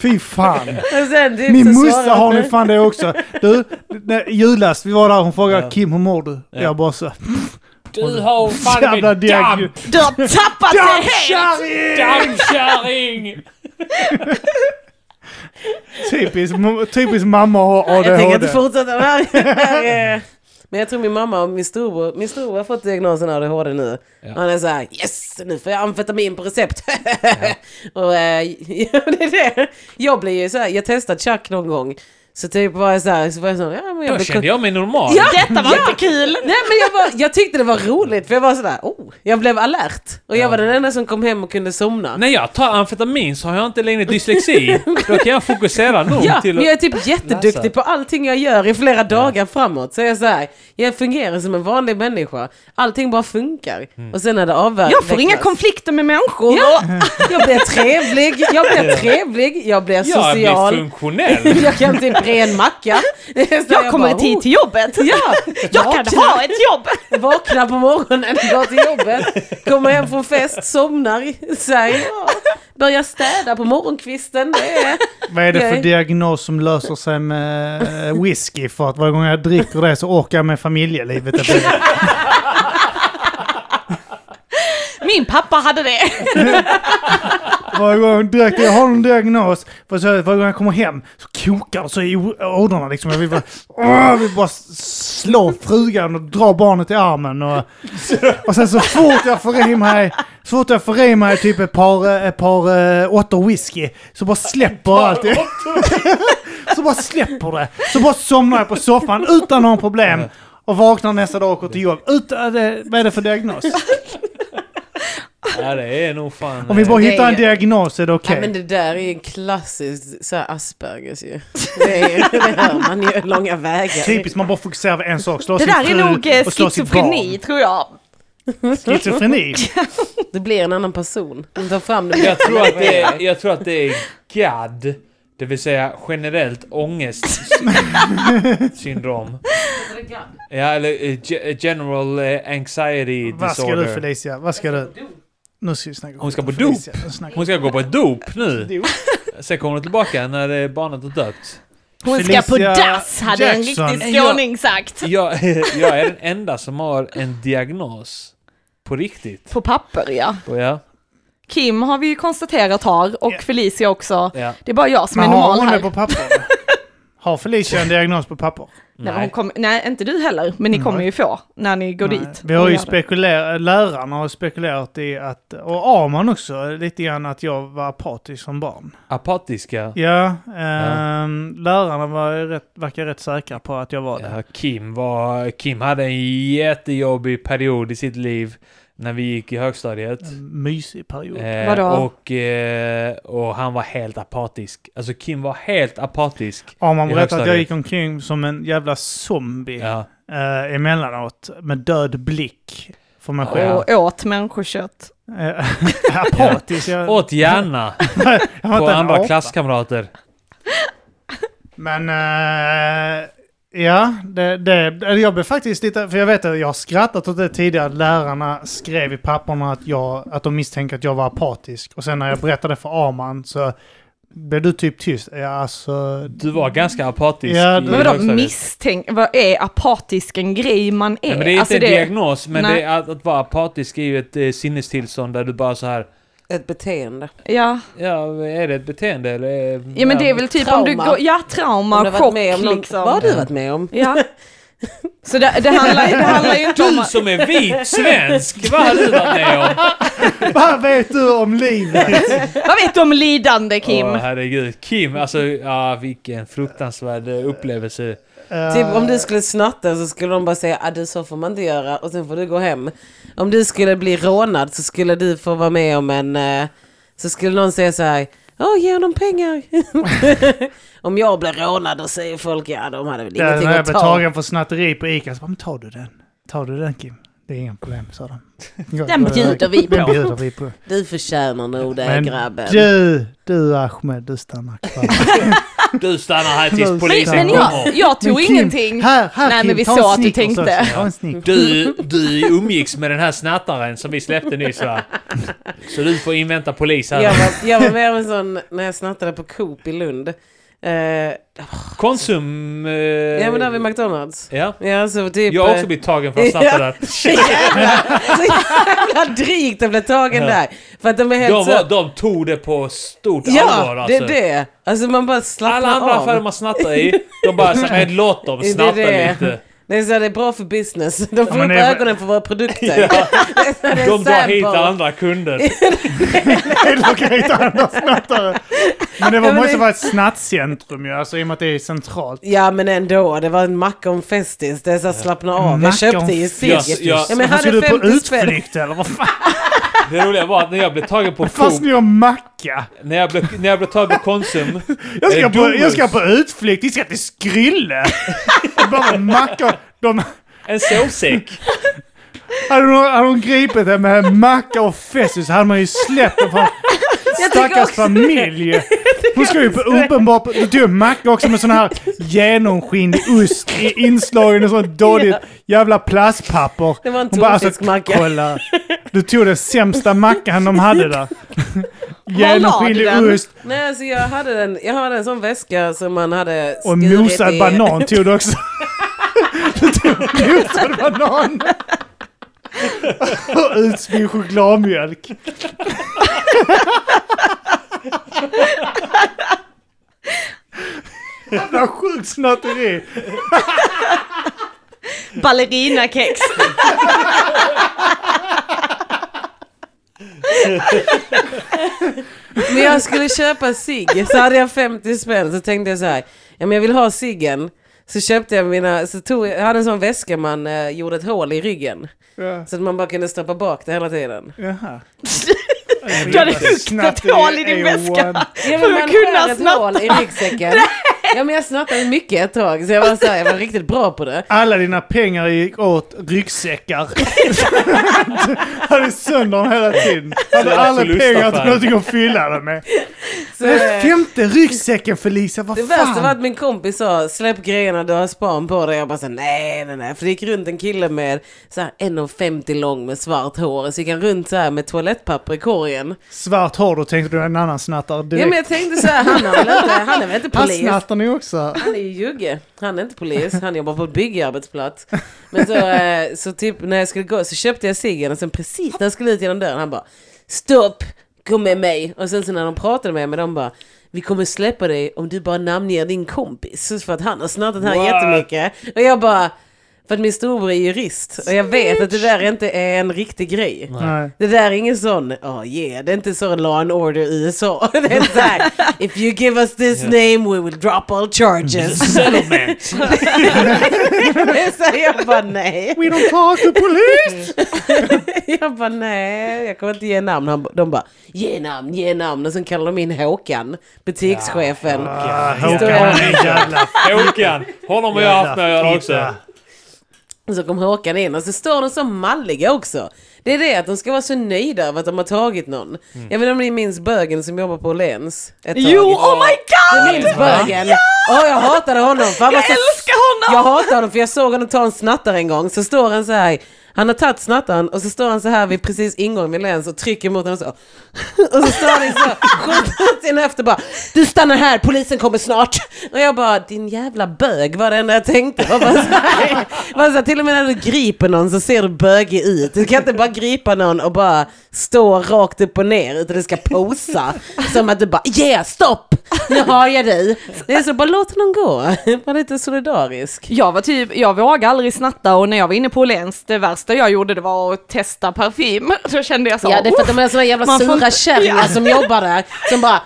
Fy fan! Och sen, typ, Min så morsa svarar har hon- nu fan det också. Du, när, julas, vi var där hon frågade Kim hur mår du? Jag bara så... Du har fan Jävla med diagnos. damp, Du har tappat det helt! Dammkärring! dammkärring! Typiskt typisk mamma har Jag tänker ADHD. inte fortsätta med det här. Men jag tror min mamma och min storbror, min storbror har fått diagnosen ADHD nu. Och han är så här, yes, nu får jag amfetamin på recept. och eh, ja, det är det. Jag blir ju så här, jag testade chack någon gång. Så typ var jag så här, så var jag så här, ja men jag Då blir kände jag mig normal. Ja! Detta var inte kul! Nej men jag, var, jag tyckte det var roligt för jag var sådär, oh, jag blev alert. Och jag var den enda som kom hem och kunde somna. När jag tar amfetamin så har jag inte längre dyslexi. Då kan jag fokusera nog Ja, till men att... jag är typ jätteduktig på allting jag gör i flera dagar framåt. Så jag är så här, jag fungerar som en vanlig människa. Allting bara funkar. Och sen när det avverkas. Jag får inga konflikter med människor! Ja, jag blir trevlig, jag blir trevlig, jag blir Jag blir social. funktionell. Jag kan typ bre en macka. Så Jag kommer i bara, tid oh, till jobbet! Ja, Jag kan ha ett jobb! Vaknar på morgonen, går till jobbet, kommer hem från fest, somnar, så här, ja. börjar städa på morgonkvisten. Det är... Vad är det för Nej. diagnos som löser sig med eh, whisky? För att varje gång jag dricker det så orkar jag med familjelivet. Det blir- Min pappa hade det! Varje gång direkt jag har någon diagnos, för så, varje gång jag kommer hem så kokar det så i o- ådrorna liksom. Jag vill bara, åh, jag vill bara slå frugan och dra barnet i armen. Och, och sen så fort jag får i mig, så fort jag får i mig typ ett par, eh, ett par eh, åttor whisky så bara släpper allt. så bara släpper det. Så bara somnar jag på soffan utan några problem. Och vaknar nästa dag och går till jobb. Utan, det- vad är det för diagnos? Ja, det är nog fan... eh, Om vi bara Det är hittar en ju- diagnos är det okej. Ja, men det där är ju en klassisk så här Aspergers ju. Det, är, ju- det hör man ju långa vägar. Typiskt, man bara fokuserar på en sak. Slå Det sin där är fru nog eh, och slå sitt schizofreni tror jag. barn. Schizofreni? Det blir en annan person. De tar fram det. Jag tror att det är, jag tror att det är GAD. Det vill säga generellt ångestsyndrom. Ja, eller eh, ge- eh, general eh, anxiety Vad ska du disorder. Felicia? Vad ska du? Nu ska vi snacka Hon ska skit på om Felicia. Nu snackar Hon ska gå på ett dop nu. vi. Sen kommer hon tillbaka när eh, barnet har döpt. Hon ska Felicia på dass hade en Jackson. riktig skåning sagt. Jag, jag är den enda som har en diagnos. På riktigt. På papper ja. Och ja, Kim har vi ju konstaterat har och Ja. Felicia också. ja. Det är bara jag som Men är har normal hon här. det på papper? Har Felicia en diagnos på papper? Nej, hon Nej. kommer- nej, inte du heller, men ni kommer ju få när ni går Mm, Nej. dit. Vi har ju och gör det. spekulerat, lärarna har spekulerat i att, och Arman också, lite grann att jag var apatisk som barn. Apatiska. Ja, ehm, lärarna var ju rätt, verkar rätt säkra på att jag var det. Ja, Kim, var, Kim hade en jättejobbig period i sitt liv när vi gick i högstadiet. En mysig period. Eh, Vadå? Och, eh, och han var helt apatisk. Alltså Kim var helt apatisk. Arman i berättade att jag högstadiet. gick omkring som en jävla zombie. Ja. eh, emellanåt med död blick för mig själv. Ja. Och åt människokött. Eh, Apatisk. Jag, Åt gärna jag var på inte en andra apa. klasskamrater. Men eh, ja, det, det, eller jag blev faktiskt lite, för jag vet att jag har skrattat åt det tidigare, att lärarna skrev i papperna att, jag, att de misstänker att jag var apatisk. Och sen när jag berättade för Arman så blev du typ tyst. Ja, alltså, Du var ganska apatisk Ja, i Mm, det- Men vadå högstadiet. misstänk... Vad är apatisk en grej man är? Nej, men det är inte Alltså, en det- diagnos, men Nej. det är att, att vara apatisk är ju ett eh, sinnestillstånd där du bara så här Ett beteende. Ja. Ja, är det ett beteende eller? eh, ja, men det är väl typ om du Trauma. går... Ja, Om du trauma, har chock varit med om någon, liksom. Vad har du varit med om? Ja. Så det, det, handlar, det handlar ju inte om... Du att- som är vit svensk! Vad har du varit med om? vad vet du om livet? Vad vet du om lidande, Kim? Åh, herregud. Kim, alltså ja, vilken fruktansvärd eh, upplevelse. Eh, Typ om du skulle snatta så skulle de bara säga att du så får man inte göra och sen får du gå hem. Om du skulle bli rånad så skulle du få vara med om en... eh, Så skulle någon säga så här, åh ge honom pengar. om jag blir rånad då säger folk, ja de hade väl Där, ingenting när jag att blev ta. tagen för snatteri på Ica, så bara, men tar du den? Tar du den Kim? Det är inga problem, sa de. Den bjuder vi Den på. bjuder vi på. Du förtjänar nog det Men grabben. du, du Ahmed, du stannar kvar. Du stannar här Men- tills polisen Men jag, kommer. jag Men tog ingenting. Här, här Nej, Kim, men vi ta en sa att du Snickers tänkte. också. Ta en Snickers. Du, du umgicks med den här snattaren som vi släppte nyss va? Så du får invänta polis Jag här. var, jag var med om en sån när jag snattade på Coop i Lund. Eh, Konsum... Eh, ja men där vid McDonalds. ja. Ja, så typ, Jag har eh, också blivit tagen för att snatta Ja. där. Så jävla, så jävla drygt att bli tagen Ja. där. För att de är helt De, så... var, de tog det på stort allvar ja, det alltså. är det. Alltså man bara slappnar Alla andra av. affärer man snattar i, de bara såhär, låt dem Det är snatta det. lite. Det är, så här, det är bra för business. De får men upp det är- ögonen för våra produkter. Ja. Det är så här, det är De drar hit sample. andra kunder. Relocate andra snattare. Men det var, Ja, men måste det- vara ett snattcentrum ju, alltså i och med att det är centralt. Ja men ändå, det var en macka och en festis. Det är såhär slappna av. Jag Macka och köpte ju cigg. festis. Ja, men jag Vad ska hade Alltså, du på 50 spänn. utflykt eller vad fan? Det roliga var att när jag blev tagen på Fast Coop, ni har macka. när jag blev, när jag blev tagen på Konsum. Jag ska, eh, på, jag ska Domus, på utflykt, vi ska till Skrylle. Bara mackor. De, En sovsäck. hade, de, hade de gripit det med macka och festis hade man ju släppt dem från stackars också familj. Hon ska ju på uppenbart... Du tog en macka också med sån här genomskinlig ost i- inslagen och sånt dåligt jävla plastpapper. Det var en Hon bara, alltså, tonfiskmacka. Kolla. Du tog den sämsta mackan de hade där. Var lade Genomskinlig den? ost Nej alltså jag hade, en, jag hade en sån väska som man hade och en skurit mosad i. banan tog du också. Du tog en mosad banan. Och utspridd chokladmjölk. Jävla sjukt snatteri. Ballerinakex. Men jag skulle köpa cigg, så hade jag 50 spänn så tänkte jag så här, ja men jag vill ha ciggen. Så köpte jag mina, så tog, jag jag hade en sån väska man eh, gjorde ett hål i ryggen. Ja. Så att man bara kunde stoppa bak det hela tiden. Jaha. Du hade huggit ett hål i din väska. Ja, men För att man kunna skär ett snatta. hål i ryggsäcken. ja men jag snattade mycket ett tag så jag var, så här, jag var riktigt bra på det. Alla dina pengar gick åt ryggsäckar. Hade sönder dem hela tiden. Hade Jävla aldrig pengar förlustaffär. till någonting att fylla dem med. Så, Den eh, femte ryggsäcken Felicia, vad Det fan? värsta var att min kompis sa släpp grejerna du har span på dig. Jag bara så, nej nej nej. För det gick runt en kille med så här 1,50 lång med svart hår. Så gick han runt så här med toalettpapper i korgen. Svart hår, då tänkte du en annan snattare Ja direkt. men jag tänkte så här, han, har väl inte, han är väl inte Han polis? snattar ni också. Han är ju jugge. Han är inte polis, han jobbar på ett byggarbetsplats. Men så, eh, så typ när jag skulle gå så köpte jag ciggen och sen precis när jag skulle ut genom dörren han bara Stopp! Kom med mig! Och sen så när de pratade med mig de bara vi kommer släppa dig om du bara namnger din kompis för att han har snattat här What? jättemycket. Och jag bara, för att min storbror är jurist och jag vet att det där inte är en riktig grej. Nej. Det där är ingen sån, oh yeah, det är inte så law and order i USA. Det är så här, if you give us this name we will drop all charges. Settlement. Det är så här, jag bara nej. We don't talk to police! Jag bara nej, jag kommer inte ge namn. Han, ba- de bara ge namn, ge namn. Och sen kallar de in Håkan, butikschefen. Ah, Står Håkan jag- han är en jävla Håkan. Honom har jag haft med att göra också. fitta. Och så kom Håkan in och så står de så malliga också. Det är det att de ska vara så nöjda över att de har tagit Mm. någon. Jag vet inte om ni minns bögen som jobbar på Åhléns ett tag. Jo, oh my Du god! minns bögen? Åh, jag hatade honom. För han var Jag så älskar Jag honom! hatar honom för jag såg honom ta en snattare en gång, så står han så här. Han har tagit snattaren och så står han så här vid precis ingången vid Lens och trycker mot honom så. Och så står han så, skjuter ut sin höft och bara Du stannar här, polisen kommer snart. Och jag bara din jävla bög var det enda jag tänkte. Jag bara så här, bara så här, till och med när du griper någon så ser du bögig ut. Du kan inte bara gripa någon och bara stå rakt upp och ner utan du ska posa. Som att du bara yeah, stopp, nu har jag dig. Det är så bara låt honom gå, var lite solidarisk. Jag var typ, jag vågade aldrig snatta och när jag var inne på Åhléns, det värsta jag gjorde det var att testa parfym. Då kände jag så, Ja, det är för att de är såna jävla Man får sura inte- kärringar Ja. som jobbar där. Som bara,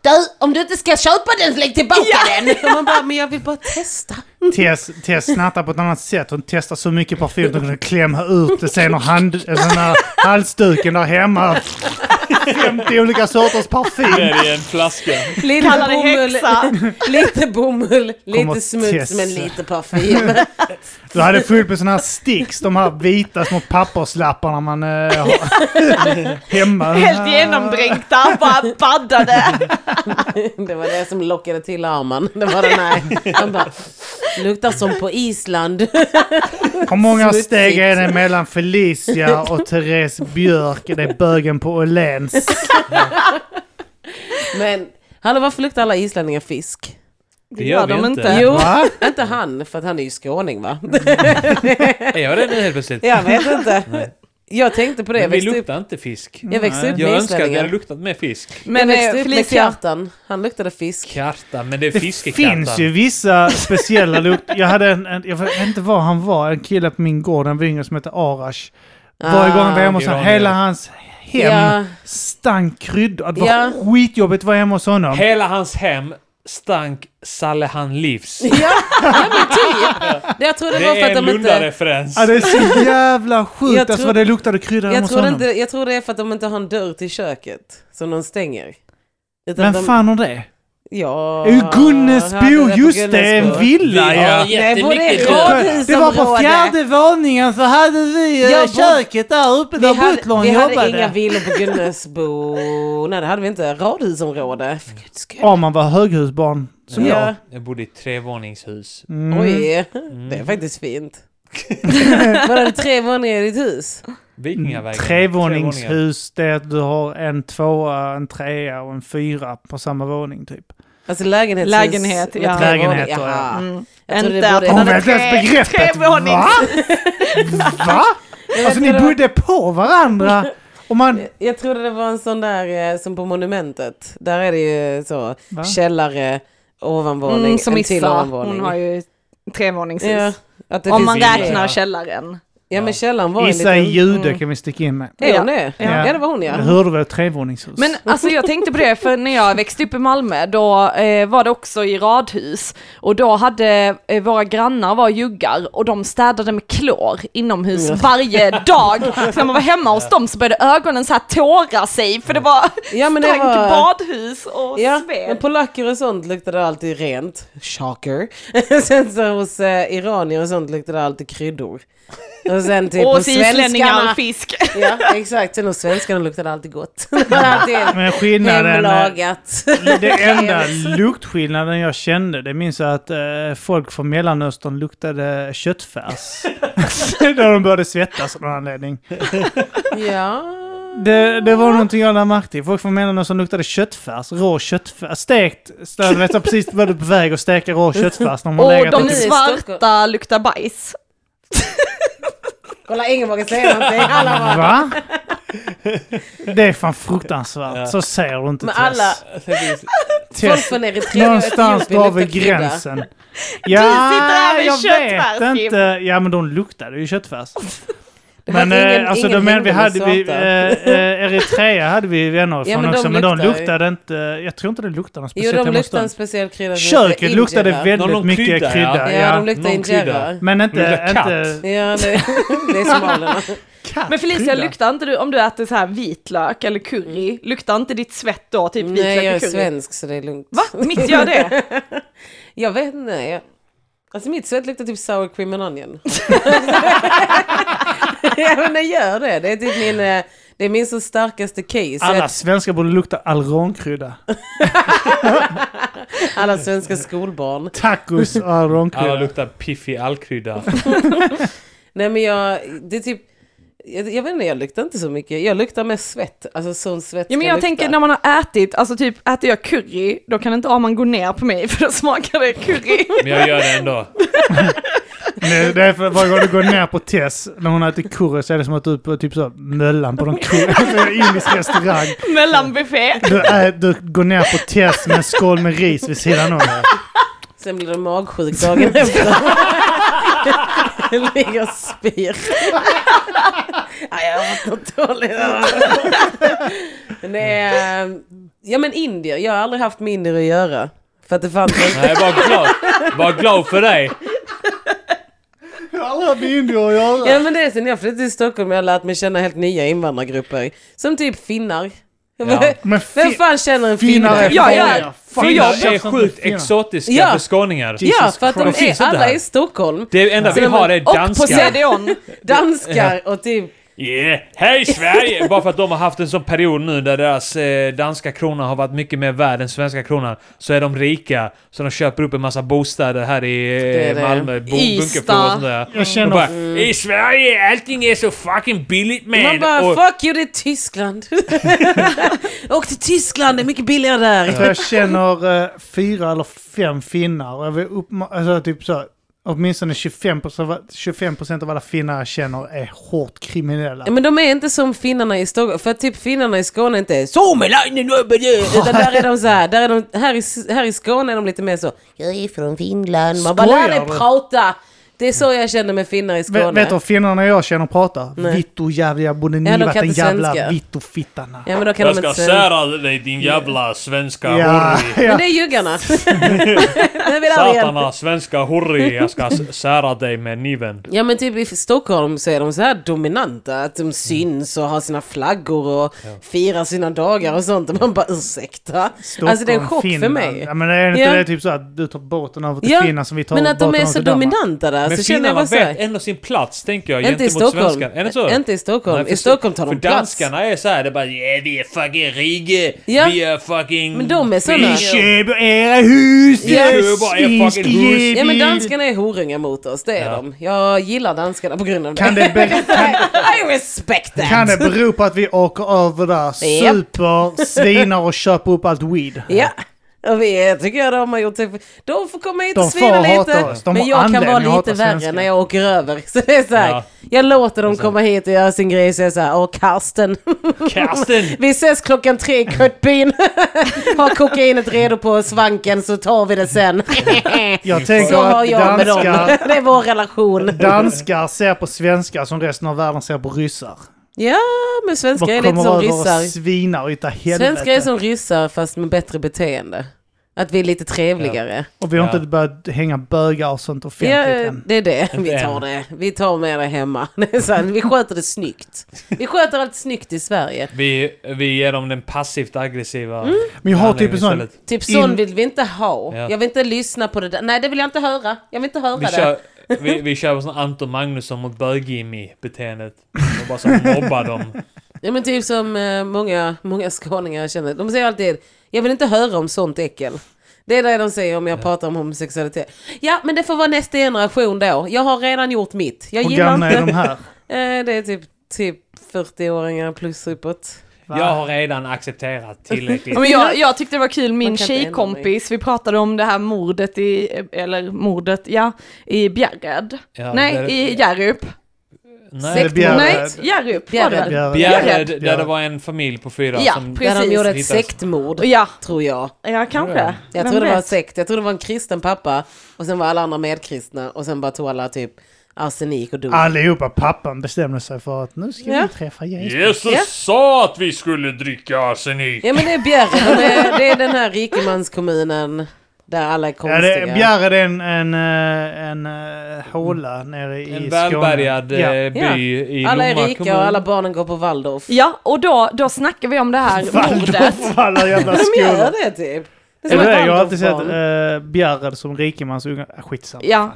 du, om du inte ska köpa den, lägg tillbaka Ja. den. Och man bara, men jag vill bara testa. Tess, Tess snattar på ett annat sätt. Hon testar så mycket parfym att hon kan klämma ut det sen och hand, eller den här halsduken där hemma. 50 olika sorters Det parfym. är i en flaska. Lite Kallar det häxa. lite bomull, Kommer lite smuts, testa. men lite parfym. Du hade fullt med sådana här sticks, de här vita små papperslapparna man eh, har hemma. helt genomdränkta, bara baddade. Det var det som lockade till Arman. Det var den här. Han bara, luktar som på Island. Hur många Smutsigt. steg är det mellan Felicia och Therese Björk? Det är bögen på Åhléns. Men, hallå varför luktar alla islänningar fisk? Det gör vi inte. Jo, Va? inte han, för att han är ju skåning va? Är jag det nu helt plötsligt? Jag vet inte. Jag tänkte på det, jag Men vi växte upp, luktar inte fisk. jag växte upp Jag med önskar att vi islänningar. hade luktat mer fisk. Men jag Men eh, växte upp med Felicia, kartan. Han luktade fisk. Karta, men det är Det fiskekarta. finns ju vissa speciella lukter. Jag hade en, en, jag vet inte var han var, en kille på min gård, en yngre som hette Arash. Varje Ah. gång han var hemma hos honom, iranier. hela hans hem Ja. stank kryddor. Det var Ja. skitjobbigt att vara hemma hos honom. Hela hans hem stank Salehan Livs. Ja, ja men typ. Jag tror det, Det var för är att en de inte... Lunda-referens. Ja, det är så jävla sjukt Jag alltså tror- vad det luktade kryddor hemma Jag hos tror, det honom. inte, jag tror det är för att de inte har en dörr till köket som de stänger. Utan Vem de, Ah, fan har det? Ja, Det är ju hade Gunnesbo, på just det! En Gunnesbo. villa ja! Nej, både jättemycket radhusområde. Det var på fjärde våningen så hade vi eh, Jag bod- köket där uppe Vi där hade, butlern vi jobbade. hade inga villor på Gunnesbo. Nej, det hade vi inte. Radhusområde. För guds skull. Om man var höghusbarn som Ja. jag. Mm. Jag bodde i ett trevåningshus. Oj, Mm. det är faktiskt fint. Var det tre våningar i ditt hus? Vikingavägen. Trevåningar. Trevåningshus, det är att du har en tvåa, en trea och en fyra på samma våning typ. Alltså lägenhetshus. Lägenhet, med ja. tre Lägenheter, våningar. Jaha. Mm. Jag tror det Inte borde- att Hon han hade vet inte ens begreppet. Va? Va? Alltså ni inte, det var- bodde på varandra. Och man... Jag trodde det var en sån där eh, som på Monumentet. Där är det ju så Va? källare, ovanvåning, Mm, som en till Issa, ovanvåning. hon har ju trevåningshus. ja, att det Om finns man tre. räknar källaren. Ja men källaren var Issa en är liten... jude kan vi sticka in med. Är hon det? Ja. Ja. det var hon ja. Jag hörde väl trevåningshus. Men alltså jag tänkte på det, för när jag växte upp i Malmö, då eh, var det också i radhus. Och då hade eh, våra grannar var juggar och de städade med klor inomhus varje dag. Så när man var hemma hos dem så började ögonen så här tåra sig, för det var Ja, men det stank var- badhus och Ja, men sved. polacker och sånt luktade det alltid rent. Shocker. sen så hos eh, iranier och sånt luktade det alltid kryddor. Och sen typ Och hos så islänningar svenskarna. och fisk. Ja, exakt. Sen hos svenskarna luktade det alltid gott. Det var alltid Men skillnaden... eh, hemlagat. Det enda luktskillnaden jag kände, det minns jag att eh, folk från Mellanöstern luktade köttfärs. När de började svettas av någon anledning. Ja. Det, det var någonting jag lade märke till. Folk från Mellanöstern luktade köttfärs, rå köttfärs. Stekt, jag vet jag precis var du på väg att steka rå köttfärs när man Och legat de de... i svarta luktar bajs. Kolla, ingen vågar säga någonting. Alla bara... Va? Det är fan fruktansvärt. Så säger du inte Men Tess. alla, folk Tess. från Eritrea och alltså. Någonstans Etiopien drar vi luktar krydda. gränsen. sitter här med jag köttfärs, vet Kim. inte. Ja, men de luktade ju köttfärs. Det var Men att eh, alltså, de men, vi hängde med hade vi, svarta. eh, eh, Eritrea hade vi vänner ifrån men de också, men de luktar ju. luktade inte, jag tror inte det luktade något Jo, speciellt de hemma hos luktade dem. en speciell krydda. som heter Köket injera. luktade Någon- väldigt någon mycket krydda, krydda, Ja, ja. de luktade någon injera. krydda. Men inte... Luktar inte Ja, det, det är smalerna. Men Felicia, krydda. luktar inte du, om du äter så här vitlök eller curry, luktar inte ditt svett då, typ Nej, jag är vitlök och curry? svensk så det är lugnt. Va? Mitt gör det? Jag vet inte. Jag... Alltså mitt svett luktar typ sour cream and onion. ja, men det gör det. Det är typ min, eh, det är min så starkaste case. Alla svenskar borde lukta alronkrydda. Alla svenska skolbarn. Tacos och Alla alronkrydda. luktar piffig allkrydda. Nej men jag, det är typ, jag, jag vet inte, jag luktar inte så mycket. Jag luktar mest svett. Alltså sån svett Ja, men ska jag lukta. tänker när man har ätit, alltså typ äter jag curry, då kan inte Arman gå ner på mig för då smakar det curry. Men jag gör det ändå. Nu, Det är för varje gång du går ner på Tess, när hon äter curry, så är det som att du är på typ så här Möllan på någon curry, indisk restaurang. Mellanbuffé. Du, ä, du går ner på Tess med en skål med ris vid sidan om. Sen blir det magsjuk dagen efter. jag ligger och spyr. Nej, jag har mått något dåligt. Men det är, ja men indier, jag har aldrig haft med indier att göra. För att det fanns en... Nej, var glad. Var glad för dig. Jag har aldrig med indier att göra. Ja men det är sen jag flyttade till Stockholm jag har lärt mig känna helt nya invandrargrupper. Som typ finnar. Ja. Men Vem fi- fan känner en finnar finne? är Ja, ja. farliga. Fan, Finnar jag är känner sjukt finnar. exotiska Ja. för skåningar. Ja, för att de Christ. De finns är, inte alla där. är i Stockholm. Det enda vi Så har man- är och På danskar. CDON. Danskar och typ... Yeah. Hej Sverige! Bara för att de har haft en sån period nu där deras eh, danska krona har varit mycket mer värd än svenska kronan. Så är de rika, så de köper upp en massa bostäder här i eh, Det Mm. är det. Malmö, bo- Ystad. Bunkeflo och sånt där. Jag Och känner bara, I Sverige är allting är så fucking billigt man! Man bara och, fuck you, det är Tyskland. Åk till Tyskland, det är mycket billigare där. Jag tror jag känner eh, fyra eller fem finnar. Och jag vill uppma- alltså, typ så, här, okej åtminstone 25% av, 25% av alla finnar jag känner är hårt kriminella. Men de är inte som finnarna i Stockholm, för typ finnarna i Skåne är inte Suomelainen öbedö", utan där är de så här, där är de, här, i, här i Skåne är de lite mer så Jag är från Finland, man bara lär Skojar dig du?" prata! Det är så jag känner med finnar i Skåne. Vet, vet du vad finnarna jag känner pratar? Nej. Vittu jävla, borde ni Ja, de varit kan en inte jävla svenska. vittofittarna. Ja men då kan Jag de ska inte säga. sära dig din jävla svenska Ja, hurri. Men ja. det är juggarna. Nu är vi där igen. Satana svenska hurri, jag ska s- sära dig med kniven. Ja men typ i Stockholm så är de så här dominanta, att Mm. de syns och har sina flaggor och firar sina dagar och sånt. Och man bara ursäkta? alltså det är en chock Finland. för mig. Ja, men är det inte Ja. det typ så att du tar båten över till Ja, Finland som vi tar men att de båten är över så till Danmark? dominanta där, Men så Alltså, känner jag finnarna bara så vet här, ändå sin plats, tänker jag, Inte i gentemot Stockholm. svenskarna. Är det så? Inte i Stockholm. Nej, för I Stockholm tar de För plats. danskarna är så här, det är bara yeah, vi är fucking rike, Ja. vi är fucking... Men de är såna. vi Köp era hus! Ja. Köp era fucking hus. Ja men danskarna är horungar mot oss, det är de. Jag gillar danskarna på grund av det. Kan det, be- kan, I respect that! kan det bero på att vi åker över där, Japp. super, svinar och köper upp allt weed? Ja. Och vi är- tycker jag de har gjort sig... De får komma hit De och svina får hata lite. oss. De men har jag kan anledning vara att hata lite värre svenskar. när jag åker över. Så det är så här, Ja. Jag låter dem komma hit och göra sin grej. Så jag är så här, åh Karsten. Karsten! vi ses klockan tre i kuttbyn. ha kokainet redo på svanken så tar vi det sen. Jag tänker så har att jag med dem. danskar, det är vår relation. danskar ser på svenskar som resten av världen ser på ryssar. Ja, men De svenskar är lite kommer som över och ryssar. svinar utav helvete. Svenskar är som ryssar fast med bättre beteende. Att vi är lite trevligare. Och vi har Ja. inte börjat hänga bögar och sånt offentligt Ja, eh, än. det är det. Vi än. tar det. Vi tar med det hemma. Det är så här, Vi sköter det snyggt. Vi sköter allt snyggt i Sverige. Vi, vi ger dem den passivt aggressiva... Mm, Men jag har typ en behandlingen sån... istället. Typ sån In- vill vi inte ha. Ja. Jag vill inte lyssna på det där. Nej, det vill jag inte höra. Jag vill inte höra Vi det. kör, vi, vi kör sån Anton Magnusson mot bög-Jimmy-beteendet. Och bara så mobbar dem. Ja, men typ som eh, många, många skåningar jag känner. De säger alltid, jag vill inte höra om sånt äckel. Det är det de säger om jag pratar om homosexualitet. Ja, men det får vara nästa generation då. Jag har redan gjort mitt. Jag Hur gillar gamla inte... är de här? Eh, det är typ, typ 40-åringar plus uppåt. Jag har redan accepterat tillräckligt. Men jag, jag tyckte det var kul, min Man kan inte ändra tjejkompis, vi pratade om det här mordet i, eller mordet, ja, i Bjärred. Ja, Nej, där- i Hjärup. Nej, det blir- Nej, Bjärred. Hjärup var det väl? Bjärred. Bjärred, Bjärred. där det var en familj på fyra Ja, som... precis. Där de gjorde ett Hittas. sektmord, Ja, tror jag. ja kanske. Jag Vem tror det var vet? sekt. Jag tror det var en kristen pappa och sen var alla andra medkristna och sen bara tog alla typ arsenik och dog. Allihopa, pappan bestämde sig för att nu ska Ja. vi träffa Jesus. Jesus Ja. sa att vi skulle dricka arsenik. Ja men det är Bjärred, det är, det är den här rikemanskommunen där alla är Ja, konstiga. det, Bjärred är en, en, eh, en, en håla nere i Mm. En Skåne. välbärgad Ja. eh, by Ja. i alla är Lomma rika kommun. och alla barnen går på Waldorf. Ja, och då, då snackar vi om det här mordet. Waldorf och alla jävla De gör skolor. det typ. Det är som Eller ett det, jag har alltid sett Waldorfbarn. uh, Bjärred som rikemansunge. Ah, Skitsamma. Ja.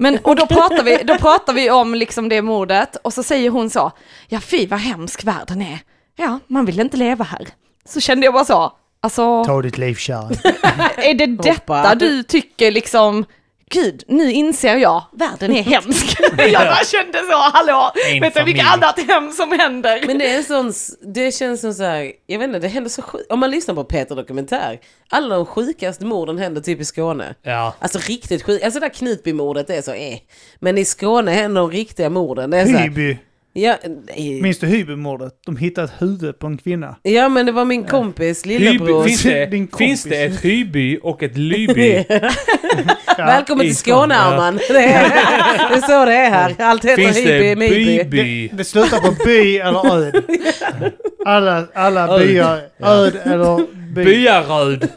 Men, och då pratar, vi, då pratar vi om liksom det mordet och så säger hon så, ja fy vad hemsk världen är. Ja, man vill inte leva här. Så kände jag bara så, alltså Ta ditt liv kärring. är det detta Hoppa. du tycker liksom, gud nu inser jag, världen är hemsk. jag bara kände så, hallå, En vet du vilket familj. annat hem som händer? Men det är en sån, det känns som så här, jag vet inte, det händer så sjukt. Om man lyssnar på Peter Dokumentär, alla de sjukaste morden händer typ i Skåne. Ja. Alltså riktigt sjukt. Alltså det där Knutbymordet är så eh. Men i Skåne händer de riktiga morden. Det är så här, Hyby. ja, nej. Minns du Hyby-mordet? De hittade ett huvud på en kvinna. ja men det var min kompis Hyby, lillebror. finns, Din det, kompis. finns det ett Hyby och ett Lyby? Ja. Välkommen till i Skåne, Skåne ja. Arman. Det är, det är så det är här. Allt heter finns Hyby, det Myby. Byby? Det slutar på by eller öd. Alla, alla Öd. byar, öd eller by. Byaröd?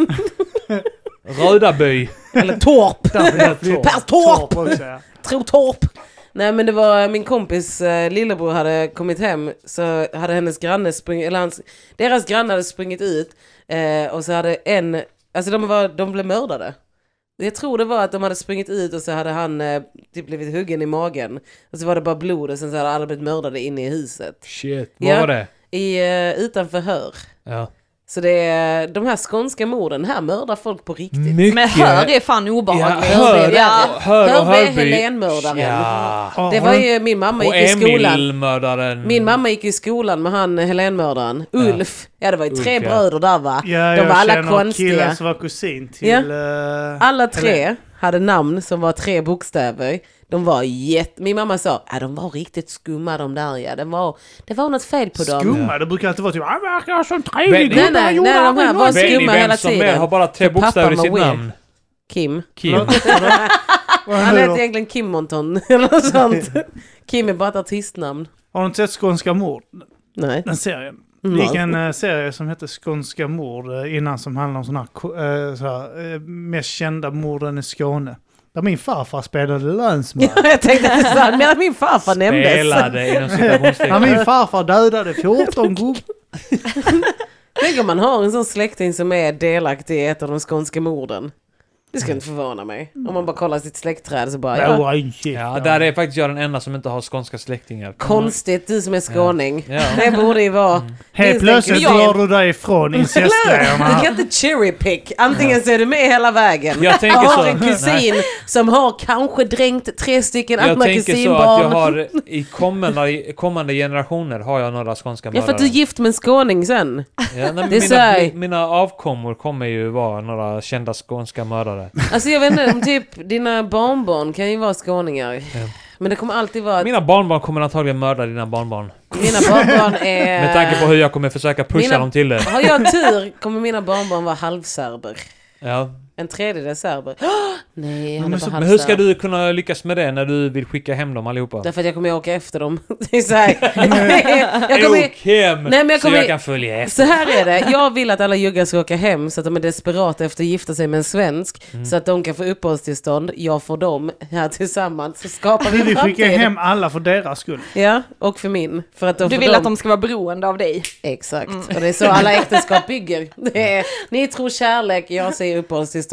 Rödaby? Eller Torp. Perstorp. Torp också, ja. Trotorp. Nej men det var min kompis eh, lillebror hade kommit hem så hade hennes granne sprungit, eller hans, deras granne hade sprungit ut eh, och så hade en, alltså de, var, de blev mördade. Jag tror det var att de hade sprungit ut och så hade han eh, typ blivit huggen i magen. Och så var det bara blod och sen så hade alla blivit mördade inne i huset. Shit, vad Ja. var det? I, eh, utan förhör. Ja. Så det är, de här skånska morden här mördar folk på riktigt. Mm. Mycket. Men hör är fan Ja, obehagligt. hör, Ja. hör och Hörby är Hörby. Helenmördaren. Ja. Ja, Det har var du- ju, min mamma Och gick i skolan. Emil-mördaren. Min mamma gick i skolan med han Helenmördaren. Ulf. Ja det var ju tre Ulf, ja. bröder där va? Ja, de jag var alla känner konstiga. killen som var kusin till... Ja. eh, Alla tre hade namn som var tre bokstäver. De var jätte... Min mamma sa att de var riktigt skumma de där ja. Det var, det var något fel på dem. Skumma, det brukar alltid vara typ han verkar som Nej, trevlig gubbe, nej, han gjorde nej, de aldrig här var något." Vet ni skumma vem hela som tiden. är? Har bara tre För pappan bokstäver i var sitt weird. namn. Kim. Kim. Han Vad heter heter- egentligen Kim Monton eller något sånt. Kim är bara ett artistnamn. Har du inte sett Skånska mord? Nej. Den serien. Mm. Det gick en eh, serie som hette Skånska mord eh, innan som handlade om sådana här, ko- eh, så här eh, mest kända morden i Skåne. Där min farfar spelade länsman. jag tänkte att det var medan min farfar nämndes. Spelade inom När citationstecken. min farfar dödade 14 gubbar. Tänk om man har en sån släkting som är delaktig i ett av de skånska morden. Det skulle inte förvåna mig. Om man bara kollar sitt släktträd så bara... Oh, Ja, Ja, där är faktiskt jag den enda som inte har skånska släktingar. konstigt, du som är skåning. Ja. Mm. Det borde ju vara... Helt Minst plötsligt en- drar du dig ifrån Du incestgrejerna. kan inte cherry pick. Antingen så är du med hela vägen. Jag tänker och har så. en kusin som har kanske dränkt tre stycken Jag andra tänker så att jag kusinbarn. har i kommande, i kommande generationer har jag några skånska Ja, för att du är gift med en skåning sen. Ja, nej, men Det är så här. mina, mina avkommor kommer ju vara några kända skånska mördare. Alltså jag vet inte, om typ dina barnbarn kan ju vara skåningar. Men det kommer alltid vara att Mina barnbarn kommer antagligen mörda dina barnbarn. mina barnbarn är... Med tanke på hur jag kommer försöka pusha Eh. Mina- dem till det. Har jag tur kommer mina barnbarn vara halvserber. Ja. En tredjedel serber. Nej, han är men bara så- Men hur ska halvserber. du kunna lyckas med det när du vill skicka hem dem allihopa? Därför att jag kommer ju åka efter dem. Det är så här. jag kommer... Åk hem! Nej, men jag Så kommer- jag kan följa efter. Så här är det, jag vill att alla juggar ska åka hem så att de är desperata efter att gifta sig med en svensk. Mm. Så att de kan få uppehållstillstånd, jag får dem här tillsammans. Så skapar vi Vi en vill skicka framtid. hem alla för deras skull. Ja, och för min. För att då Du får vill de... att de ska vara beroende av dig. Exakt, och det är så alla äktenskap bygger. Det är, ni tror kärlek, jag säger uppehållstillstånd.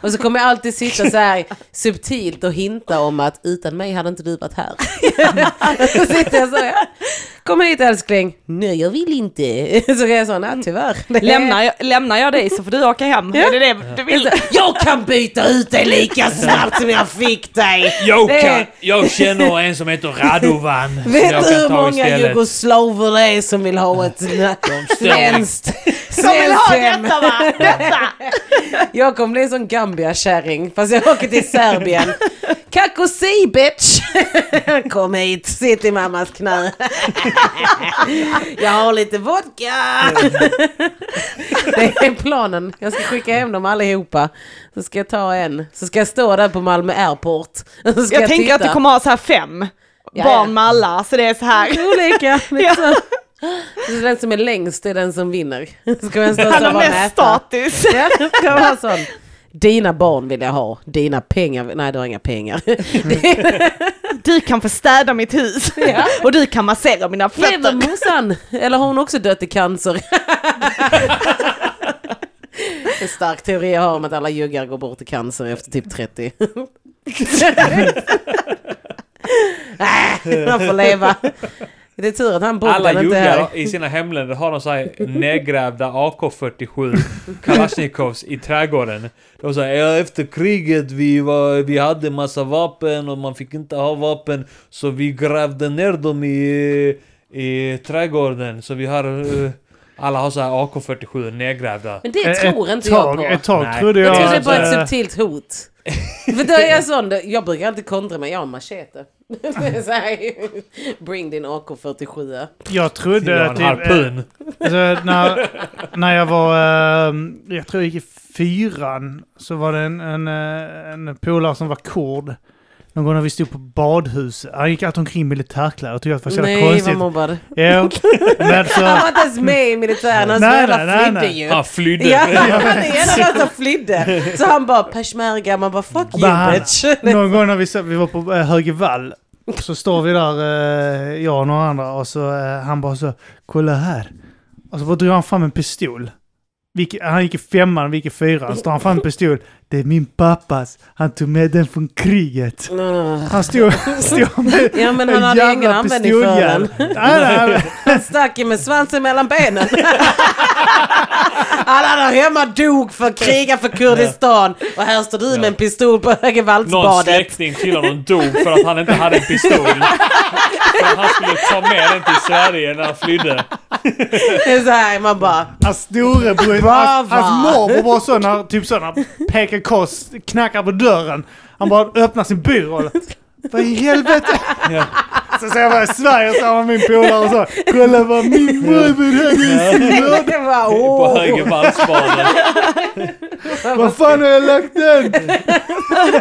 Och så kommer jag alltid sitta så här subtilt och hinta om att utan mig hade inte du varit här. så sitter jag så här. Kom hit älskling. Nej jag vill inte. Så är jag så, nej tyvärr. Det är- Lämnar jag, lämnar jag dig så får du åka hem. Är det det du vill? Jag kan byta ut dig lika snabbt som jag fick dig. Jag, Det- kan, jag känner en som heter Radovan. som jag Vet du kan hur ta många istället. jugoslaver det är som vill ha ett svenskt Som vill ha svenskt hem? detta va? Detta! Jag kommer bli en sån Gambia-kärring fast jag åker till Serbien. Kakosi bitch! Kom hit, sitt i mammas knä. Jag har lite vodka! Det är planen. Jag ska skicka hem dem allihopa. Så ska jag ta en. Så ska jag stå där på Malmö airport. Så ska Jag tänker att du titta. kommer ha så här fem Ja, barn ja. med alla, så det är så här. Olika. Ja. Liksom. Så den som är längst är den som vinner. Ska man stå så Han har och bara mest mäta. status. Ja, det ska vara sån. Dina barn vill jag ha, dina pengar, nej du har inga pengar. Du kan få städa mitt hus och du kan massera mina Lever fötter. morsan? Eller har hon också dött i cancer? En stark teori jag har om att alla juggar går bort i cancer efter typ 30. Nej, Man får leva. Det är tur att han Alla Bogdan inte är här. juggar i sina hemländer har de så här nedgrävda AK47 Kalashnikovs i trädgården. De säger ja, efter kriget vi, var, vi hade massa vapen och man fick inte ha vapen så vi grävde ner dem i, i trädgården. Så vi har... eh, alla har så här AK47 nedgrävda. Men det tror Eh, Ett inte jag tag- på. Ett tag Nej. trodde jag... Jag tror det är bara att, eh, ett subtilt hot. För då är jag sån, där- jag brukar alltid kontra med, jag har en machete. Det är så här, Bring din AK47. Jag Jag trodde har en typ... eh, harpun. Alltså, när, när jag var, ehm, jag tror jag gick i fyran, så var det en, en, eh, en polare som var kurd. Någon gång när vi stod på badhuset. Han gick alltid omkring i militärkläder och tyckte att det var så jävla Nej vad konstigt. mobbad. Jo, men så, Han var inte ens med i militären, han så Nej, jävla nej, nej, flydde nej. ju. Han flydde. Ja, han var den ena där som flydde. Så han bara peshmerga, man bara fuck Men you han- bitch. någon gång när vi, så- vi var på eh, Högevall så står vi där, eh, jag och några andra, och så eh, han bara så, kolla här. Och så bara drog han fram en pistol. Vilke, han gick i femman, vi gick i fyran. Så han fram en pistol. Det är min pappas. Han tog med den från kriget. Han stod, stod med Ja, men en han hade ju ingen jävla användning för pistoljärn. den. Nej, nej, Han stack ju med svansen mellan benen. Alla där hemma dog för att kriga för Kurdistan. Och här står du med en pistol på Någon Högevaldsbadet. släkting till honom dog för att han inte hade en pistol. För att han skulle ta med den till Sverige när han flydde. Det är så här, man bara... Hans storebror, hans, Baba. hans morbror var så när, typ så när PKK knackar på dörren. Han bara öppnar sin byrå. Vad i helvete? Ja. Så ser jag bara i Sverige så har min polare och så. Kolla vad min morbror höger i sin Det var oh. På åh. Högervallsbanan. Vad fan har jag lagt den?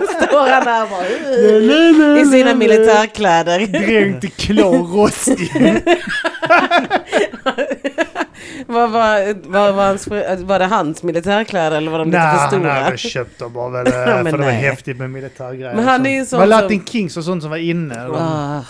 Står han där bara... I sina militärkläder. Dränkt i klor rostig. Vad var, var, var, hans, var det hans militärkläder eller var de lite Nej, för han stora? hade köpt dem bara väl, men för det var nej. häftigt med militärgrejer. Men han är ju en sån Det var som- Latin Kings och sånt som var inne. Ah,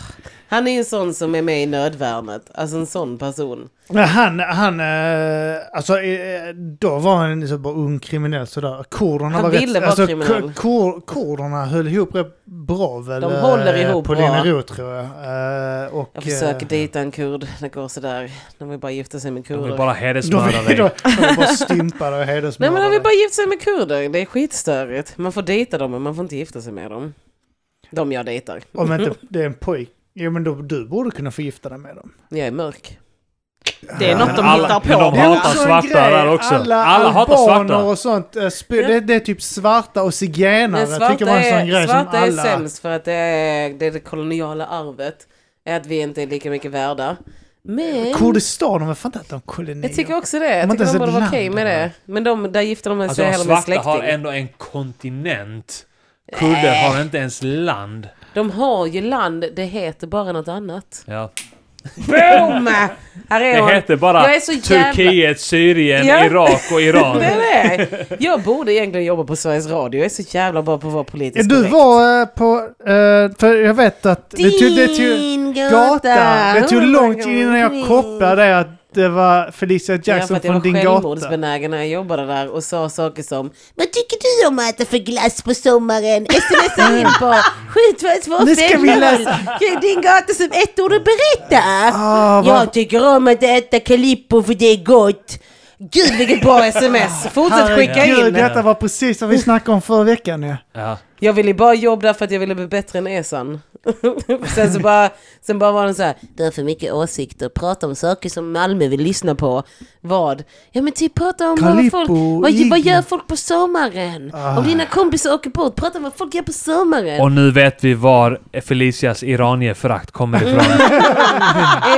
han är ju en sån som är med i nödvärnet. Alltså en sån person. Men han, han, eh, alltså eh, då var han liksom bara ung kriminell sådär. Kurderna Han var ville rätt, vara alltså, kriminell. kur, kurderna höll ihop rätt bra väl? De håller eh, ihop På bra. Linerot tror jag. Eh, och, Jag försöker eh, dejta en kurd. Det går sådär. De vill bara gifta sig med De kurder. vill bara De hedersmörda är dig. de är bara stympade och Nej men hedersmördade. de vill bara gifta sig med kurder. Det är skitstörigt. Man får dejta dem men man får inte gifta sig med dem. De jag dejtar. Om inte det är en pojk. Jo men då, du borde kunna få gifta dig med dem. Jag är mörk. Det är något de alla- hittar på. men de Det är hatar också en svarta grej. där också. Alla, Alla hatar albaner svarta. och sånt. eh, sp- det, det är typ svarta och zigenare. Men Jag tycker svarta, var en sån är, grej som svarta är alla... sämst för att det är, det är det koloniala arvet. Är att vi inte är lika mycket värda. Men... Kurdistan, de har fan inte haft någon koloni. Jag tycker också det. De Jag har inte tycker ens de borde ett vara okej land, med de här. det. Men de, där gifter de Alltså sig de hellre med svarta har släkting. ändå en kontinent. Kurder har inte ens land. De har ju land, det heter bara något annat. Ja. Boom! Här är hon. Det heter bara Jag är så jävla- Turkiet, Syrien, Ja. Irak och Iran. Det är det. Jag borde egentligen jobba på Sveriges Radio. Jag är så jävla bra på att vara Ja, politisk Du korrekt. var eh, på... eh, För jag vet att... Det tog, det tog, Din gata. Det tog Oh my långt God. innan jag kopplade det att det var Felicia Ja, för Jackson att jag från var din gata. självmordsbenägen när jag jobbade där och sa saker som Vad tycker du om att äta för glass på sommaren? Smsa in på 72250. Nu ska vi läsa. Kring din gata som ett ord och berätta. Ah, vad- jag tycker om att äta Calippo för det är gott. Gud vilket bra sms! Fortsätt skicka Herregud, in! detta var precis vad vi snackade om förra veckan ja. Ja. Jag ville bara jobba där för att jag ville bli bättre än Esan. sen, så bara, sen bara var den så här, Du har för mycket åsikter. Prata om saker som Malmö vill lyssna på. Vad? Ja men typ prata om vad, Calippo, folk, vad, vad Iggy. gör folk på sommaren? Om dina kompisar åker bort, prata om vad folk gör på sommaren. Och nu vet vi var Felicias Iranier-förakt kommer ifrån.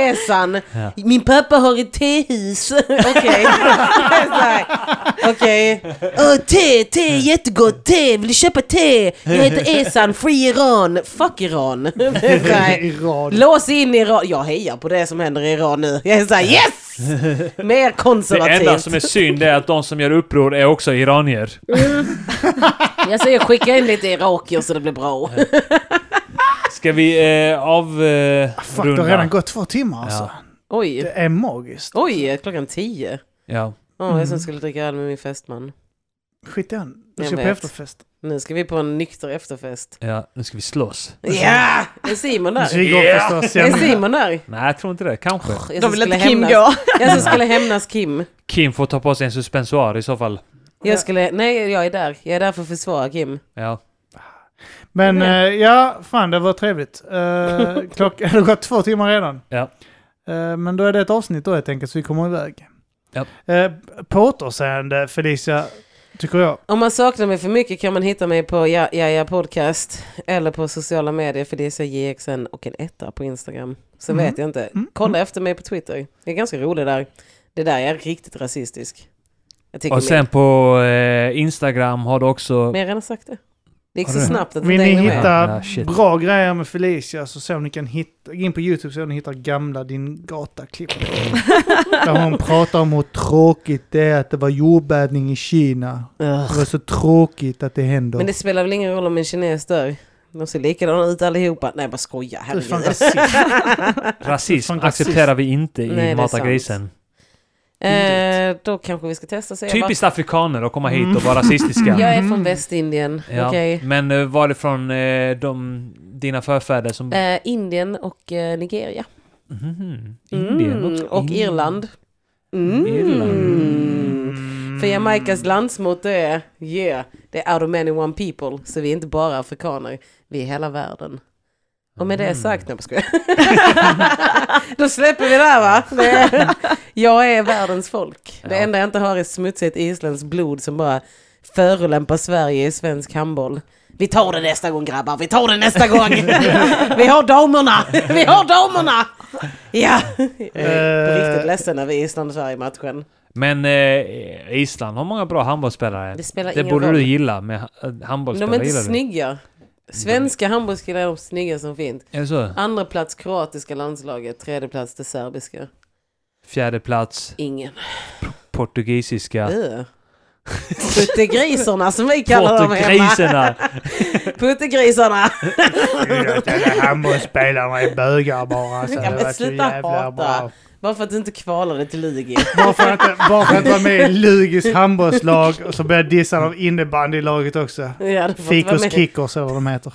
Esan! Min pappa har ett tehus. Okej. Det är så här, Okej. Åh, te, te, är jättegott, te, vill du köpa te? Jag heter Esan, free Iran. Fuck Iran. Det är så här, I rad. Lås in Iran. Jag hejar på det som händer i Iran nu. Jag är såhär yes! Mer Det enda konservativt. som är synd är att de som gör uppror är också iranier. Jag säger skicka in lite irakier så det blir bra. Ska vi eh, avrunda? Eh, Fuck, det har runda? redan gått två timmar alltså. Det Oj. är magiskt. Oj, klockan tio. Ja. Åh, jag som skulle dricka öl med min fästman. Skit i han. Du Jag ska på vet. efterfest. Nu ska vi på en nykter efterfest. ja, nu ska vi slåss. Ja! Är Simon Du där? ska gå förstås. Är sen. Simon där? Nej, jag tror inte det. Kanske. Jag Då som vill skulle inte Kim hämnas- gå. Jag som skulle hämnas Kim. Kim får ta på sig en suspensoar i så fall. Jag skulle... Nej, jag är där. Jag är där för att försvara Kim. Ja. Men eh, ja, fan det var trevligt. Eh, klock, det har gått två timmar redan. Ja. Eh, men då är det ett avsnitt då helt enkelt så vi kommer iväg. Ja. Eh, på återseende Felicia, tycker jag. Om man saknar mig för mycket kan man hitta mig på Ja Ja, ja Podcast eller på sociala medier för det är så JXN och en etta på Instagram. Så Mm. vet jag inte. Kolla efter mig på Twitter. Jag är ganska rolig där. Det där är riktigt rasistisk. Jag tycker Och sen på eh, Instagram har du också... mer, mer än jag sagt det. Det gick Har så du- snabbt att Vill det ni hänger med. hitta Ja, shit. bra grejer med Felicia så se om ni kan hitta, gå in på YouTube så om ni hittar gamla Din Gata-klipp. Där hon pratar om hur tråkigt det är att det var jordbävning i Kina. Det var så tråkigt att det händer. Men det spelar väl ingen roll om en kines dör? De ser likadana ut allihopa. Nej, bara skoja. Du är fan Herregud. rasist. Rasism Fan, rasism. accepterar vi inte i Nej, det är Mata sant. grisen. Eh, då kanske vi ska testa och se. vad- Typiskt afrikaner att komma hit och vara rasistiska. Mm. Jag är Mm. från Västindien. Ja. Okej. Men eh, var det från eh, de, dina förfäder som... Eh, Indien och eh, Nigeria. Mhm. Mm. Indien också. Och In- Irland. Mm. Irland. För Jamaikas landsmotto är yeah, det är out of many one people. Så vi är inte bara afrikaner, vi är hela världen. Och med det sagt, nej jag skojar. Då släpper vi det här va? Det- Jag är världens folk. Det Ja. enda jag inte har är smutsigt isländskt blod som bara förolämpar Sverige i svensk handboll. Vi tar det nästa gång grabbar, vi tar det nästa gång! vi har damerna! Vi har damerna! Ja! Jag är Eh. på riktigt ledsen över Island och Sverige i matchen. Men eh, Island har många bra handbollsspelare. Det spelar Det ingen borde roll. du gilla med ha- De handbollsspelare. är inte gillar du? snygga. Svenska handbollskillar är de snygga som finns. Är det så? Andra plats kroatiska landslaget, tredje plats det serbiska. Fjärde plats, Ingen. portugisiska. Ö. Puttegrisarna som vi kallar dem hemma. Portugriserna! Puttegrisarna. Handbollsspelarna är bögar bara. Så Ja, det men var så sluta jävla hata. bra. Bara för att du inte kvalade till Lugi. Varför inte, varför inte vara med i Lugis handbollslag och så blir jag dissad av innebandylaget också. Ja, du får inte vara Fikus med. Kickers eller vad de heter.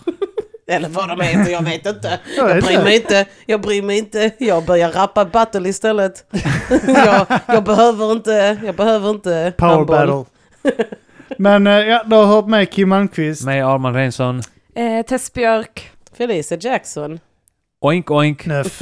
Eller vad de heter, jag vet inte. Jag Jag vet bryr inte. mig inte. Jag bryr mig inte. Jag börjar rappa battle istället. jag, jag behöver inte, jag behöver inte Power handboll. battle. Men eh, ja, du har hört med Kim Malmqvist. Med Arman Reinsson. Eh, Tess Björk. Felicia Jackson. Oink oink. Knöff.